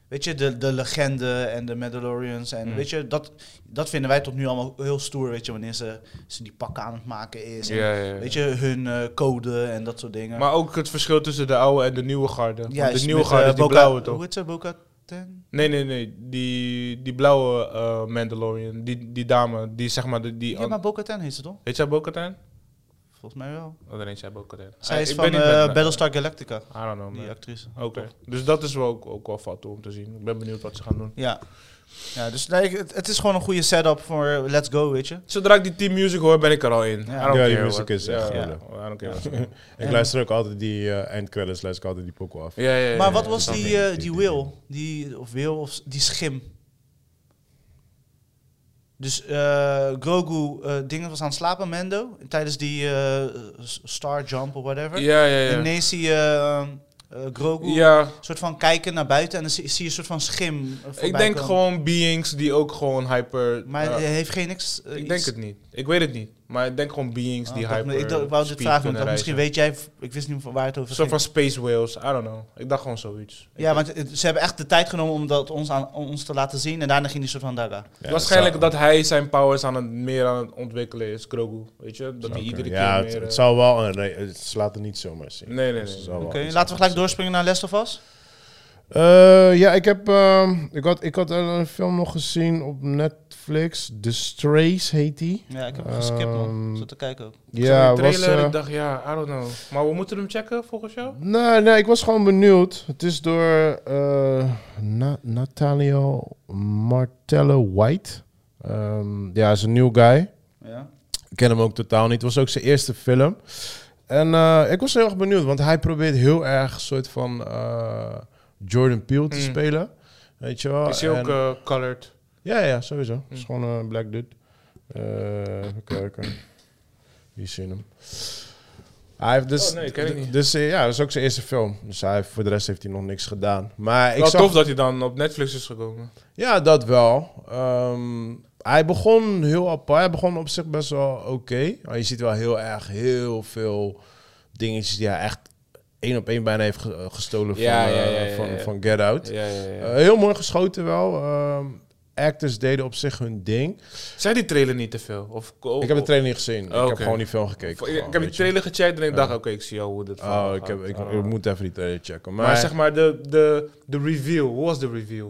Speaker 1: weet je, de, de legende en de Mandalorians. En
Speaker 3: Mm.
Speaker 1: weet je, dat, dat vinden wij tot nu allemaal heel stoer, weet je, wanneer ze, ze die pakken aan het maken is. En,
Speaker 3: Ja, ja, ja.
Speaker 1: Weet je, hun eh, code en dat soort dingen.
Speaker 3: Maar ook het verschil tussen de oude en de nieuwe garde. Want
Speaker 1: Juist,
Speaker 3: de nieuwe
Speaker 1: met,
Speaker 3: garde
Speaker 1: eh,
Speaker 3: is die
Speaker 1: Boca-
Speaker 3: blauwe toch?
Speaker 1: Hoe heet ze? Boca Ten?
Speaker 3: Nee, nee, nee. Die, die blauwe eh, Mandalorian, die, die dame, die zeg maar... de- Die,
Speaker 1: Ja, maar Boca Ten heet ze toch?
Speaker 3: Heet zij Bo-Katan?
Speaker 1: Volgens mij wel.
Speaker 3: Oh, dan heet zij Bo-Katan.
Speaker 1: Zij
Speaker 3: Ah,
Speaker 1: is
Speaker 3: ik
Speaker 1: van
Speaker 3: ben niet met-
Speaker 1: eh, Battlestar Galactica,
Speaker 3: I don't know, man.
Speaker 1: die actrice.
Speaker 3: Oké. Dus dat is wel ook, ook wel vat om te zien. Ik ben benieuwd wat ze gaan doen.
Speaker 1: Ja. Ja, dus nee, ik- het, het is gewoon een goede setup voor Let's Go, weet je.
Speaker 3: Zodra ik die team music hoor, ben ik er al in. I don't
Speaker 1: Ja,
Speaker 3: care
Speaker 2: die
Speaker 3: what-
Speaker 2: music is echt
Speaker 3: Ja,
Speaker 1: heel
Speaker 3: ja.
Speaker 2: leuk.
Speaker 3: I don't care what ze doen.
Speaker 2: Ik luister ook altijd die eh eindcredits, luister ik altijd die pokoe af.
Speaker 3: Ja, ja, ja,
Speaker 1: Maar
Speaker 3: ja,
Speaker 1: wat
Speaker 3: ja.
Speaker 1: was
Speaker 2: dat
Speaker 1: die,
Speaker 2: denk
Speaker 1: eh,
Speaker 2: ik,
Speaker 1: die
Speaker 2: die
Speaker 1: Will? Die, of Will, of s- die schim? Dus eh, Grogu, eh dingen was aan het slapen, Mendo, tijdens die eh, s- Star Jump of whatever.
Speaker 3: Ja, ja,
Speaker 1: En
Speaker 3: ja.
Speaker 1: ineens zie je eh, eh, Grogu
Speaker 3: Ja,
Speaker 1: soort van kijken naar buiten en dan zie, zie je een soort van schim eh, voorbij
Speaker 3: ik denk
Speaker 1: komen.
Speaker 3: gewoon beings die ook gewoon hyper...
Speaker 1: Maar
Speaker 3: ja.
Speaker 1: hij heeft geen niks... eh,
Speaker 3: ik
Speaker 1: iets-
Speaker 3: denk het niet. Ik weet het niet. Maar ik denk gewoon beings die
Speaker 1: Ah, dat-
Speaker 3: hyper
Speaker 1: ik dacht- ik wou dit
Speaker 3: speed
Speaker 1: vragen, want
Speaker 3: kunnen
Speaker 1: dan misschien
Speaker 3: reizen.
Speaker 1: weet jij... Ik wist niet van waar het over
Speaker 3: Een soort
Speaker 1: ging.
Speaker 3: van space whales. I don't know. Ik dacht gewoon zoiets.
Speaker 1: Ja, want het- ze hebben echt de tijd genomen om dat ons, aan, om ons te laten zien. En daarna ging die soort van daga.
Speaker 2: Ja,
Speaker 3: Waarschijnlijk
Speaker 2: zou-
Speaker 3: dat hij zijn powers aan het, meer aan het ontwikkelen is, Grogu. Weet je? Dat hij iedere keer
Speaker 2: ja,
Speaker 3: meer...
Speaker 2: het,
Speaker 3: eh,
Speaker 2: het zal wel. een re- het slaat er niet zomaar zien.
Speaker 3: Nee,
Speaker 2: Dus
Speaker 3: nee,
Speaker 2: het
Speaker 3: nee.
Speaker 2: zal wel
Speaker 1: Oké,
Speaker 2: iets
Speaker 1: laten we gelijk
Speaker 2: anders
Speaker 1: doorspringen naar Last of Us.
Speaker 2: Eh, ja, ik heb. ehm, ik had, ik had een film nog gezien op Netflix. The Strays heet die.
Speaker 1: Ja, ik heb hem geskipt, man.
Speaker 2: Ehm,
Speaker 1: Zat te kijken ook.
Speaker 3: Ja,
Speaker 2: Ja,
Speaker 3: de
Speaker 2: was.
Speaker 3: trailer,
Speaker 2: eh,
Speaker 3: ik dacht, ja, I don't know. Maar we moeten hem checken, volgens jou?
Speaker 2: nee, nee, ik was gewoon benieuwd. Het is door eh, Na- Natalio Martello White. Ehm, ja, is een nieuw guy.
Speaker 1: Ja.
Speaker 2: Ik ken hem ook totaal niet. Het was ook zijn eerste film. En eh, ik was heel erg benieuwd, want hij probeert heel erg een soort van eh, Jordan Peele te
Speaker 3: Mm.
Speaker 2: spelen. Weet je wel?
Speaker 3: Is hij ook
Speaker 2: En-
Speaker 3: eh, colored?
Speaker 2: Ja, ja, sowieso. Het is
Speaker 3: Mm.
Speaker 2: gewoon een black dude. Eh, even kijken. Wie zien hem? Hij heeft dus,
Speaker 3: Oh, nee, ken ik niet.
Speaker 2: dus eh, ja, dat is ook zijn eerste film. Dus hij, heeft- voor de rest heeft hij nog niks gedaan. Maar ik
Speaker 3: Wel
Speaker 2: zag,
Speaker 3: tof dat hij dan op Netflix is gekomen.
Speaker 2: ja, dat wel. Ehm, hij begon heel apart. Hij begon op zich best wel oké. Maar je ziet wel heel erg heel veel dingetjes die hij echt één op één bijna heeft ge- gestolen
Speaker 3: Ja,
Speaker 2: van,
Speaker 3: ja,
Speaker 2: eh,
Speaker 3: ja, ja,
Speaker 2: van,
Speaker 3: ja.
Speaker 2: van Get Out.
Speaker 3: Ja, ja, ja.
Speaker 2: Eh, heel mooi geschoten wel. Ehm, actors deden op zich hun ding.
Speaker 3: Zijn die trailer niet te veel? Of,
Speaker 2: Ik heb de trailer niet gezien.
Speaker 3: Oh,
Speaker 2: ik heb
Speaker 3: oké.
Speaker 2: gewoon die film gekeken.
Speaker 3: Ik,
Speaker 2: gewoon,
Speaker 3: heb die
Speaker 2: weet je.
Speaker 3: trailer gecheckt en ik dacht, oké, ik zie al hoe dit verhaal
Speaker 2: Oh, ik, heb,
Speaker 3: gaat.
Speaker 2: ik,
Speaker 3: Ah.
Speaker 2: ik moet even die trailer checken. Maar,
Speaker 3: Maar, zeg maar, de, de, de review. Hoe was de review?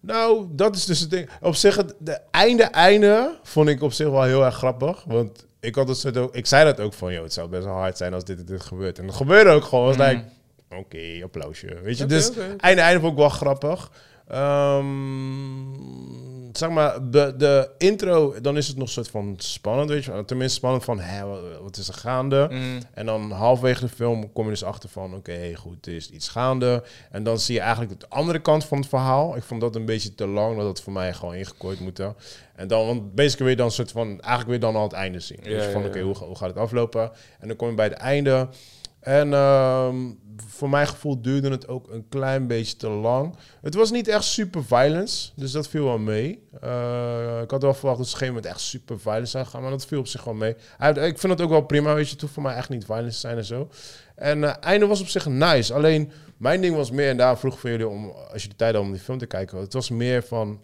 Speaker 2: nou, dat is dus het ding. Op zich, het de einde, einde vond ik op zich wel heel erg grappig. Want ik, had het soort ook, ik zei dat ook van, joh, het zou best wel hard zijn als dit en dit gebeurt. En dat gebeurde ook gewoon. Het was like, oké, applausje. Weet je,
Speaker 3: Mhm. Oké,
Speaker 2: dus
Speaker 3: oké.
Speaker 2: einde, einde vond ik wel grappig. Ehm, zeg maar, de, de intro, dan is het nog soort van spannend, weet je. Tenminste spannend van, hè, wat, wat is er gaande?
Speaker 3: Mm.
Speaker 2: En dan halverwege de film kom je dus achter van... oké, goed, er is iets gaande. En dan zie je eigenlijk de andere kant van het verhaal. Ik vond dat een beetje te lang, dat had voor mij gewoon ingekooid moeten. En dan, want basically wil je dan een soort van... eigenlijk weer dan al het einde zien.
Speaker 3: Ja,
Speaker 2: dus van,
Speaker 3: ja,
Speaker 2: oké,
Speaker 3: ja.
Speaker 2: hoe, ga- hoe gaat het aflopen? En dan kom je bij het einde. En ehm, voor mijn gevoel duurde het ook een klein beetje te lang. Het was niet echt super violence, dus dat viel wel mee. Eh, ik had wel verwacht dat ze op een gegeven moment echt super violence zou gaan, maar dat viel op zich wel mee. Hij- ik vind het ook wel prima, weet je, het hoeft voor mij echt niet violence te zijn en zo. En eh einde was op zich nice, alleen mijn ding was meer, en daar vroeg ik voor jullie om, als je de tijd had om die film te kijken, het was meer van,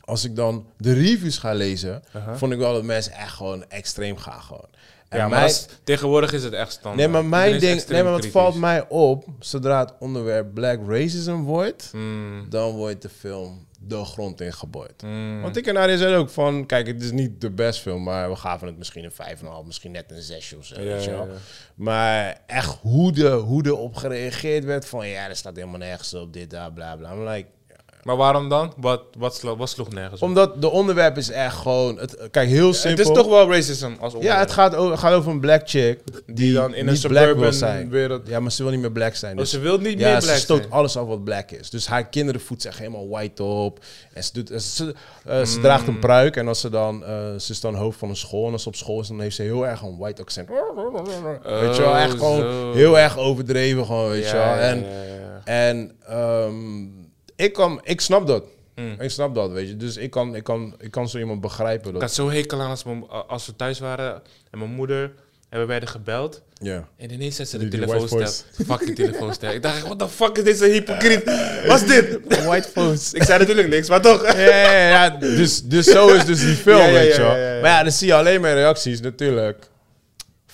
Speaker 2: als ik dan de reviews ga lezen, vond ik wel dat mensen echt gewoon extreem gaan gewoon. En
Speaker 3: Ja, maar
Speaker 2: mijn-
Speaker 3: dat is- tegenwoordig is het echt standaard.
Speaker 2: Nee, maar mijn
Speaker 3: Iedereen is
Speaker 2: ding,
Speaker 3: extreem
Speaker 2: nee, maar het
Speaker 3: kritisch.
Speaker 2: valt mij op, zodra het onderwerp black racism wordt,
Speaker 3: Mm,
Speaker 2: dan wordt de film de grond ingeboord.
Speaker 3: mm.
Speaker 2: Want ik en Arie zijn ook van, kijk, het is niet de best film, maar we gaven het misschien een 5,5, misschien net een 6 of zo.
Speaker 3: Ja,
Speaker 2: weet je
Speaker 3: ja,
Speaker 2: wel.
Speaker 3: ja.
Speaker 2: Maar echt hoe de, hoe de op gereageerd werd van, ja, er staat helemaal nergens op, dit, daar, bla, bla. I'm like,
Speaker 3: Maar waarom dan? Wat, wat, slo- wat sloeg nergens op?
Speaker 2: omdat de onderwerp is echt gewoon, het, kijk, heel simpel.
Speaker 3: Het is toch wel racism als
Speaker 2: Ja, het gaat over, gaat over een black chick die,
Speaker 3: Die dan in een
Speaker 2: niet black wil
Speaker 3: suburban
Speaker 2: zijn.
Speaker 3: wereld...
Speaker 2: Ja, maar ze wil niet meer black zijn.
Speaker 3: Oh,
Speaker 2: dus-
Speaker 3: ze wil niet
Speaker 2: ja,
Speaker 3: meer
Speaker 2: ze
Speaker 3: black
Speaker 2: stoot
Speaker 3: zijn.
Speaker 2: alles af wat black is. Dus haar kinderen voedt zich helemaal white op. En ze, doet, ze, eh, ze draagt
Speaker 3: Mm.
Speaker 2: een pruik en als ze dan, eh, ze is dan hoofd van een school. En als ze op school is, dan heeft ze heel erg een white accent. weet je wel, echt gewoon
Speaker 3: Oh, zo.
Speaker 2: heel erg overdreven gewoon, weet
Speaker 3: Ja,
Speaker 2: je wel.
Speaker 3: ja,
Speaker 2: En,
Speaker 3: ja, ja.
Speaker 2: en ehm, ik, kan, ik snap dat.
Speaker 3: Mm.
Speaker 2: Ik snap dat, weet je. Dus ik kan, ik kan, ik kan zo iemand begrijpen.
Speaker 3: Ik
Speaker 2: Dat,
Speaker 3: had zo hekel aan als, mijn- als we thuis waren en mijn moeder en we werden gebeld.
Speaker 2: ja.
Speaker 3: En ineens zet ze de
Speaker 2: Die- die
Speaker 3: telefoonstijl.
Speaker 2: white
Speaker 3: Fucking telefoonstijl. Ik dacht, wat de fuck is dit een hypocriet? Wat is dit?
Speaker 2: White folks.
Speaker 3: Ik zei natuurlijk niks, maar toch.
Speaker 2: Ja, ja, ja, ja. Dus, dus zo is dus die film,
Speaker 3: Ja, ja,
Speaker 2: weet je
Speaker 3: ja,
Speaker 2: wel.
Speaker 3: ja, ja, ja.
Speaker 2: Maar ja, dan zie je alleen maar reacties natuurlijk.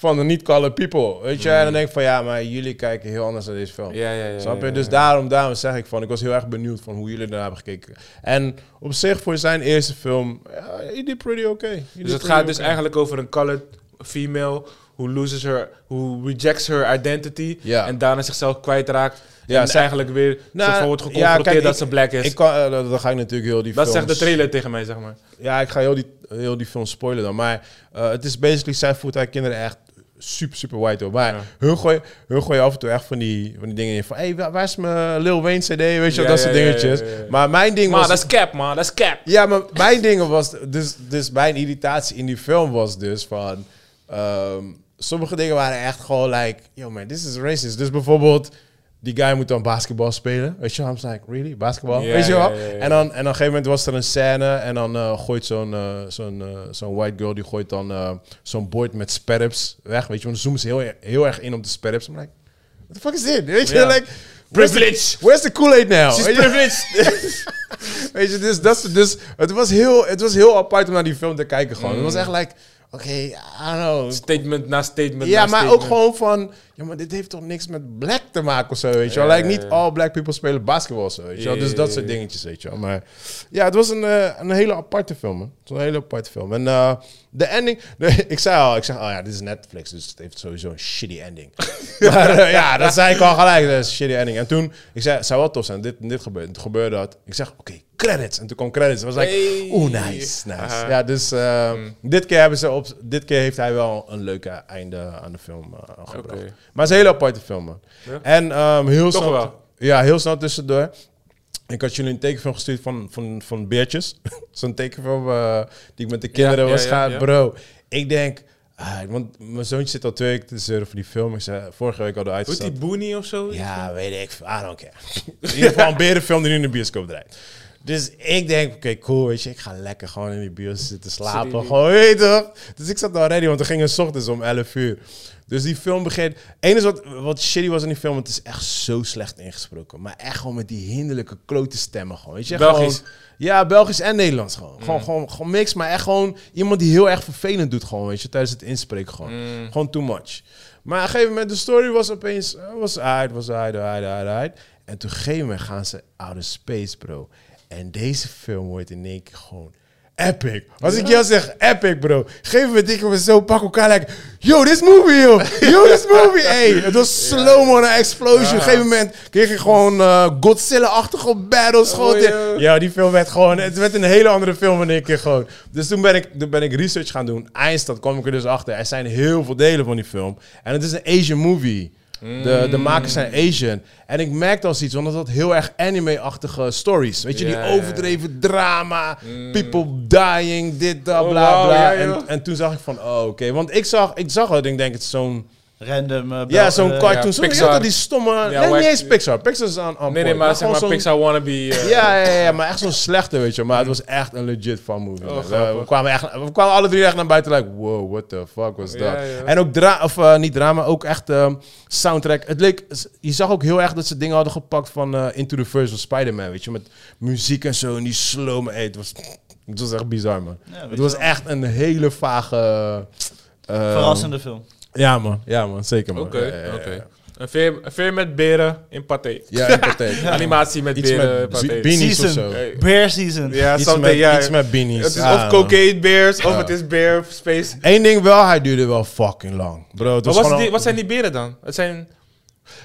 Speaker 2: Van de niet-colored people, weet je. En dan denk ik van, ja, maar jullie kijken heel anders naar deze film.
Speaker 3: Mm. Ja, ja, ja.
Speaker 2: Snap
Speaker 3: ja,
Speaker 2: je?
Speaker 3: ja.
Speaker 2: Dus daarom, daarom zeg ik van, ik was heel erg benieuwd van hoe jullie daarna hebben gekeken. En op zich, voor zijn eerste film, ja, he did pretty oké. He did
Speaker 3: Dus het
Speaker 2: pretty
Speaker 3: gaat dus
Speaker 2: oké.
Speaker 3: eigenlijk over een colored female who loses her, who rejects her identity
Speaker 2: Ja.
Speaker 3: en daarna zichzelf kwijtraakt
Speaker 2: Ja,
Speaker 3: en
Speaker 2: zij-
Speaker 3: eigenlijk weer
Speaker 2: Nou,
Speaker 3: soort van wordt
Speaker 2: ja,
Speaker 3: geconfronteerd
Speaker 2: kijk,
Speaker 3: dat
Speaker 2: ik-
Speaker 3: ze black is.
Speaker 2: Ik kan, eh, dan dan ga ik natuurlijk heel die
Speaker 3: dat
Speaker 2: films...
Speaker 3: zegt de trailer tegen mij, zeg maar.
Speaker 2: Ja, ik ga heel die, heel die film spoilen dan. Maar eh, het is basically, zij voert haar kinderen echt super, super white op. Maar
Speaker 3: Ja.
Speaker 2: hun, gooien, hun gooien af en toe echt van die, van die dingen in. Van, hé, hey, wa- waar is mijn Lil Wayne CD? Weet je wel,
Speaker 3: Ja,
Speaker 2: dat
Speaker 3: ja,
Speaker 2: soort
Speaker 3: ja, ja,
Speaker 2: dingetjes.
Speaker 3: ja, ja.
Speaker 2: Maar mijn ding
Speaker 3: Maar
Speaker 2: was...
Speaker 3: dat is cap, man. Dat is cap.
Speaker 2: Ja, maar mijn ding was... Dus, dus mijn irritatie in die film was dus van... ehm, sommige dingen waren echt gewoon like... Yo man, this is racist. Dus bijvoorbeeld... Die guy moet dan basketbal spelen. Weet je wel? I'm like, really? Basketbal?
Speaker 3: Ja,
Speaker 2: Weet je
Speaker 3: ja,
Speaker 2: wel?
Speaker 3: ja, ja.
Speaker 2: En dan en dan op een gegeven moment was er een scène en dan eh, gooit zo'n eh, zo'n eh, zo'n white girl, die gooit dan eh, zo'n bord met sperps weg. Weet je, want dan zoomen ze heel, er- heel erg in op de sperps. I'm like, what the fuck is dit? Weet je,
Speaker 3: Ja.
Speaker 2: like... where's the-
Speaker 3: Privilege.
Speaker 2: Where's the Kool-Aid now?
Speaker 3: She's
Speaker 2: Weet je?
Speaker 3: privileged.
Speaker 2: Weet je, dus, dat, is- dus het, was heel, het was heel apart om naar die film te kijken gewoon. Het was echt like, oké, I don't know.
Speaker 3: statement na statement
Speaker 2: Ja,
Speaker 3: na
Speaker 2: maar
Speaker 3: statement.
Speaker 2: ook gewoon van, ja, maar dit heeft toch niks met black te maken of zo, weet je wel.
Speaker 3: Ja,
Speaker 2: Like,
Speaker 3: ja,
Speaker 2: niet
Speaker 3: ja.
Speaker 2: all black people spelen basketbal of zo, weet je wel.
Speaker 3: Ja,
Speaker 2: Dus
Speaker 3: ja,
Speaker 2: dat
Speaker 3: ja,
Speaker 2: soort
Speaker 3: ja.
Speaker 2: dingetjes, weet je wel. Maar ja, het was een, eh, een hele aparte film, man. Het was een hele aparte film. En eh, de ending, ik zei al, ik zeg, oh ja, dit is Netflix, dus het heeft sowieso een shitty ending. maar eh, ja, dat zei ik al gelijk, dat is een shitty ending. En toen, ik zei, het zou wel tof zijn, dit, dit gebeurde, het gebeurde dat. Ik zeg, oké, credits. En toen kwam credits. En was like,
Speaker 3: Hey.
Speaker 2: oeh, nice, nice.
Speaker 3: Aha.
Speaker 2: Ja, dus eh, dit, keer hebben ze op, dit keer heeft hij wel een leuke einde aan de film eh, gebracht.
Speaker 3: Oké.
Speaker 2: Maar het is een hele aparte film, man.
Speaker 3: Ja?
Speaker 2: En ehm, heel
Speaker 3: Toch
Speaker 2: snel...
Speaker 3: wel.
Speaker 2: Ja, heel snel tussendoor. Ik had jullie een tekenfilm gestuurd van, van, van Beertjes. Zo'n tekenfilm eh, die ik met de kinderen
Speaker 3: ja,
Speaker 2: was
Speaker 3: ja,
Speaker 2: gaan.
Speaker 3: ja.
Speaker 2: Bro, ik denk... ah, want mijn zoontje zit al twee weken te zeuren voor die film. Ik zei, vorige week al de
Speaker 3: Doet
Speaker 2: uitgesteld.
Speaker 3: die Boenie of zo?
Speaker 2: Ja, weet ik. veel. I don't care. In ieder geval een berenfilm die nu in de bioscoop draait. Dus ik denk, oké, cool, weet je, ik ga lekker gewoon in die bios zitten slapen.
Speaker 3: Serieus?
Speaker 2: Gewoon, weet je toch? Dus ik zat al ready, want we gingen 's ochtends om 11 uur. Dus die film begint... Eén wat, wat shitty was in die film, het is echt zo slecht ingesproken. Maar echt gewoon met die hinderlijke klote stemmen gewoon. Weet je,
Speaker 3: Belgisch.
Speaker 2: gewoon- ja, Belgisch en Nederlands gewoon. Gewoon, gewoon. gewoon mix, maar echt gewoon iemand die heel erg vervelend doet gewoon, weet je, tijdens het inspreken gewoon. Gewoon too much. Maar op een gegeven moment, de story was opeens, eh, was uit, was uit, uit, uit, uit. En toen op een gegeven moment gaan ze outer space, bro. En deze film wordt in één keer gewoon epic. Als ik jou zeg epic, bro. Geef me dikke we zo pak elkaar like, yo, this movie, yo. Yo, this movie, hey. Het was slow-mo naar explosion. Op een gegeven moment kreeg ik gewoon eh, Godzilla-achtige battles. gewoon.
Speaker 3: joh.
Speaker 2: Ja, die film werd gewoon... Het werd een hele andere film in één keer gewoon. Dus toen ben ik, toen ben ik research gaan doen. Eindstad kwam ik er dus achter. Er zijn heel veel delen van die film. En het is een Asian movie. De,
Speaker 3: Hmm.
Speaker 2: de makers zijn Asian. En ik merkte al iets, want het had heel erg anime-achtige stories. Weet je,
Speaker 3: Ja, ja,
Speaker 2: die
Speaker 3: ja.
Speaker 2: overdreven drama. People dying, dit, dat,
Speaker 3: Oh,
Speaker 2: bla,
Speaker 3: wauw,
Speaker 2: bla.
Speaker 3: ja,
Speaker 2: en,
Speaker 3: joh.
Speaker 2: en toen zag ik van, oh, oké. Want ik zag, ik zag het, ik denk, het is zo'n...
Speaker 1: Random. eh,
Speaker 2: Ja,
Speaker 1: Bel-
Speaker 2: zo'n
Speaker 1: eh,
Speaker 2: cartoon. Zo-
Speaker 3: Pixar.
Speaker 2: ja, die stomme... nee,
Speaker 3: wack-
Speaker 2: niet eens Pixar. Pixar is aan, aan
Speaker 3: Nee, nee,
Speaker 2: point.
Speaker 3: maar zeg
Speaker 2: gewoon
Speaker 3: maar
Speaker 2: zo'n-
Speaker 3: Pixar wannabe. eh,
Speaker 2: ja, ja, ja, maar echt zo'n slechte, weet je. Maar het was echt een legit fan movie. man. we,
Speaker 3: Oh, grappig.
Speaker 2: we kwamen echt, we kwamen alle drie echt naar buiten, like, wow, what the fuck was dat?
Speaker 3: Ja, ja.
Speaker 2: En ook dra, of eh, niet drama, ook echt ehm, soundtrack. Het leek, je zag ook heel erg dat ze dingen hadden gepakt van eh, Into the Verse of Spider-Man, weet je. Met muziek en zo, en die slow, maar hey, het was, het was echt bizar, man.
Speaker 1: Ja, weet
Speaker 2: het
Speaker 1: je
Speaker 2: was
Speaker 1: wel.
Speaker 2: echt een hele vage... eh,
Speaker 1: Verrassende film.
Speaker 3: Ehm,
Speaker 2: Ja, man. Ja, man. Zeker, man.
Speaker 3: Oké,
Speaker 2: Ja, ja, ja, ja.
Speaker 3: oké. Een veer- Een veer met beren in paté.
Speaker 2: Ja, in praktijk.
Speaker 3: Animatie met
Speaker 2: Iets
Speaker 3: beren in
Speaker 2: met
Speaker 3: paté.
Speaker 2: be- beanies of
Speaker 1: Season.
Speaker 2: zo.
Speaker 3: Hey.
Speaker 1: Bear season.
Speaker 3: Ja,
Speaker 2: Iets
Speaker 3: something,
Speaker 2: met,
Speaker 3: ja.
Speaker 2: iets met beanies.
Speaker 3: Het is
Speaker 2: Ah,
Speaker 3: of
Speaker 2: man.
Speaker 3: cocaine bears, of het is bear space.
Speaker 2: Eén ding wel, hij duurde wel fucking lang. Bro, het was
Speaker 3: Maar wat, is
Speaker 2: gewoon
Speaker 3: die-
Speaker 2: al-
Speaker 3: wat zijn die beren dan? Het zijn...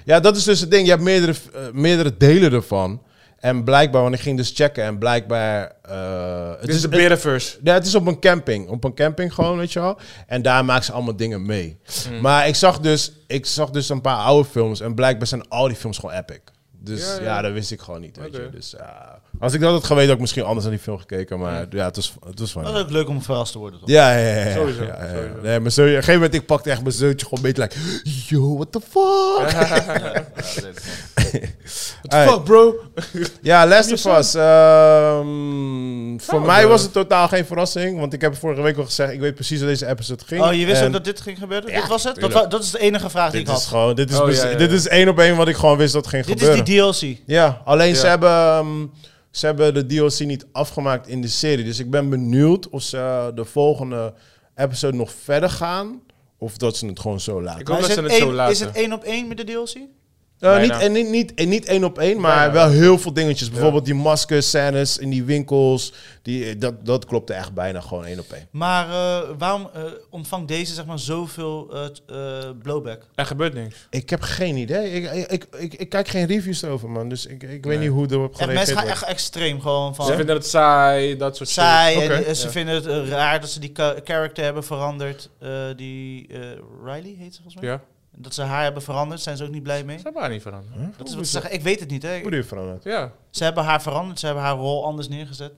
Speaker 2: Ja, dat is dus het ding. Je hebt meerdere, eh, meerdere delen ervan. En blijkbaar, want ik ging dus checken en blijkbaar... eh, het
Speaker 3: Dit is de
Speaker 2: het-
Speaker 3: berenverse.
Speaker 2: ja, het is op een camping. Op een camping gewoon, weet je wel. En daar maken ze allemaal dingen mee. Maar ik zag, dus, ik zag dus een paar oude films. En blijkbaar zijn al die films gewoon epic. Dus ja,
Speaker 3: Ja, ja.
Speaker 2: dat wist ik gewoon niet, weet je.
Speaker 3: Oké.
Speaker 2: Dus ja, als ik dat had geweten, had ik misschien anders naar die film gekeken. Maar ja, het was, het was van...
Speaker 1: Dat is ook leuk om verrast te worden. Toch?
Speaker 2: Ja, ja, ja. ja.
Speaker 3: Sowieso,
Speaker 2: Ja, ja, ja.
Speaker 3: sowieso.
Speaker 2: Nee, maar zo, op een gegeven moment, ik pakte echt mijn zoontje gewoon een beetje like... Yo, what the fuck? Alright.
Speaker 3: Fuck bro.
Speaker 2: Ja, Last
Speaker 3: Heb
Speaker 2: of
Speaker 3: je
Speaker 2: Us. ehm, voor
Speaker 3: Oh,
Speaker 2: mij
Speaker 3: eh.
Speaker 2: was het totaal geen verrassing. Want ik heb vorige week al gezegd, ik weet precies hoe deze episode ging.
Speaker 1: Oh, je wist
Speaker 2: En
Speaker 1: ook dat dit ging gebeuren?
Speaker 2: Ja,
Speaker 1: dat was het? Dat,
Speaker 2: tuurlijk.
Speaker 1: wa- dat is de enige vraag die ik
Speaker 2: Dit
Speaker 1: had.
Speaker 2: is gewoon... Dit is,
Speaker 3: Oh,
Speaker 2: bes-
Speaker 3: ja, ja, ja.
Speaker 2: dit is één op één wat ik gewoon wist dat ging
Speaker 1: Dit
Speaker 2: gebeuren.
Speaker 1: is die DLC.
Speaker 2: Ja, alleen ze
Speaker 3: Ja.
Speaker 2: hebben... ehm, ze hebben de DLC niet afgemaakt in de serie. Dus ik ben benieuwd of ze eh, de volgende episode nog verder gaan. Of dat ze het gewoon zo laten.
Speaker 3: Ik hoop
Speaker 1: Maar
Speaker 3: dat
Speaker 1: is, het
Speaker 3: ze het zo
Speaker 1: één,
Speaker 3: laten.
Speaker 1: is het één op één met de DLC?
Speaker 2: Eh,
Speaker 3: Bijna.
Speaker 2: niet, en niet, niet, en niet één op één, maar
Speaker 3: Bijna.
Speaker 2: wel heel veel dingetjes. Bijvoorbeeld die maskers, in die winkels. Die, eh, dat, dat klopte echt bijna gewoon één op één.
Speaker 1: Maar eh, waarom eh, ontvangt deze zeg maar, zoveel eh, t- eh, blowback?
Speaker 3: Er gebeurt niks.
Speaker 2: Ik heb geen idee. Ik, ik, ik, ik, ik kijk geen reviews over, man. Dus ik, ik weet niet hoe erop
Speaker 1: Echt, mensen
Speaker 2: gereageerd
Speaker 1: gaan
Speaker 2: wordt.
Speaker 1: echt extreem gewoon van
Speaker 3: Ze vinden het saai, dat soort shit.
Speaker 1: saai. en
Speaker 3: Oké.
Speaker 1: die- eh, ze vinden het eh, raar dat ze die ka- character hebben veranderd. eh, die eh, Riley heet ze volgens mij.
Speaker 3: Ja.
Speaker 1: Dat ze haar hebben veranderd, zijn ze ook niet blij mee.
Speaker 3: Ze hebben haar niet veranderd.
Speaker 1: Dat is wat ze zeggen. Ik weet het niet. Hè.
Speaker 2: Hoe doe je veranderd?
Speaker 3: Ja.
Speaker 1: Ze hebben haar veranderd, ze hebben haar rol anders neergezet.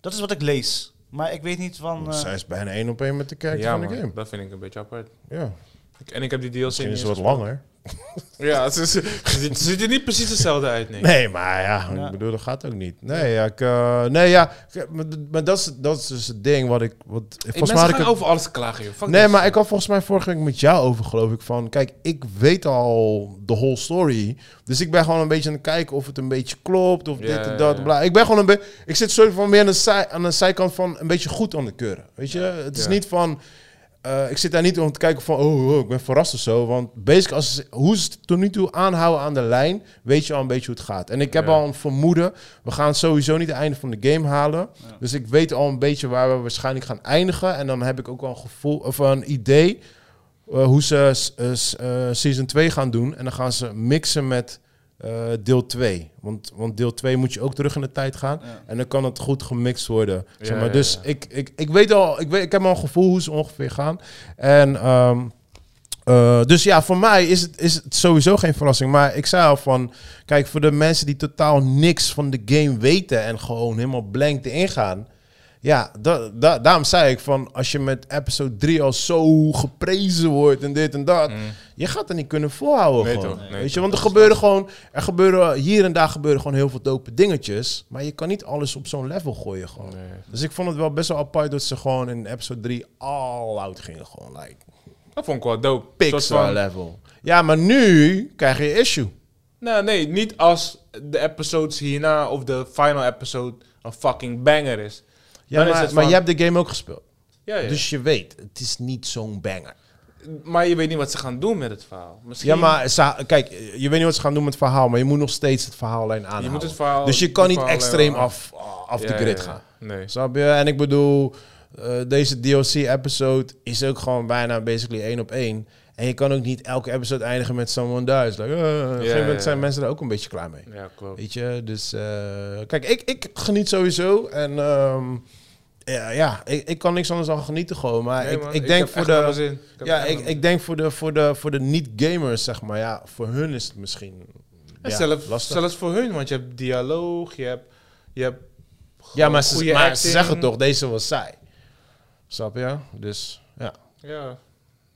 Speaker 1: Dat is wat ik lees. Maar ik weet niet van. eh,
Speaker 2: Zij is bijna één op één met de character
Speaker 3: Ja,
Speaker 2: van de
Speaker 3: man,
Speaker 2: game.
Speaker 3: dat vind ik een beetje apart.
Speaker 2: Ja.
Speaker 3: Ik- en ik heb die DLC
Speaker 2: Misschien
Speaker 3: niet
Speaker 2: is het wat
Speaker 3: eens gespeeld.
Speaker 2: langer.
Speaker 3: Ja, ze, ze, ze ziet er niet precies hetzelfde uit, nee.
Speaker 2: Nee, maar ja,
Speaker 1: Ja.
Speaker 2: ik bedoel, dat gaat ook niet. Nee, ja, ik, eh, nee, ja ik- maar, maar dat, is, dat is dus het ding wat ik... Wat,
Speaker 3: Hey,
Speaker 2: volgens mij
Speaker 3: mensen
Speaker 2: had
Speaker 3: gaan
Speaker 2: ik het-
Speaker 3: over alles klagen, joh. Fuck
Speaker 2: nee,
Speaker 3: this.
Speaker 2: maar ik had volgens mij vorige week met jou over, geloof ik, van... Kijk, ik weet al de whole story. Dus ik ben gewoon een beetje aan het kijken of het een beetje klopt, of
Speaker 3: Ja,
Speaker 2: dit en
Speaker 3: ja,
Speaker 2: dat.
Speaker 3: ja.
Speaker 2: Bla. Ik ben gewoon een beetje... Ik zit soort van meer aan de, zij, aan de zijkant van een beetje goed aan de keuren. Weet je, het is
Speaker 3: Ja.
Speaker 2: niet van... eh, ik zit daar niet om te kijken van, oh, oh, ik ben verrast of zo. Want basic, als, ze- hoe ze het tot nu toe aanhouden aan de lijn, weet je al een beetje hoe het gaat. En ik heb
Speaker 3: Ja.
Speaker 2: al een vermoeden, we gaan sowieso niet het einde van de game halen.
Speaker 1: Ja.
Speaker 2: Dus ik weet al een beetje waar we waarschijnlijk gaan eindigen. En dan heb ik ook al een gevoel, of een idee, eh, hoe ze s- eh, s- eh, season 2 gaan doen. En dan gaan ze mixen met eh, deel 2. Want, want deel 2 moet je ook terug in de tijd gaan.
Speaker 1: Ja.
Speaker 2: En dan kan het goed gemixt worden.
Speaker 3: Ja,
Speaker 2: zeg maar.
Speaker 3: ja,
Speaker 2: Dus
Speaker 3: ja.
Speaker 2: Ik, ik, ik weet al, ik, weet, ik heb al een gevoel hoe ze ongeveer gaan. En ehm, eh, dus ja, voor mij is het, is het sowieso geen verrassing. Maar ik zei al van, kijk, voor de mensen die totaal niks van de game weten en gewoon helemaal blank erin gaan. Ja, da, da- daarom zei ik van, als je met episode 3 al zo geprezen wordt en dit en dat.
Speaker 3: Mm.
Speaker 2: Je gaat er niet kunnen volhouden.
Speaker 3: Nee,
Speaker 2: gewoon.
Speaker 3: toch? Nee,
Speaker 2: Weet je,
Speaker 3: toch?
Speaker 2: want er gebeuren gewoon, er gebeuren hier en daar gebeuren gewoon heel veel dope dingetjes. Maar je kan niet alles op zo'n level gooien gewoon.
Speaker 3: Nee.
Speaker 2: Dus ik vond het wel best wel apart dat ze gewoon in episode 3 all out gingen. Gewoon like
Speaker 3: Dat vond ik wel dope. Soort
Speaker 2: pixar
Speaker 3: van-
Speaker 2: level. Ja, maar nu krijg je issue.
Speaker 3: Nou, nee, niet als de episodes hierna of de final episode een fucking banger is.
Speaker 2: Ja,
Speaker 3: Dan is
Speaker 2: maar,
Speaker 3: het
Speaker 2: maar
Speaker 3: van-
Speaker 2: je hebt de game ook gespeeld.
Speaker 3: Ja, ja.
Speaker 2: Dus je weet, het is niet zo'n banger.
Speaker 3: maar je weet niet wat ze gaan doen met het verhaal. Misschien
Speaker 2: Ja, maar sa- kijk, je weet niet wat ze gaan doen met het verhaal, maar je moet nog steeds het verhaallijn aanhouden.
Speaker 3: moet het verhaal-
Speaker 2: dus je kan
Speaker 3: het
Speaker 2: niet
Speaker 3: verhaal
Speaker 2: extreem
Speaker 3: helemaal
Speaker 2: af, af de
Speaker 3: Ja,
Speaker 2: grid
Speaker 3: ja, ja.
Speaker 2: gaan.
Speaker 3: Nee.
Speaker 2: Snap je? En ik bedoel, eh, deze DLC-episode is ook gewoon bijna basically één op één. En je kan ook niet elke episode eindigen met someone dies. Like, eh, op een gegeven moment
Speaker 3: ja,
Speaker 2: zijn
Speaker 3: ja.
Speaker 2: mensen er ook een beetje klaar mee.
Speaker 3: Ja, klopt.
Speaker 2: Weet je, dus eh, kijk, ik, ik geniet sowieso. En ehm, ja, ja ik, ik kan niks anders dan genieten gewoon. Maar
Speaker 3: Nee,
Speaker 2: ik,
Speaker 3: man,
Speaker 2: ik denk
Speaker 3: heb
Speaker 2: voor
Speaker 3: echt
Speaker 2: de...
Speaker 3: alles in. Ik heb
Speaker 2: Ja,
Speaker 3: echt
Speaker 2: ik,
Speaker 3: alles
Speaker 2: ik denk voor de, voor de, voor de niet-gamers, zeg maar. Ja, voor hun is het misschien
Speaker 3: En
Speaker 2: ja,
Speaker 3: zelf,
Speaker 2: lastig.
Speaker 3: zelfs voor hun, want je hebt dialoog, je hebt... Je hebt
Speaker 2: ja,
Speaker 3: gewoon
Speaker 2: maar, ze,
Speaker 3: goede
Speaker 2: maar ze
Speaker 3: acting.
Speaker 2: zeggen toch, deze was saai. Snap je? Dus, ja.
Speaker 3: Ja,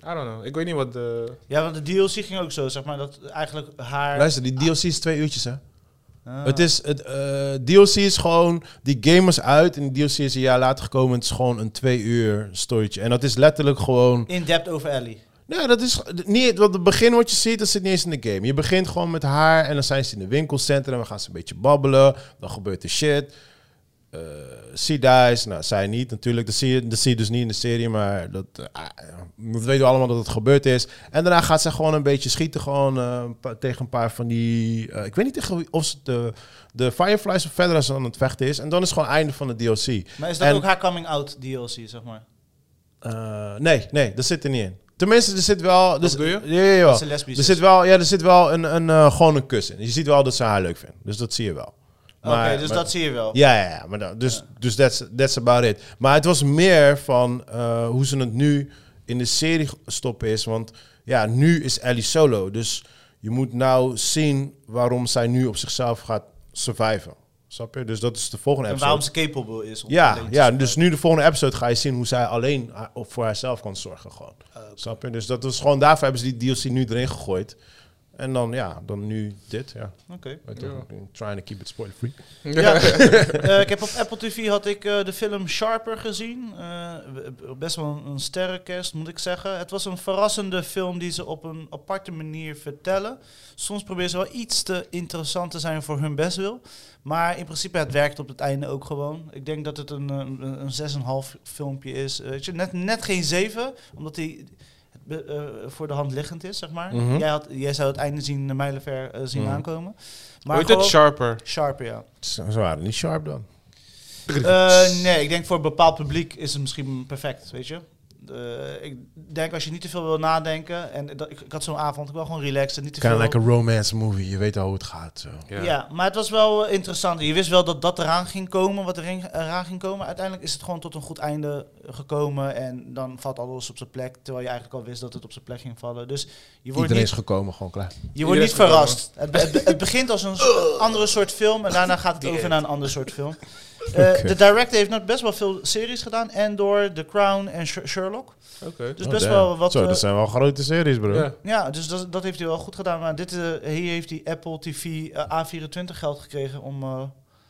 Speaker 3: I don't know. Ik weet niet wat de...
Speaker 1: Ja, want de DLC ging ook zo, zeg maar, dat eigenlijk haar...
Speaker 2: Luister, die DLC is twee uurtjes, hè?
Speaker 1: Ah.
Speaker 2: Het is, het, eh, DLC is gewoon, die game is uit en die DLC is een jaar later gekomen. Het is gewoon een twee uur storytje. En dat is letterlijk gewoon...
Speaker 1: In-depth over Ellie.
Speaker 2: Nou, dat is niet. Want het begin wat je ziet, dat zit niet eens in de game. Je begint gewoon met haar en dan zijn ze in de winkelcentrum. Dan gaan ze een beetje babbelen. Dan gebeurt er shit. Eh she dies. Nou, zij niet natuurlijk. Dat zie, je, dat zie je dus niet in de serie. Maar dat, eh, ah, dat weten we allemaal dat het gebeurd is. En daarna gaat ze gewoon een beetje schieten. Gewoon eh, een paar- tegen een paar van die. eh, ik weet niet tegen wie- of ze de, de Fireflies of verder aan het vechten is. En dan is het gewoon het einde van de DLC.
Speaker 1: Maar is dat
Speaker 2: En-
Speaker 1: ook haar coming-out DLC, zeg maar?
Speaker 2: Eh, nee, nee, dat zit er niet in. Tenminste, er zit wel. Dus,
Speaker 3: bedoel je?
Speaker 2: Ja, ja, ja.
Speaker 1: Dat ze lesbisch
Speaker 2: Er
Speaker 1: is.
Speaker 2: zit wel, ja, er zit wel een, een, eh, gewoon een kus in. Je ziet wel dat ze haar leuk vindt. Dus dat zie je wel.
Speaker 1: Oké, dus
Speaker 2: maar-
Speaker 1: dat zie je wel.
Speaker 2: Ja, ja, ja. Maar dat, dus dus that's, that's about it. Maar het was meer van eh, hoe ze het nu in de serie stoppen is. Want ja, nu is Ellie solo. Dus je moet nou zien waarom zij nu op zichzelf gaat surviven. Snap je? Dus dat is de volgende
Speaker 1: En
Speaker 2: episode.
Speaker 1: waarom ze capable is. om
Speaker 2: Ja,
Speaker 1: alleen te
Speaker 2: ja,
Speaker 1: spelen.
Speaker 2: dus nu de volgende episode ga je zien hoe zij alleen ha- of voor haarzelf kan zorgen. Gewoon.
Speaker 1: Ah,
Speaker 2: Snap je? Dus dat was gewoon daarvoor hebben ze die DLC nu erin gegooid. En dan ja, dan nu dit. Ja.
Speaker 1: Oké.
Speaker 2: Weet toch, I'm Trying to keep it spoiler free.
Speaker 1: Ja, eh, ik heb op Apple TV had ik eh, de film Sharper gezien. Eh, b- best wel een, een sterrenkerst, moet ik zeggen. Het was een verrassende film die ze op een aparte manier vertellen. Soms proberen ze wel iets te interessant te zijn voor hun bestwil. Maar in principe, het werkt op het einde ook gewoon. Ik denk dat het een, eh, een, een 6,5 filmpje is. Eh, weet je, net, net geen 7, omdat die be- eh, voor de hand liggend is, zeg maar.
Speaker 2: Mhm.
Speaker 1: jij, had, jij zou het einde zien, de mijlenver eh, zien
Speaker 2: Mhm.
Speaker 1: aankomen.
Speaker 3: Maar
Speaker 1: Maar
Speaker 3: Hoe heet het?
Speaker 1: gewoon-
Speaker 3: Sharper.
Speaker 1: Sharper, ja.
Speaker 2: Ze ze waren niet sharp dan.
Speaker 1: Eh, nee, ik denk voor een bepaald publiek is het misschien perfect, weet je. Eh, ik denk als je niet te veel wil nadenken. En dat, ik, ik had zo'n avond, ik wil gewoon relaxen, niet te
Speaker 2: Kind
Speaker 1: veel.
Speaker 2: of like a romance movie. Je weet al hoe het gaat. Zo.
Speaker 1: ja. maar het was wel eh, interessant. Je wist wel dat dat eraan ging komen, wat erin- eraan ging komen. Uiteindelijk is het gewoon tot een goed einde gekomen. En dan valt alles op zijn plek. Terwijl je eigenlijk al wist dat het op zijn plek ging vallen. Dus je wordt
Speaker 2: Iedereen
Speaker 1: niet
Speaker 2: is gekomen, gewoon klaar.
Speaker 1: je wordt niet
Speaker 3: Iedereen is
Speaker 1: verrast. Het, be- het, be- het begint als een s- andere soort film en daarna gaat het over naar een ander soort film. Eh, De director heeft nog best wel veel series gedaan. Endor, The Crown en Sh- Sherlock.
Speaker 3: Oké.
Speaker 2: Oh,
Speaker 1: Dus best wel wat...
Speaker 4: Zo,
Speaker 1: eh,
Speaker 4: dat zijn wel grote series, bro.
Speaker 3: Ja.
Speaker 1: ja, dus dat, dat heeft hij wel goed gedaan. Maar dit, eh, hier heeft hij Apple TV eh, A24 geld gekregen om eh,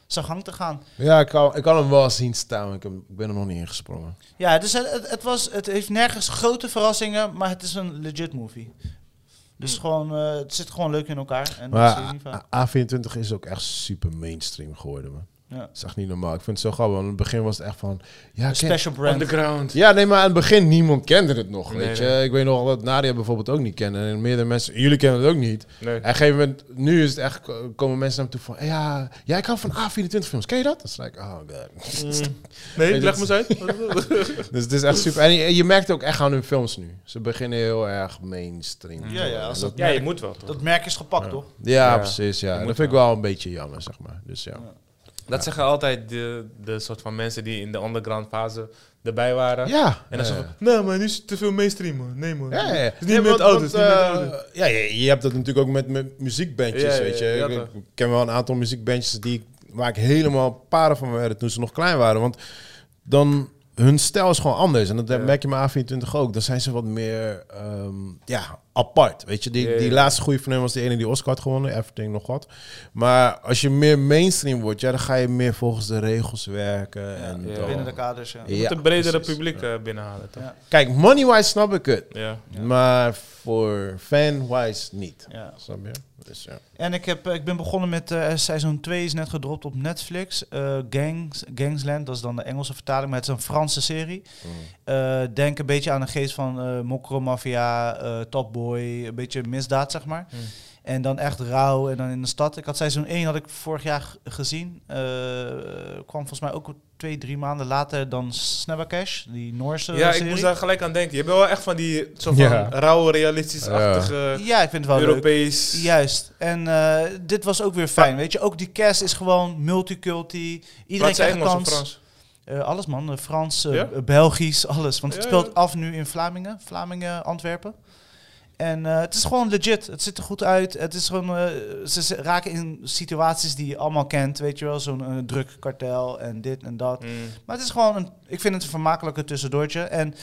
Speaker 1: zijn gang te gaan.
Speaker 2: Ja, ik kan, ik kan hem wel zien staan, maar ik, heb- ik ben er nog niet ingesprongen.
Speaker 1: Ja, dus het, het, het was, het heeft nergens grote verrassingen, maar het is een legit movie. Dus gewoon, eh, het zit gewoon leuk in elkaar. En dat zie je
Speaker 2: Maar ah,
Speaker 1: niet vaak.
Speaker 2: A- A24 is ook echt super mainstream geworden, man.
Speaker 1: Ja.
Speaker 2: Dat is echt niet normaal. Ik vind het zo grappig. want In het begin was het echt van... Ja,
Speaker 1: Een
Speaker 2: ken-
Speaker 1: special brand.
Speaker 3: Underground.
Speaker 2: Ja, nee, maar aan het begin niemand kende het nog,
Speaker 3: Nee,
Speaker 2: weet
Speaker 3: nee.
Speaker 2: je. Ik weet nog dat Nadia bijvoorbeeld ook niet kende. En meerdere mensen... Jullie kennen het ook niet.
Speaker 3: Nee.
Speaker 2: En op een gegeven moment... Nu is het echt... ko- Komen mensen naar me toe van... Ja, ja ik hou van A24 films. Ken je dat? Dat is like... Oh god.
Speaker 3: Nee,
Speaker 2: Nee,
Speaker 3: leg me
Speaker 2: dat-
Speaker 3: eens uit.
Speaker 2: dus het is echt super. En je, je merkt ook echt aan hun films nu. Ze beginnen heel erg mainstream.
Speaker 1: Ja, ja, als
Speaker 2: En
Speaker 1: dat-
Speaker 2: dat-
Speaker 3: ja, je moet wel.
Speaker 1: Dat merk is gepakt, toch?
Speaker 2: ja,
Speaker 3: Ja.
Speaker 2: precies. Ja.
Speaker 3: moet
Speaker 2: Dat vind ik wel een beetje jammer, zeg maar. Dus ja.
Speaker 3: Dat zeggen altijd de, de soort van mensen die in de underground fase erbij waren.
Speaker 2: Ja.
Speaker 3: En dan
Speaker 2: ja.
Speaker 3: zeggen van, nee man, nu is het te veel mainstream man. Nee man.
Speaker 2: Ja, ja, ja.
Speaker 3: Het is Dus niet meer met
Speaker 2: want-
Speaker 3: ouders.
Speaker 2: want,
Speaker 3: niet
Speaker 2: eh,
Speaker 3: met ouders.
Speaker 2: ja, je, je hebt dat natuurlijk ook met, met muziekbandjes,
Speaker 3: Ja, ja,
Speaker 2: weet je.
Speaker 3: ja,
Speaker 2: Ik-
Speaker 3: ja,
Speaker 2: ik, ken wel een aantal muziekbandjes die, ik- waar ik helemaal paren van werden toen ze nog klein waren. Want dan, hun stijl is gewoon anders. En dat merk je met A24 ook. Dan zijn ze wat meer, ehm, ja, apart, weet je. Die,
Speaker 3: Ja, ja,
Speaker 2: die
Speaker 3: ja.
Speaker 2: laatste goede van hen was die ene die Oscar had gewonnen, Everything nog wat. Maar als je meer mainstream wordt, ja, dan ga je meer volgens de regels werken. en
Speaker 3: ja.
Speaker 2: dan-
Speaker 1: Binnen de kaders, ja.
Speaker 3: Je moet
Speaker 2: Ja,
Speaker 3: een bredere
Speaker 2: precies.
Speaker 3: publiek eh, binnenhalen toch?
Speaker 1: Ja.
Speaker 2: Kijk, money-wise snap ik het.
Speaker 3: Ja.
Speaker 2: Maar voor fan-wise niet.
Speaker 1: Ja.
Speaker 2: Snap je? Dus ja.
Speaker 1: En ik, heb, eh, ik ben begonnen met eh, seizoen 2, is net gedropt op Netflix. Eh, Gangs, Gangsland, dat is dan de Engelse vertaling, maar het is een Franse serie.
Speaker 3: Mm.
Speaker 1: Eh, denk een beetje aan de geest van eh Mokro Mafia, eh, Top Boy, een beetje misdaad, zeg maar.
Speaker 3: Mm.
Speaker 1: En dan echt rauw en dan in de stad. Ik had seizoen 1 had ik vorig jaar g- gezien. Eh, kwam volgens mij ook twee, drie maanden later dan Snabbercash, die Noorse
Speaker 3: Ja, ik
Speaker 1: serie.
Speaker 3: moest daar gelijk aan denken. Je bent wel echt van die soort van
Speaker 2: Ja.
Speaker 3: rauwe, realistisch-achtige
Speaker 1: Ja, ik vind het wel leuk.
Speaker 3: Europees.
Speaker 1: Juist. En eh, dit was ook weer fijn, weet je. Ook die cast is gewoon multiculti. Iedereen
Speaker 3: Wat zijn
Speaker 1: krijgt een
Speaker 3: Engels of
Speaker 1: kans.
Speaker 3: Frans?
Speaker 1: Eh, alles man, Eh, Frans, eh,
Speaker 3: Ja?
Speaker 1: eh, Belgisch, alles. Want het
Speaker 3: Ja,
Speaker 1: speelt
Speaker 3: ja.
Speaker 1: af nu in Vlamingen, Vlamingen, Antwerpen. En eh, het is gewoon legit. Het ziet er goed uit. Het is gewoon, eh, ze ze raken in situaties die je allemaal kent, weet je wel. Zo'n eh, druk kartel en dit en dat.
Speaker 3: Mm.
Speaker 1: Maar het is gewoon een, ik vind het een vermakelijke tussendoortje. En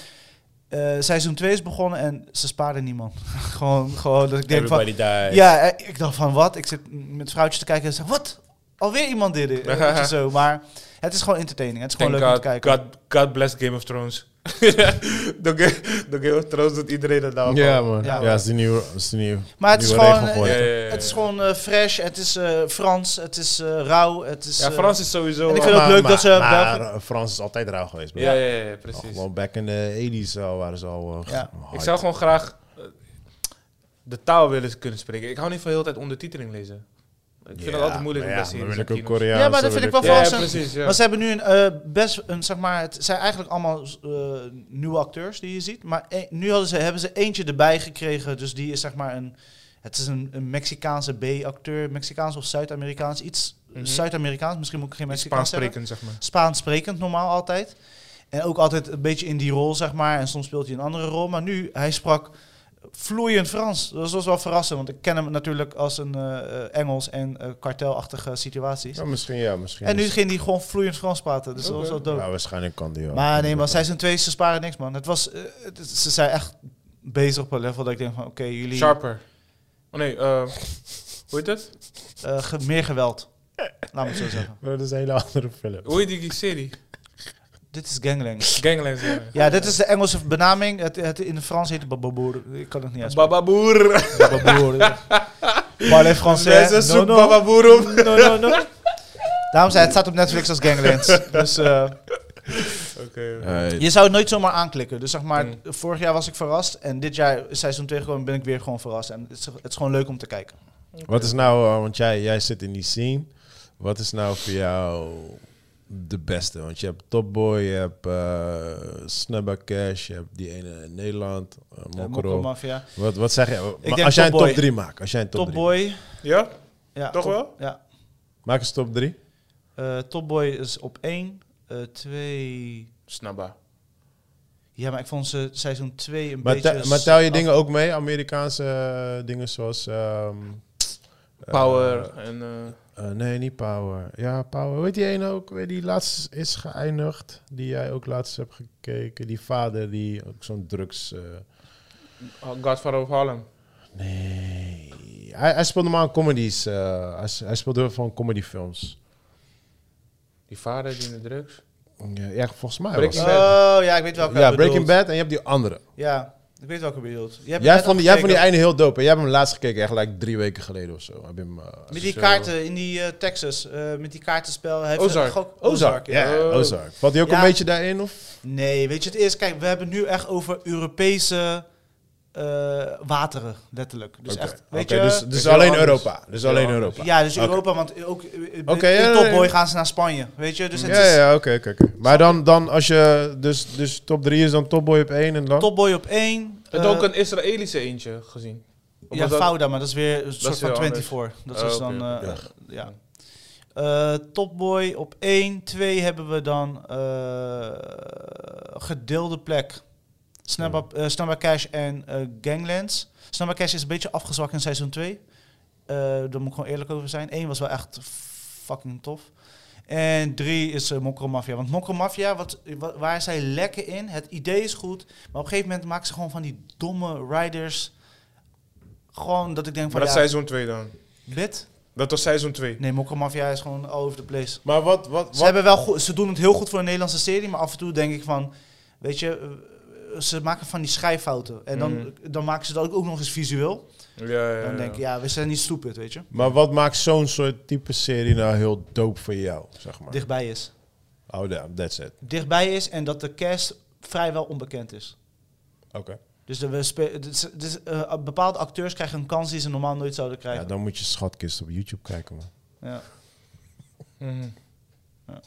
Speaker 1: eh, seizoen 2 is begonnen en ze spaarden niemand. gewoon, gewoon dat ik denk van,
Speaker 3: Everybody dies.
Speaker 1: ja, eh, ik dacht van wat? Ik zit m- met vrouwtjes te kijken en zeg, wat? Alweer iemand dit? eh, weet je zo, maar het is gewoon entertaining. Het is gewoon
Speaker 3: Thank
Speaker 1: leuk om te
Speaker 3: God,
Speaker 1: kijken.
Speaker 3: God, God bless Game of Thrones. de, Ga- de Game of Thrones doet iedereen dat nou.
Speaker 2: Ja, man.
Speaker 1: Ja.
Speaker 2: Ja, is die nieuwe, is die nieuwe,
Speaker 1: Maar het is
Speaker 2: nieuwe
Speaker 1: gewoon,
Speaker 2: regel
Speaker 3: Ja,
Speaker 2: geworden.
Speaker 3: ja, ja, ja.
Speaker 1: Het is gewoon eh, fresh, het is eh, Frans, het is eh, rauw, het is...
Speaker 3: Ja,
Speaker 1: eh,
Speaker 3: Frans is sowieso...
Speaker 1: en ik vind ook
Speaker 2: Maar-
Speaker 1: leuk
Speaker 2: maar-
Speaker 1: dat ze
Speaker 2: Maar
Speaker 1: Belgen-
Speaker 2: eh, Frans is altijd rauw geweest. bro.
Speaker 3: ja, ja, ja, ja,
Speaker 2: Al
Speaker 3: precies.
Speaker 2: Gewoon back in de 80s al waren ze al... eh,
Speaker 1: Ja.
Speaker 2: hard.
Speaker 3: Ik zou gewoon graag eh, de taal willen kunnen spreken. Ik hou niet van heel de tijd ondertiteling lezen. Ik vind
Speaker 2: Ja,
Speaker 3: dat altijd moeilijk om
Speaker 2: maar
Speaker 3: te
Speaker 2: ja,
Speaker 3: zien.
Speaker 2: dan
Speaker 3: in
Speaker 2: ben ik
Speaker 3: zo'n
Speaker 2: ook
Speaker 3: kino.
Speaker 2: Koreaans.
Speaker 1: Ja, maar dat
Speaker 2: dan
Speaker 1: vind ik
Speaker 2: wil
Speaker 1: wel
Speaker 3: Ja,
Speaker 1: Volgens
Speaker 3: ja,
Speaker 1: een-
Speaker 3: precies. Ja.
Speaker 1: Maar ze hebben nu een, eh, best een, zeg maar, het zijn eigenlijk allemaal eh, nieuwe acteurs die je ziet. Maar e- nu hadden ze, hebben ze eentje erbij gekregen, dus die is zeg maar een, het is een, een Mexicaanse B-acteur, Mexicaans of Zuid-Amerikaans, iets
Speaker 3: Mhm.
Speaker 1: Zuid-Amerikaans, misschien moet ik geen
Speaker 3: Iets
Speaker 1: Mexicaans
Speaker 3: Spaans
Speaker 1: zeggen.
Speaker 3: spreken, zeg maar.
Speaker 1: Spaans sprekend normaal altijd. En ook altijd een beetje in die rol, zeg maar. En soms speelt hij een andere rol. Maar nu, hij sprak vloeiend Frans. Dus Dat was wel verrassend, want ik ken hem natuurlijk als een eh, eh, Engels en eh, kartelachtige situaties.
Speaker 2: Ja, misschien ja, misschien.
Speaker 1: En nu
Speaker 2: is-
Speaker 1: ging hij gewoon vloeiend Frans praten. Dus dat was wel dood.
Speaker 2: Ja, waarschijnlijk kan die wel.
Speaker 1: maar nee, maar seizoen 2, ze sparen niks, man. Het was, eh, het is- ze zijn echt bezig op een level dat ik denk van... Oké, jullie...
Speaker 3: Sharper. Oh nee, eh, hoe heet dat?
Speaker 1: eh, ge- meer geweld. Laat me het zo zeggen.
Speaker 2: Bro, dat is een hele andere film.
Speaker 3: Hoe heet die serie?
Speaker 1: Dit is gangland.
Speaker 3: Gangland. ja.
Speaker 1: Ja, dit is de Engelse benaming. Het, het, in het Frans heet het bababoer. Ik kan het niet uitspreken.
Speaker 3: Bababoer.
Speaker 1: Bababoer.
Speaker 2: dus.
Speaker 1: Parlez français.
Speaker 3: Mensen
Speaker 1: No,
Speaker 3: zoek
Speaker 1: no.
Speaker 3: Bababoer op.
Speaker 1: No, no, no. Daarom zei het staat op Netflix als Ganglands. Dus eh,
Speaker 3: Oké.
Speaker 2: Eh,
Speaker 1: je zou het nooit zomaar aanklikken. Dus zeg maar,
Speaker 3: Mm.
Speaker 1: vorig jaar was ik verrast. En dit jaar, seizoen 2, gewoon, ben ik weer gewoon verrast. En het is, het is gewoon leuk om te kijken.
Speaker 2: Wat is nou, eh, want jij, jij zit in die scene. Wat is nou voor jou de beste? Want je hebt Top Boy, je hebt eh Snabba Cash, je hebt die ene in Nederland, eh,
Speaker 1: Ja,
Speaker 2: Mokro.
Speaker 1: Mafia.
Speaker 2: wat, wat zeg je? Maar
Speaker 1: denk
Speaker 2: als jij een
Speaker 1: Top
Speaker 2: top
Speaker 1: Boy.
Speaker 2: 3 maakt, als jij een top,
Speaker 1: Top
Speaker 2: drie-
Speaker 1: Boy.
Speaker 3: Ja?
Speaker 1: Ja,
Speaker 3: Toch
Speaker 1: top-
Speaker 3: wel?
Speaker 1: Ja.
Speaker 2: maak eens top 3.
Speaker 1: Eh, top Boy is op eh, 1. 2...
Speaker 3: Snabba.
Speaker 1: ja, maar ik vond ze seizoen 2 een
Speaker 2: Maar,
Speaker 1: beetje...
Speaker 2: tel- maar tel je
Speaker 1: af-
Speaker 2: dingen ook mee? Amerikaanse eh, dingen zoals ehm, eh,
Speaker 3: Power. En, eh,
Speaker 2: Eh, nee, niet Power. Ja, Power. Weet die ene ook? Weet die laatst is geëindigd. Die jij ook laatst hebt gekeken. Die vader die ook zo'n drugs... eh,
Speaker 3: oh, Godfather of Harlem.
Speaker 2: nee. Hij, hij speelt normaal comedies. eh, hij, s- hij speelt heel veel van comedyfilms.
Speaker 3: Die vader die in de drugs.
Speaker 2: Ja, ja, volgens mij was
Speaker 3: Breaking
Speaker 2: het.
Speaker 1: Oh, ja, ik weet welke
Speaker 2: Ja,
Speaker 1: je
Speaker 2: Breaking
Speaker 1: bedoelt.
Speaker 2: Bad en je hebt die andere.
Speaker 1: Ja, ik weet welke je bedoelt. Je hebt
Speaker 2: Jij
Speaker 1: net
Speaker 2: vond, die- jij vond die
Speaker 1: afgekeken.
Speaker 2: einde heel dope. En jij hebt hem laatst gekeken, echt like drie weken geleden of zo. Heb je hem, eh,
Speaker 1: Met die
Speaker 2: zo-
Speaker 1: kaarten in die eh, Texas, eh, met die kaartenspel. Heeft
Speaker 3: Ozark.
Speaker 1: toch ook-
Speaker 2: Ozark,
Speaker 1: ja.
Speaker 2: ja. Ozark. Valt die ook
Speaker 1: Ja.
Speaker 2: een beetje daarin? Of?
Speaker 1: Nee, weet je het is? Kijk, we hebben nu echt over Europese eh, wateren, letterlijk. Dus
Speaker 2: Oké.
Speaker 1: echt, weet
Speaker 2: Oké,
Speaker 1: je...
Speaker 2: Dus, dus
Speaker 3: heel
Speaker 2: alleen
Speaker 3: anders.
Speaker 2: Europa. Dus alleen
Speaker 3: anders.
Speaker 2: Europa.
Speaker 1: ja, dus
Speaker 2: Oké.
Speaker 1: Europa, want ook eh,
Speaker 2: Oké,
Speaker 1: in
Speaker 2: ja, ja,
Speaker 1: Top Boy
Speaker 2: ja. Mm.
Speaker 1: gaan ze naar Spanje, weet je? Dus het
Speaker 2: Ja,
Speaker 1: is
Speaker 2: ja, oké, oké. oké. Maar dan, dan als je, dus, dus top 3 is dan Topboy op 1 en dan?
Speaker 1: Top Boy op één.
Speaker 3: Heb
Speaker 1: eh,
Speaker 3: je ook een Israëlische eentje gezien? Of
Speaker 1: Ja,
Speaker 3: was dat-
Speaker 1: Fouda, maar dat is weer een soort
Speaker 3: is
Speaker 1: van
Speaker 3: weer anders.
Speaker 1: 24. Dat
Speaker 3: Oh,
Speaker 1: is
Speaker 3: oké,
Speaker 1: dan...
Speaker 3: oké.
Speaker 1: eh, ja. Eh, Topboy op 1. 2 hebben we dan eh, gedeelde plek. Snabba, eh, Snabba Cash en eh, Ganglands. Snabba Cash is een beetje afgezwakt in seizoen 2. Eh daar moet ik gewoon eerlijk over zijn. 1 was wel echt fucking tof. En 3 is eh Mokro Mafia. Want Mokro Mafia, wat, wa- waar zij lekker in. Het idee is goed. Maar op een gegeven moment maken ze gewoon van die domme riders. Gewoon dat ik denk van...
Speaker 3: Maar dat is
Speaker 1: ja,
Speaker 3: seizoen 2 dan.
Speaker 1: Bit?
Speaker 3: Dat was seizoen 2.
Speaker 1: Nee, Mokro Mafia is gewoon all over the place.
Speaker 2: Maar wat, wat,
Speaker 1: Ze, hebben wel goed, ze doen het heel goed voor een Nederlandse serie, maar af en toe denk ik van, weet je, eh, ze maken van die schrijffouten. En dan, dan maken ze dat ook, ook nog eens visueel.
Speaker 3: Ja, ja, Mhm. ja.
Speaker 1: Dan denk ik, ja, we zijn niet stupid, weet je.
Speaker 2: Maar wat maakt zo'n soort type serie nou heel dope voor jou, zeg maar?
Speaker 1: Dichtbij is.
Speaker 2: Oh, damn, that's it.
Speaker 1: Dichtbij is en dat de cast vrijwel onbekend is.
Speaker 2: Oké.
Speaker 1: Dus, de, we spe- dus, dus, eh, bepaalde acteurs krijgen een kans die ze normaal nooit zouden
Speaker 2: Ja,
Speaker 1: krijgen.
Speaker 2: dan moet je Schatkist op YouTube kijken, man.
Speaker 1: Ja.
Speaker 3: Mhm.
Speaker 1: Ja.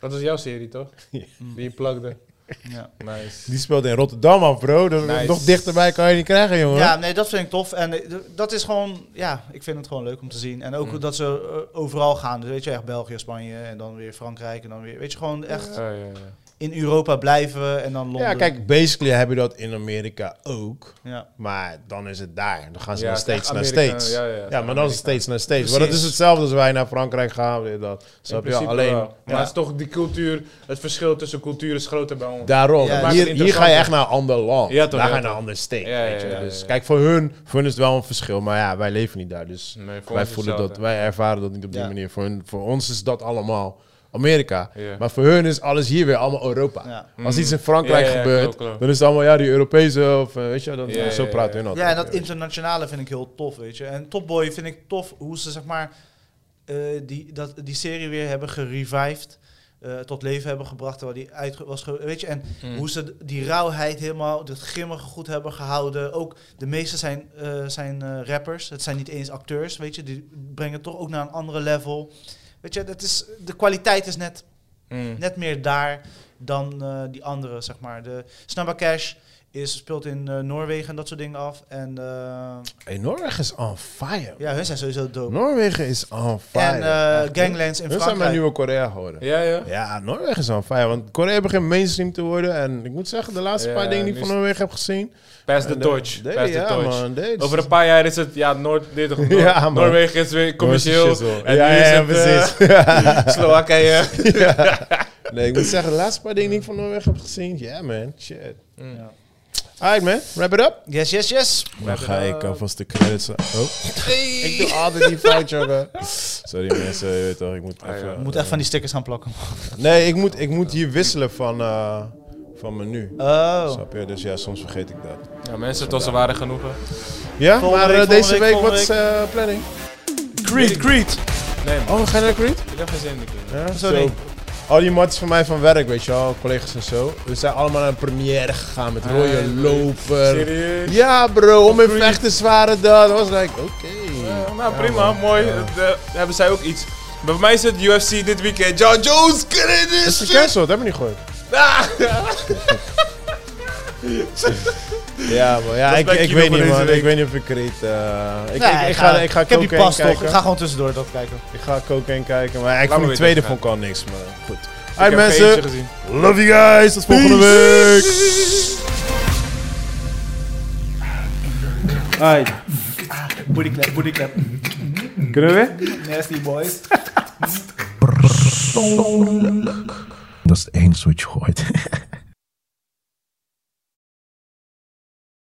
Speaker 3: Dat is jouw serie, toch? Die je plugde.
Speaker 1: Ja.
Speaker 3: Nice.
Speaker 2: Die speelt in Rotterdam af, bro. Dat-
Speaker 3: Nice.
Speaker 2: Nog dichterbij kan je niet krijgen, jongen.
Speaker 1: Ja, nee, dat vind ik tof. En eh, d- dat is gewoon, ja, ik vind het gewoon leuk om te zien. En ook
Speaker 3: Mm.
Speaker 1: dat ze eh, overal gaan. Dus weet je, echt België, Spanje en dan weer Frankrijk en dan weer, weet je, gewoon echt
Speaker 3: Oh, Ja, ja, ja.
Speaker 1: in Europa blijven en dan Londen.
Speaker 2: Ja, kijk, basically heb je dat in Amerika ook.
Speaker 1: Ja.
Speaker 2: Maar dan is het daar. Dan gaan ze
Speaker 3: Ja,
Speaker 2: naar
Speaker 3: het is echt
Speaker 2: steeds naar
Speaker 3: Amerika,
Speaker 2: steeds.
Speaker 3: ja, ja,
Speaker 2: maar
Speaker 3: het is
Speaker 2: dan is het steeds naar steeds. Maar dat
Speaker 1: Precies.
Speaker 2: is hetzelfde als wij naar Frankrijk gaan. dit, Dat. Snap je?
Speaker 3: principe
Speaker 2: Alleen
Speaker 3: wel. Maar het is toch die cultuur, het verschil tussen cultuur is groter bij ons.
Speaker 2: daarom.
Speaker 1: Ja,
Speaker 3: maakt
Speaker 2: hier,
Speaker 3: het
Speaker 2: hier ga je echt naar een ander land.
Speaker 3: Ja,
Speaker 2: daar
Speaker 3: toch, ja,
Speaker 2: ga je
Speaker 3: toch.
Speaker 2: naar een ander state.
Speaker 3: Ja, ja,
Speaker 2: weet je.
Speaker 3: ja, ja,
Speaker 2: dus
Speaker 3: ja.
Speaker 2: kijk, voor hun, voor hun is het wel een verschil. Maar ja, wij leven niet daar. Dus
Speaker 3: Nee, voor ons
Speaker 2: wij
Speaker 3: is
Speaker 2: voelen dat,
Speaker 3: hetzelfde.
Speaker 2: wij ervaren dat niet op die
Speaker 1: Ja.
Speaker 2: manier. Voor, hun, voor ons is dat allemaal Amerika.
Speaker 3: Ja.
Speaker 2: Maar voor hun is alles hier weer allemaal Europa.
Speaker 1: Ja.
Speaker 2: Als iets in Frankrijk
Speaker 3: Mm. Ja, ja, ja,
Speaker 2: gebeurt,
Speaker 3: klopt, klopt.
Speaker 2: dan is het allemaal ja, die Europese of eh, weet je, dan,
Speaker 3: Ja,
Speaker 2: zo
Speaker 3: ja,
Speaker 2: praten
Speaker 3: ja.
Speaker 2: hun altijd.
Speaker 1: ja, en dat internationale vind ik heel tof, weet je. En Top Boy vind ik tof hoe ze, zeg maar, eh, die, dat, die serie weer hebben gerevived. eh, tot leven hebben gebracht, waar die uit was ge- weet je, en
Speaker 3: Mm.
Speaker 1: hoe ze d- die rauwheid helemaal, dat grimmige goed hebben gehouden. Ook de meeste zijn, eh, zijn eh, rappers, het zijn niet eens acteurs, weet je, die brengen het toch ook naar een andere level. Weet je, dat is, de kwaliteit is net
Speaker 3: Mm.
Speaker 1: Hm. net meer daar dan eh, die andere, zeg maar. De Snabba Cash is, speelt in eh, Noorwegen en dat soort dingen af. En eh,
Speaker 2: Hey, Noorwegen is on fire.
Speaker 1: ja, hun zijn sowieso dope.
Speaker 2: Noorwegen is on fire.
Speaker 1: en eh,
Speaker 2: Echt, hè?
Speaker 1: Ganglands in
Speaker 2: Hun zijn
Speaker 1: Frankrijk.
Speaker 2: mijn nieuwe Korea geworden. Ja.
Speaker 3: Ja, ja.
Speaker 2: Noorwegen is on fire. Want Korea begint mainstream te worden. En ik moet zeggen, de laatste
Speaker 3: Ja,
Speaker 2: paar dingen die ik
Speaker 3: nu
Speaker 2: van
Speaker 3: is-
Speaker 2: Noorwegen heb gezien.
Speaker 3: Pass the
Speaker 2: en,
Speaker 3: torch.
Speaker 2: eh,
Speaker 3: Pass
Speaker 2: nee,
Speaker 3: the
Speaker 2: ja,
Speaker 3: torch.
Speaker 2: man, nee,
Speaker 3: Over
Speaker 2: dus-
Speaker 3: een paar jaar is het, ja, Noord, dit, toch, Noor-
Speaker 2: Ja, man.
Speaker 3: Noorwegen is weer commercieel.
Speaker 2: Noorse shizzle.
Speaker 3: en
Speaker 2: Ja,
Speaker 3: nu is
Speaker 2: ja,
Speaker 3: het, eh, Slowakije.
Speaker 2: Nee, ik moet zeggen, de laatste paar dingen die ik van Noorwegen heb gezien. Ja, man. Shit.
Speaker 3: Mm.
Speaker 1: Ja.
Speaker 2: Alright, man. Wrap it up.
Speaker 1: Yes, yes, yes.
Speaker 2: Dan ga
Speaker 1: eh,
Speaker 2: ik alvast de credits... Oh. Ik doe altijd die fout, jongen. Sorry, mensen. Je weet toch, ik moet even...
Speaker 1: Ik Ah, moet echt van die stickers gaan plakken.
Speaker 2: Nee, ik moet, ik moet hier wisselen van, eh, van menu.
Speaker 1: Oh.
Speaker 2: Snap je? Dus ja, soms vergeet ik dat.
Speaker 3: Ja, mensen, het was een ware genoegen.
Speaker 2: Ja,
Speaker 1: Volgende
Speaker 2: maar
Speaker 1: week, volgende
Speaker 2: eh, deze
Speaker 1: week,
Speaker 2: week, wat
Speaker 1: volgende
Speaker 2: is eh planning?
Speaker 1: Creed, Creed.
Speaker 3: Nee, man.
Speaker 2: Oh, ga je naar Creed?
Speaker 3: Ik heb geen zin in die kinderen.
Speaker 2: Ja,
Speaker 1: Zo niet.
Speaker 2: Al die matties van mij van werk, weet je wel, collega's en zo. We zijn allemaal naar een première gegaan met rode
Speaker 3: Ah,
Speaker 2: loper.
Speaker 3: Serieus?
Speaker 2: Ja, bro, om in vechten zware dat. Dat was like, oké.
Speaker 3: Eh, nou, prima, mooi. Dat, eh, hebben zij ook iets. Bij mij is het UFC dit weekend. John Jones,
Speaker 2: Is
Speaker 3: credits!
Speaker 2: gecanceld, hebben we niet gehoord.
Speaker 3: Ah!
Speaker 2: Ja, maar ja,
Speaker 3: is
Speaker 2: ik,
Speaker 3: mijn
Speaker 2: ik
Speaker 3: kino
Speaker 2: weet
Speaker 3: voor
Speaker 2: niet,
Speaker 3: deze
Speaker 2: man.
Speaker 3: week.
Speaker 2: Ik weet niet of ik Creed... eh, ik,
Speaker 1: Nee,
Speaker 2: ik, ik ga, ik ga
Speaker 1: ik heb die
Speaker 2: Cocaine
Speaker 1: pas toch.
Speaker 2: kijken.
Speaker 1: Ik ga gewoon tussendoor dat kijken.
Speaker 2: Ik ga Cocaine kijken, maar ik
Speaker 3: Laat
Speaker 2: vond
Speaker 3: me
Speaker 2: die
Speaker 3: weten,
Speaker 2: tweede
Speaker 3: ja.
Speaker 2: vond ik al niks, maar goed.
Speaker 3: Ik
Speaker 2: Alright
Speaker 3: heb geen eentje
Speaker 2: mensen,
Speaker 3: gezien.
Speaker 2: love you guys, tot volgende week!
Speaker 1: Alright. Booty clap, booty clap.
Speaker 5: Kunnen we?
Speaker 6: Nasty boys.
Speaker 7: Dat is het enige wat je gooit.